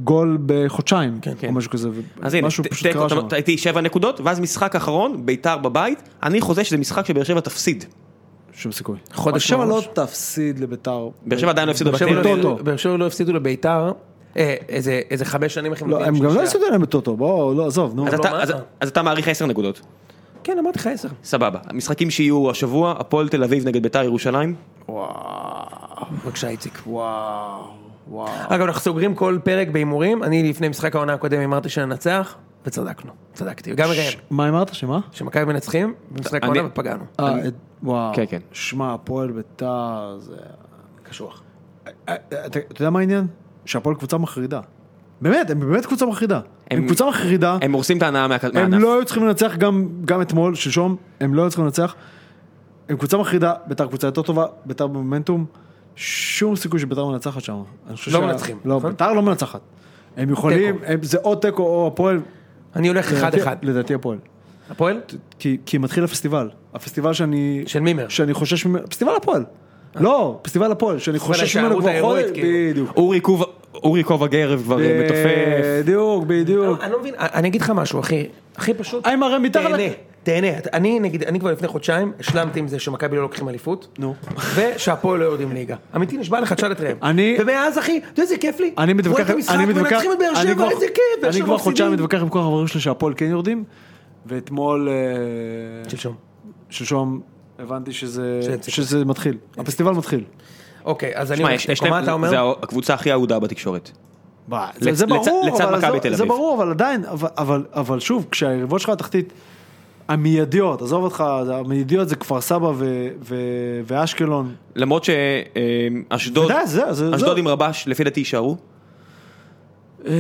S3: גול בחודשיים,
S1: כן.
S3: או משהו כזה,
S1: אז הנה,
S3: משהו
S1: ת-
S3: פשוט
S1: תיקו,
S3: קרה
S1: אתה-
S3: שם.
S1: אתה הייתי שבע נקודות, ואז משחק אחרון, ביתר בבית, אני חוזה שזה משחק שבאר שבע תפסיד.
S3: שום סיכוי.
S2: חודש
S3: באר שבע
S2: מראש.
S3: לא תפסיד לביתר.
S1: באר שבע עדיין לא הפסידו
S2: באר שבע לא-
S1: בטרנר.
S3: בטוטו.
S2: באר שבע לא הפסידו לביתר, אה, איזה איזה חמש שנים אחי.
S3: לא,
S2: מביאים
S3: הם גם לא
S2: שישה.
S3: הפסידו להם בטוטו, בואו, לא, עזוב, נו.
S1: אז
S2: לא,
S1: אתה-
S2: מה
S1: אז-
S2: אתה?
S1: אז אתה מעריך עשר נקודות,
S2: כן, אמרתי לך עשר.
S1: סבבה. המשחקים שיהיו השבוע, הפועל תל אביב נגד ביתר ירושלים.
S2: בבקשה, איציק. וואו. אגב, אנחנו סוגרים כל פרק בהימורים, אני לפני משחק העונה הקודם אמרתי שננצח, וצדקנו, צדקתי, וגם
S3: ש-
S2: ראם,
S3: מה אמרת, שמה?
S2: שמכבי מנצחים, במשחק
S1: אני-
S2: העונה ופגענו.
S3: אה, את- וואו.
S1: כן, כן.
S3: שמע, הפועל ביתר זה...
S2: קשוח.
S3: אה, אה, אתה אתה יודע מה העניין? שהפועל קבוצה מחרידה. באמת, הם באמת קבוצה מחרידה.
S1: הם-
S3: הם קבוצה מחרידה,
S1: הם הורסים את ההנאה מהכ-
S3: הם
S1: מהענף.
S3: לא היו צריכים לנצח גם, גם אתמול, שלשום, הם לא היו צריכים לנצח. הם קבוצה מחרידה, ביתר קבוצה יותר טובה, ביתר במומנטום, שום סיכוי שביתר מנצחת שם. אני חושב
S2: לא
S3: שה-
S2: מנצחים,
S3: לא,
S2: נכון?
S3: ביתר לא מנצחת. הם יכולים,
S2: תיקו.
S3: הם, זה או תיקו או הפועל.
S2: אני הולך אחד
S3: לדעתי-
S2: אחד.
S3: לדעתי הפועל.
S2: הפועל?
S3: כי, כי מתחיל הפסטיבל. הפסטיבל שאני...
S2: של מימר.
S3: שאני חושש ממנו, פסטיבל הפועל. לא, פסטיבל הפועל, שאני חושש ממנו
S2: ההישארות
S3: כבר
S2: ההירואית,
S3: חודש.
S2: כאילו.
S3: בדיוק.
S1: אורי קוב- אורי קוב הגרב כבר אה, מתופף.
S3: בדיוק, בדיוק.
S2: אני לא מבין, אני אגיד לך משהו, אחי, הכי פשוט,
S3: איימן הרי מתחת...
S2: תהנה, תהנה, אני נגיד, אני כבר לפני חודשיים השלמתי עם זה שמכבי לא לוקחים אליפות,
S3: נו.
S2: ושהפועל לא יורדים ליגה. אמיתי, נשבע לך, תשאל את ראם.
S3: אני-
S2: ומאז, אחי, אתה יודע איזה כיף לי?
S3: אני מתווכח,
S2: רואה את המשחק,
S3: אני מתווכח,
S2: מנצחים את באר
S3: אני
S2: שבע,
S3: כבר-
S2: איזה כיף, באר
S3: אני
S2: שבע
S3: כבר חודשיים
S2: מפסידים.
S3: מתווכח עם כל החברים שלי שהפועל כן יורדים, ואתמול, אה,
S2: שלשום.
S3: שלשום, הבנתי שזה
S2: שאיציק-
S3: שזה מתחיל, הפסטיבל מתחיל.
S2: אוקיי, אז אני
S1: שמע,
S2: אומר,
S1: יש- יש
S2: תיקו, מה
S1: להם-
S2: אתה
S1: זה
S2: אומר?
S1: הקבוצה הכי אהודה בתקשורת.
S3: זה
S1: לצ-
S3: זה ברור,
S1: לצ- לצד
S3: אבל
S1: מכבי
S3: עזוב-
S1: תל
S3: זה
S1: אביב.
S3: ברור, אבל עדיין, אבל- אבל- אבל שוב, כשהיריבות שלך התחתית, המיידיות, עזוב אותך, המיידיות זה כפר סבא ו- ו- ואשקלון,
S1: למרות שאשדוד,
S3: ודאי, זה- זה-
S1: אשדוד
S3: זה-
S1: עם רבש, לפי דעתי יישארו.
S3: אה,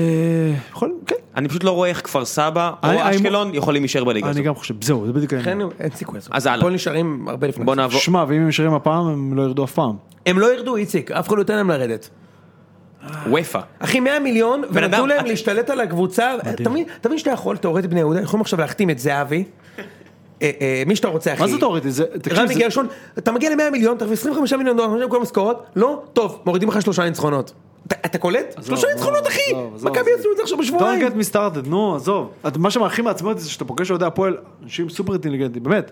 S3: יכול, כן,
S1: אני פשוט לא רואה איך כפר סבא או
S3: אני- אני-
S1: אשקלון יכולים להישאר בליגה
S3: אני
S1: הזאת.
S3: גם חושב, זהו, זה בדיוק
S2: לכן
S3: העניין.
S2: אין סיכוי לעשות.
S1: אז הלאה.
S2: הפועל נשארים הרבה לפני.
S1: בוא נעבור.
S3: שמע, ואם הם נשארים הפעם, הם לא ירדו אף פעם.
S2: הם לא ירדו, איציק, אף אחד לא ייתן להם לרדת.
S1: וופא.
S2: אחי, 100 מיליון, ונתנו
S1: אדם,
S2: להם
S1: אתה-
S2: להשתלט על הקבוצה. אתה מבין- אתה מבין שאתה יכול, תאורטית בני יהודה, יכולים עכשיו להחתים את זהבי. אה, אה, מי שאתה רוצה, אחי.
S3: מה זה תאורטי? זה- תקשיב,
S2: רמי
S3: זה-
S2: גרשון, אתה מגיע ל-100 מיליון, תכף 25 מיליון דולר, משלם כל המשכורות, לא, טוב, מורידים לך שלושה ניצחונות. אתה- אתה קולט? שלושה
S3: עזוב,
S2: ניצחונות,
S3: עזוב,
S2: אחי!
S3: עזוב, עזוב.
S2: מכבי עשו את זה עכשיו בשבועיים.
S3: Don't get me started, נו, עזוב. את- מה שמערכים מעצמאות זה שאתה פוגש אוהדי הפועל, אנשים סופר אינטליגנטים, באמת.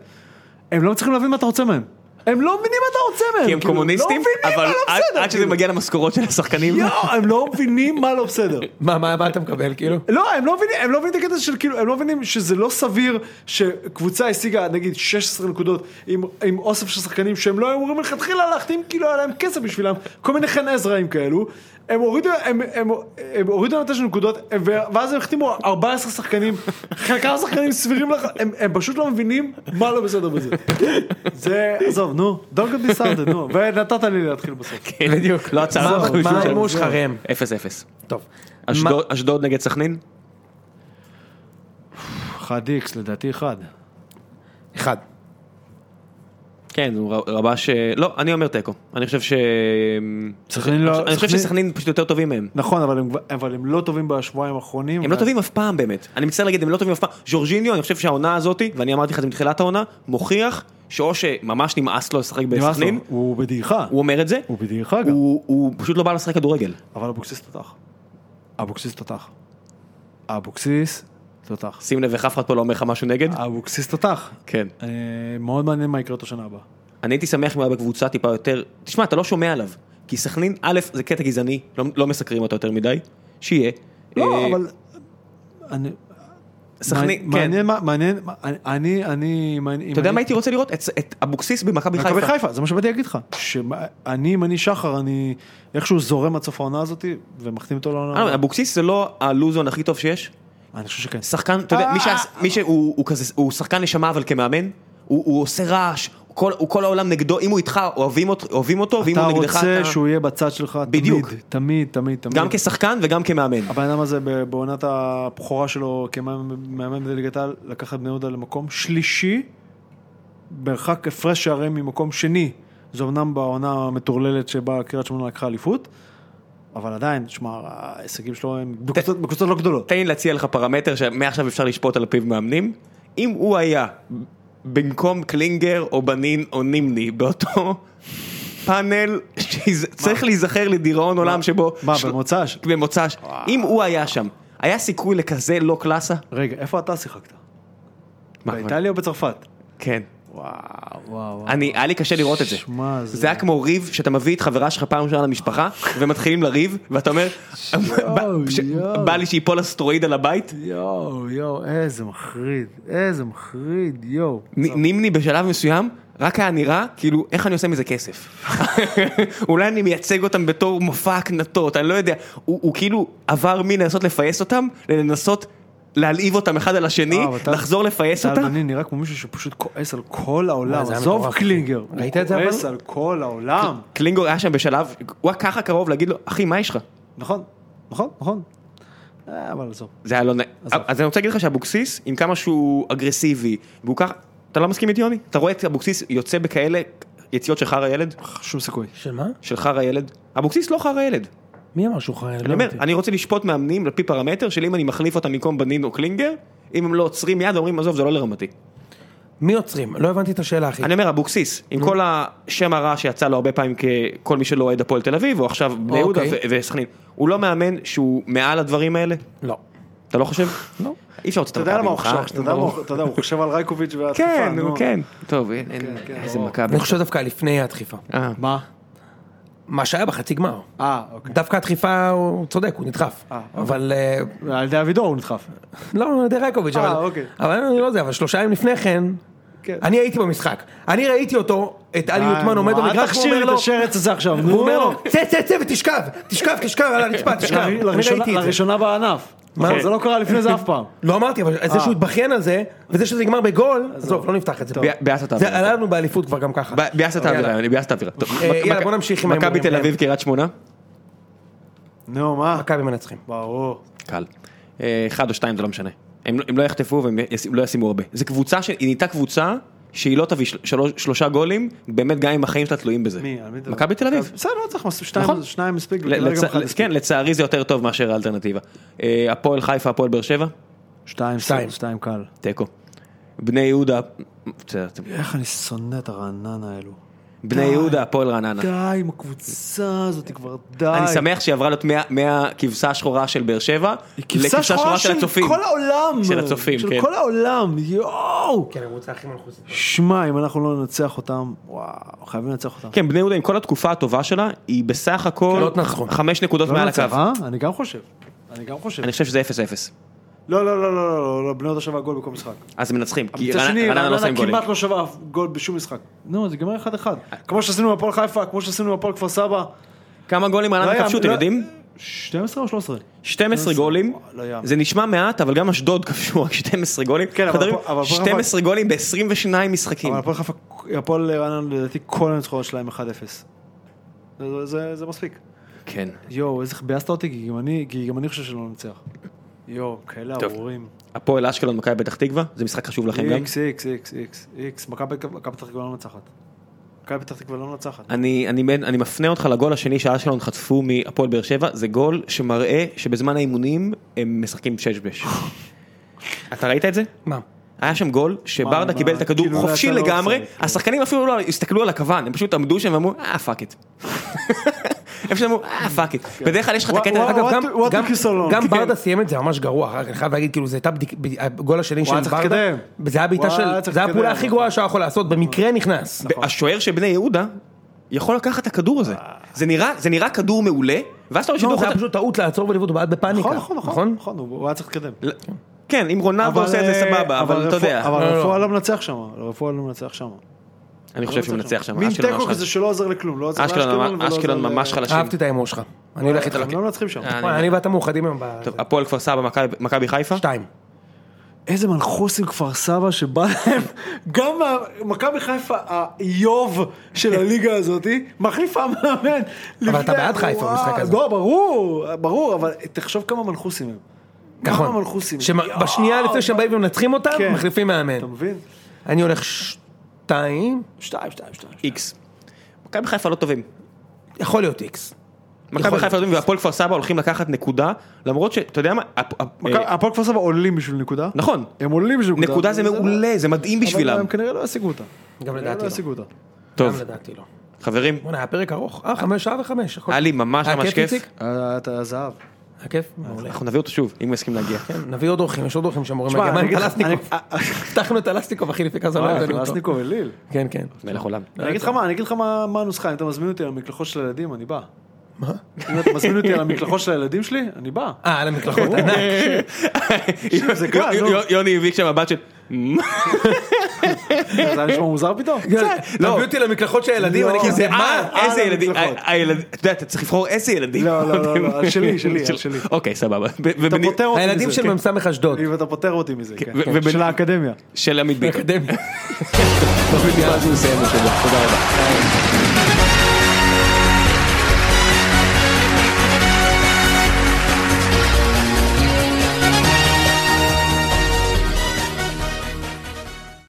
S3: הם לא מצליחים להבין מה אתה רוצה מהם. הם לא מבינים מה אתה רוצה מהם.
S1: כי הם
S3: כאילו,
S1: קומוניסטים,
S3: לא מבינים
S1: אבל
S3: מה לא
S1: עד-
S3: בסדר.
S1: עד שזה
S3: כאילו.
S1: מגיע למשכורות של השחקנים,
S3: יואו, הם לא מבינים מה לא בסדר.
S2: מה, מה מה אתה מקבל, כאילו?
S3: לא, הם לא מבינים, הם לא מבינים את הקטע של כאילו, הם לא מבינים שזה לא סביר שקבוצה השיגה נגיד 16 נקודות עם, עם אוסף של שחקנים שהם לא היו אמורים מלכתחילה להחתים כי לא היה להם כסף בשבילם, כל מיני חן עזראים כאלו. הם הורידו, הם, הם, הם הורידו להם 9 נקודות, הם- ואז הם החתימו 14 שחקנים, חלקם שחקנים סבירים לך, הם, הם פשוט לא מבינים מה לא בסדר בזה. זה, עזוב, נו, don't get me started, נו, ונתת לי להתחיל בסוף.
S1: כן.
S2: בדיוק.
S1: לא הצהרה.
S2: מה-
S1: אנחנו
S2: מה
S1: יושבים שם.
S2: ההימור שלך, ראם?
S1: אפס אפס.
S2: טוב.
S1: אשדוד- אשדוד נגד סכנין?
S3: 1x, לדעתי 1.
S2: אחד.
S1: כן, הוא ר- רבש... אה, לא, אני אומר תיקו. אני חושב ש...
S3: סכנין לא-
S1: אני חושב
S3: סכנין-
S1: שסכנין פשוט יותר טובים מהם.
S3: נכון, אבל הם, אבל הם לא טובים בשבועיים האחרונים.
S1: הם לא טובים אף פעם באמת, אני מצטער להגיד, הם לא טובים אף פעם. ז'ורג'יניו, אני חושב שהעונה הזאת, ואני אמרתי לך את זה מתחילת העונה, מוכיח שאו שממש נמאס לו לשחק
S3: נמאס לו.
S1: בסכנין,
S3: הוא בדעיכה.
S1: הוא אומר את זה,
S3: הוא בדעיכה גם.
S1: הוא- הוא פשוט לא בא לשחק כדורגל.
S3: אבל אבוקסיס תותח. אבוקסיס תותח. אבוקסיס תותח.
S1: שים לב איך אף אחד פה לא אומר לך משהו נגד.
S3: אבוקסיס תותח.
S1: כן.
S3: אה, מאוד מעניין מה יקרה אותו שנה הבאה.
S1: אני הייתי שמח אם הוא היה בקבוצה טיפה יותר, תשמע, אתה לא שומע עליו. כי סכנין, א', זה קטע גזעני, לא- לא מסקרים אותו יותר מדי, שיהיה.
S3: לא,
S1: אה,
S3: אבל... אני...
S1: סכנין,
S3: מעניין-
S1: כן.
S3: מעניין מה, מעניין, מה- אני, אני, אני,
S1: אתה יודע מה הייתי רוצה לראות? את- את אבוקסיס במכבי
S3: מכבי
S1: חיפה.
S3: חיפה, זה מה שבאתי להגיד לך, שאני, אם אני שחר, אני איכשהו זורם עד סוף העונה הזאת ומחתים אותו לעונה,
S1: אה,
S3: הבאה.
S1: אבוקסיס זה לא הלוזון הכי טוב שיש?
S3: אני חושב שכן.
S1: שחקן, אתה יודע, מי שה- מי שהוא הוא כזה, הוא שחקן נשמה אבל כמאמן, הוא הוא עושה רעש, הוא כל- הוא כל העולם נגדו, אם הוא איתך אוהבים אות- אוהבים אותו, ואם
S3: אתה
S1: הוא נגדך
S3: רוצה
S1: אתה...
S3: שהוא יהיה בצד שלך,
S1: בדיוק.
S3: תמיד, תמיד, תמיד, תמיד.
S1: גם כשחקן וגם כמאמן.
S3: הבן אדם הזה ב- בעונת הבכורה שלו כמאמן בליגת העל, לקח את בני יהודה למקום שלישי, מרחק הפרש שערים ממקום שני. זה אמנם בעונה המטורללת שבה קריית שמונה לקחה אליפות, אבל עדיין, שמע, ההישגים שלו הם בקבוצות בקבוצות לא גדולות.
S1: תן לי להציע לך פרמטר שמעכשיו אפשר לשפוט על פיו מאמנים. אם הוא היה במקום קלינגר או בנין או נימני באותו פאנל שצריך להיזכר לדיראון עולם שבו...
S3: מה,
S1: של-
S3: במוצא? ש-
S1: במוצ"ש. אם הוא היה שם, היה סיכוי לכזה לא קלאסה?
S3: רגע, איפה אתה שיחקת?
S1: מה,
S3: באיטליה או בצרפת?
S1: כן.
S3: וואו, וואו.
S1: אני, היה לי קשה לראות את זה.
S3: שמע, זה-
S1: זה היה כמו ריב שאתה מביא את חברה שלך פעם ראשונה למשפחה, ומתחילים לריב, ואתה אומר, "בא- ש-
S3: יואו.
S1: בא לי שיפול אסטרואיד על הבית.
S3: יואו, יואו, איזה מחריד, איזה מחריד, יואו.
S1: נ- נימני בשלב מסוים רק היה נראה כאילו איך אני עושה מזה כסף. אולי אני מייצג אותם בתור מופע הקנטות, אני לא יודע. הוא הוא כאילו עבר מלנסות לפייס אותם ללנסות להלהיב אותם אחד על השני,
S3: אה, אבל טל-
S1: לחזור לפייס
S3: טל
S1: אותם.
S3: בנין נראה כמו מישהו שפשוט כועס על כל העולם,
S2: וואי, זה היה
S3: עזוב
S2: מטורף.
S3: קלינגר,
S2: ראית את זה,
S3: הוא
S2: אבל?
S3: כועס על כל העולם,
S1: קלינגור היה שם בשלב, הוא היה ככה קרוב להגיד לו, אחי מה יש לך?
S3: נכון, נכון, נכון, אה, אבל עזוב,
S1: זה היה לא נעים.
S3: עזוב.
S1: אז אני רוצה להגיד לך שאבוקסיס, עם כמה שהוא אגרסיבי, והוא ככה, אתה לא מסכים איתי יוני? אתה רואה את אבוקסיס יוצא בכאלה יציאות של חרא ילד?
S3: שום סיכוי.
S2: של מה?
S1: של חרא ילד? אבוקסיס לא חרא ילד.
S2: מי אמר שהוא לא חייל?
S1: אני אומר, אני רוצה לשפוט מאמנים על פי פרמטר של אם אני מחליף אותם במקום בנין או קלינגר, אם הם לא עוצרים מיד אומרים עזוב זה לא לרמתי.
S2: מי עוצרים? לא הבנתי את השאלה, אחי.
S1: אני אומר אבוקסיס, עם כל השם הרע שיצא לו הרבה פעמים ככל מי שלא אוהד הפועל תל אביב, או עכשיו בני יהודה
S2: אוקיי.
S1: ו- וסכנין, הוא לא מאמן שהוא מעל הדברים האלה?
S2: לא.
S1: אתה לא חושב?
S2: לא.
S1: אי אפשר לצאת
S3: אתה יודע
S1: מכבי
S3: למה הוא
S1: ממך,
S3: חושב, אתה יודע
S1: ברור.
S3: מה הוא- אתה יודע, הוא חושב על רייקוביץ' והתקופה,
S1: כן,
S3: נו.
S1: נו, כן. טוב, אין- אין-
S3: כן,
S1: איזה
S3: ברור.
S1: מכבי.
S2: אני חושב דווקא לפני הדחיפה.
S1: אה,
S3: מה?
S2: מה שהיה בחצי גמר.
S3: אה, אוקיי.
S2: דווקא הדחיפה הוא צודק, הוא נדחף.
S3: אה,
S2: אבל אה,
S3: על ידי אבידור הוא נדחף.
S2: לא, על ידי רייקוביץ',
S3: אה,
S2: אבל
S3: אוקיי.
S2: אבל אני לא יודע, אבל שלושה ימים לפני כן,
S3: כן.
S2: אני הייתי במשחק. אני ראיתי אותו, את אלי
S3: די,
S2: יוטמן
S3: אה, נו,
S2: עומד
S3: אל
S2: במגרח, והוא
S3: תכשיר
S2: אומר
S3: את
S2: לו,
S3: השרץ הזה עכשיו,
S2: והוא
S3: נו. כן.
S2: אומר לו, צא צא צא ותשכב, תשכב, תשכב על הרצפה, תשכב. אני
S3: לראשונה-
S2: ראיתי את זה.
S3: לראשונה בענף.
S2: מה?
S3: מה? זה לא קרה לפני זה אף פעם.
S2: לא אמרתי, אבל
S3: אה.
S2: זה שהוא התבכיין על זה, וזה שזה נגמר בגול, עזוב, לא נפתח את זה.
S1: ב- ביאס אתה
S2: זה
S1: עביר.
S2: עלה לנו באליפות כבר גם ככה.
S1: ב- ביאס את
S2: יאללה.
S1: האווירה, יוני, ביאס את האווירה. טוב,
S2: אה,
S1: מכ-
S2: יאללה,
S1: מכ-
S2: בוא נמשיך עם
S1: מכבי
S2: ההימורים,
S1: תל אביב קריית שמונה?
S3: נו, מה?
S2: מכבי מנצחים.
S3: ברור.
S1: קל. אה, אחד או שתיים זה לא משנה. הם, הם לא יחטפו והם יס, לא ישימו הרבה. זו קבוצה שהיא נהייתה קבוצה שהיא לא תביא של, שלוש, שלושה גולים, באמת גם אם החיים שלה תלויים בזה.
S3: מי? על מי אתה-
S1: מכבי תל אביב.
S3: בסדר, לא צריך מספיק,
S1: נכון.
S3: שתיים- שניים מספיק. לא
S1: ל-
S3: וכרגע
S1: לצ-
S3: גם אחד
S1: לצ-
S3: מספיק.
S1: כן, לצערי זה יותר טוב מאשר האלטרנטיבה. אה, הפועל חיפה, הפועל באר שבע,
S3: שתיים,
S2: שתיים.
S3: שתיים קל.
S1: תיקו. בני יהודה, בסדר, אתם-
S3: איך אני שונא את הרעננה האלו.
S1: בני יהודה, הפועל רעננה.
S3: די עם הקבוצה הזאת כבר, די.
S1: אני שמח שהיא עברה להיות מה- מהכבשה השחורה של באר שבע,
S3: היא כבשה שחורה של
S1: הצופים.
S3: כל העולם.
S1: של הצופים, כן.
S3: של כל העולם, יואו.
S2: כן, הקבוצה הכי מלחוצת.
S3: שמע, אם אנחנו לא ננצח אותם, וואו, חייבים לנצח אותם.
S1: כן, בני יהודה עם כל התקופה הטובה שלה, היא בסך הכל
S2: לא תנצחו.
S1: חמש נקודות
S3: לא
S1: מעל
S3: ננצח,
S1: הקו.
S3: אה? אני גם חושב. אני גם חושב.
S1: אני חושב שזה 0-0.
S3: לא, לא, לא, לא, לא, לא, בני יהודה שווה גול בכל משחק.
S1: אז הם מנצחים, כי
S3: מצד שני,
S1: רעננה- רעננה לא
S3: רעננה
S1: עושים גולים.
S3: כמעט לא שווה אף גול בשום משחק. נו, זה גמר אחד אחד. כמו שעשינו עם הפועל חיפה, כמו שעשינו עם הפועל כפר סבא.
S1: כמה גולים
S3: לא
S1: רעננה
S3: היה-
S1: אה, כבשו, אתם
S3: לא-
S1: יודעים?
S3: 12 או 13?
S1: 12 גולים,
S3: לא יאמן.
S1: זה נשמע מעט, אבל גם אשדוד כבשו רק 12 גולים.
S3: כן, אבל
S1: חדרים,
S3: פה- אבל פה-
S1: 12 גולים ב-22 משחקים.
S3: אבל הפועל חיפה, הפועל רעננה לדעתי כל הניצחונות שלהם 1-0. זה- זה- זה מספיק.
S1: כן.
S3: יואו, איזה ביאסת אותי, כי גם אני, כי גם אני חושב שלא ננצח. יואו, כאלה
S1: טוב.
S3: ארורים.
S1: הפועל אשקלון, מכבי פתח תקווה, זה משחק חשוב לכם גם.
S3: איקס, איקס, איקס, איקס, איקס, מכבי מכבי פתח תקווה לא מנצחת. מכבי פתח תקווה לא מנצחת.
S1: אני, אני, בין- אני מפנה אותך לגול השני שאשקלון חטפו מהפועל באר שבע, זה גול שמראה שבזמן האימונים הם משחקים שש בש. אתה ראית את זה?
S2: מה?
S1: היה שם גול שברדה
S3: מה,
S1: קיבל את הכדור
S3: כאילו
S1: חופשי
S3: אתה לא
S1: לגמרי,
S3: עושה.
S1: השחקנים אפילו לא הסתכלו על הכוון, הם פשוט עמדו שם ואמרו, אה פאק איט. הם פשוט אמרו, אה פאק איט. בדרך כלל יש לך את
S3: וואו,
S1: הקטע,
S3: כן. וואו,
S1: אגב,
S2: אגב,
S3: what-
S2: גם-
S3: what
S2: גם-
S3: took you so long?
S2: גם
S3: כן.
S2: ברדה סיים את זה ממש גרוע, אני חייב להגיד, כאילו, זה הייתה בדיק- בדיק- הגול השני של
S3: הוא היה צריך
S2: ברדה,
S3: להתקדם.
S2: זה היה בעיטה
S3: הוא היה
S2: של,
S3: צריך
S2: זה היה הפעולה
S3: להתקדם. נכון.
S2: הכי גרועה שהיה יכול לעשות, במקרה נכנס.
S1: השוער של בני יהודה יכול לקחת את הכדור הזה.
S3: אה.
S1: זה נראה- זה נראה כדור מעולה, ואז אתה רואה
S2: לא,
S1: שדוח
S2: זה היה
S1: אותה.
S2: פשוט טעות לעצור ולבעוט, הוא בעט בפאניקה. נכון?
S3: נכון, נכון, נכון, נכון, הוא הוא היה צריך להתקדם.
S1: כן, אם רונלדו
S3: אבל,
S1: עושה את זה
S3: אה,
S1: סבבה, אבל אתה
S3: רפואה-
S1: יודע.
S3: אבל
S2: לא, לא.
S3: רפואה לא מנצח שם, רפואה לא מנצח שם.
S1: אני חושב שהוא מנצח שם.
S3: מין
S1: אשקלון
S3: תיקו
S1: ממש
S3: כזה שלא עוזר לכלום, לא עוזר
S1: חלש. אשקלון
S3: לאשקלון
S1: ממש-
S3: ולא
S1: אשקלון
S3: עוזר ל-
S1: ממש חלשים.
S2: אהבתי את ההימור שלך. אני הולך איתו
S3: הם
S2: לכיוון.
S3: לא מנצחים שם.
S1: אה,
S2: אני ואתה מאוחדים היום ב...
S1: טוב, הפועל כפר סבא, מכבי- מכבי חיפה?
S2: שתיים.
S3: איזה מנחוס עם כפר סבא שבא להם, גם ה- מכבי חיפה, האיוב של הליגה הזאתי, מחליף המאמן. לפני-
S2: אתה בעד חיפה
S3: וואו,
S2: במשחק הזה.
S3: לא, ברור, ברור, אבל תחשוב כמה מנחוסים הם.
S2: נכון.
S3: כמה מנחוסים. יואו,
S2: שבשנייה לפני שהם באים ומנצחים אותם,
S3: כן.
S2: מחליפים מאמן.
S3: אתה מבין?
S2: אני הולך שתיים,
S3: שתיים, שתיים, שתיים.
S1: איקס. מכבי חיפה לא טובים.
S2: יכול להיות איקס.
S1: מכבי
S3: נכון.
S2: יכול
S1: חיפה לא טובים והפועל כפר סבא הולכים לקחת נקודה, למרות שאתה יודע מה, הפ- הפ-
S3: מכבי-
S1: אה,
S3: הפועל כפר סבא עולים בשביל נקודה.
S1: נכון,
S3: הם עולים בשביל נקודה.
S1: נקודה זה מעולה, זה מדהים
S3: אבל
S1: בשבילם.
S3: הם כנראה לא ישיגו אותה.
S2: גם
S3: כנראה
S2: לדעתי
S3: לא
S2: לא.
S3: ישיגו אותה.
S1: טוב,
S2: גם לדעתי לא.
S1: חברים,
S2: בוא'נה, היה פרק ארוך. אה, חמש שעה וחמש. הכל-
S1: היה לי ממש
S2: היה
S1: ממש כיף.
S2: איציק?
S3: אה, אתה זהב.
S2: היה כיף? מעולה.
S1: אנחנו נביא אותו שוב, אם הוא יסכים להגיע.
S2: כן, נביא עוד אורחים, יש עוד אורחים שאמורים
S3: תשמע,
S2: להגיע. מה
S3: אני
S2: עם
S3: אגיד לך-
S2: טלסניקוב?
S3: אני-
S2: הבטחנו את טלסניקוב אחי לפני כמה זמן. לא
S3: אה,
S2: הבאנו אותו.
S3: קלסניקוב אליל.
S2: כן, כן.
S1: מלך עולם.
S3: אני אגיד לך מה, אני אגיד לך מה מה הנוסחה, אם אתה מזמין אותי למקלחות של הילדים, אני בא.
S2: מה?
S3: אם אתה מזמין אותי למקלחות של הילדים שלי, אני בא.
S2: אה, על המקלחות, ענק.
S3: זה קל,
S1: יו-
S3: נו.
S1: יו- יוני הביא שם מבט של...
S2: כן.
S3: זה היה נשמע מוזר פתאום.
S1: לא.
S2: תביא אותי למקלחות של הילדים,
S3: לא.
S2: אני אה,
S1: כי זה
S2: כזה, מה?
S1: מה? איזה
S3: על
S1: ילדים?
S3: המקלחות.
S1: ה- אה, הילד- אתה יודע, אתה צריך לבחור איזה ילדים.
S3: לא, לא, לא, לא, על שלי, שלי, על שלי.
S1: אוקיי, סבבה. ו-
S3: אתה
S1: ובני-
S3: פותר אותי מזה.
S2: הילדים של
S3: כן.
S2: מ"ס אשדוד.
S3: אם אתה פותר אותי מזה, כן.
S1: ו- ובן-
S3: של האקדמיה.
S1: של עמית ביטון.
S2: באקדמיה.
S1: תוכנית יאללה, אז הוא מסיים את שלו. תודה רבה.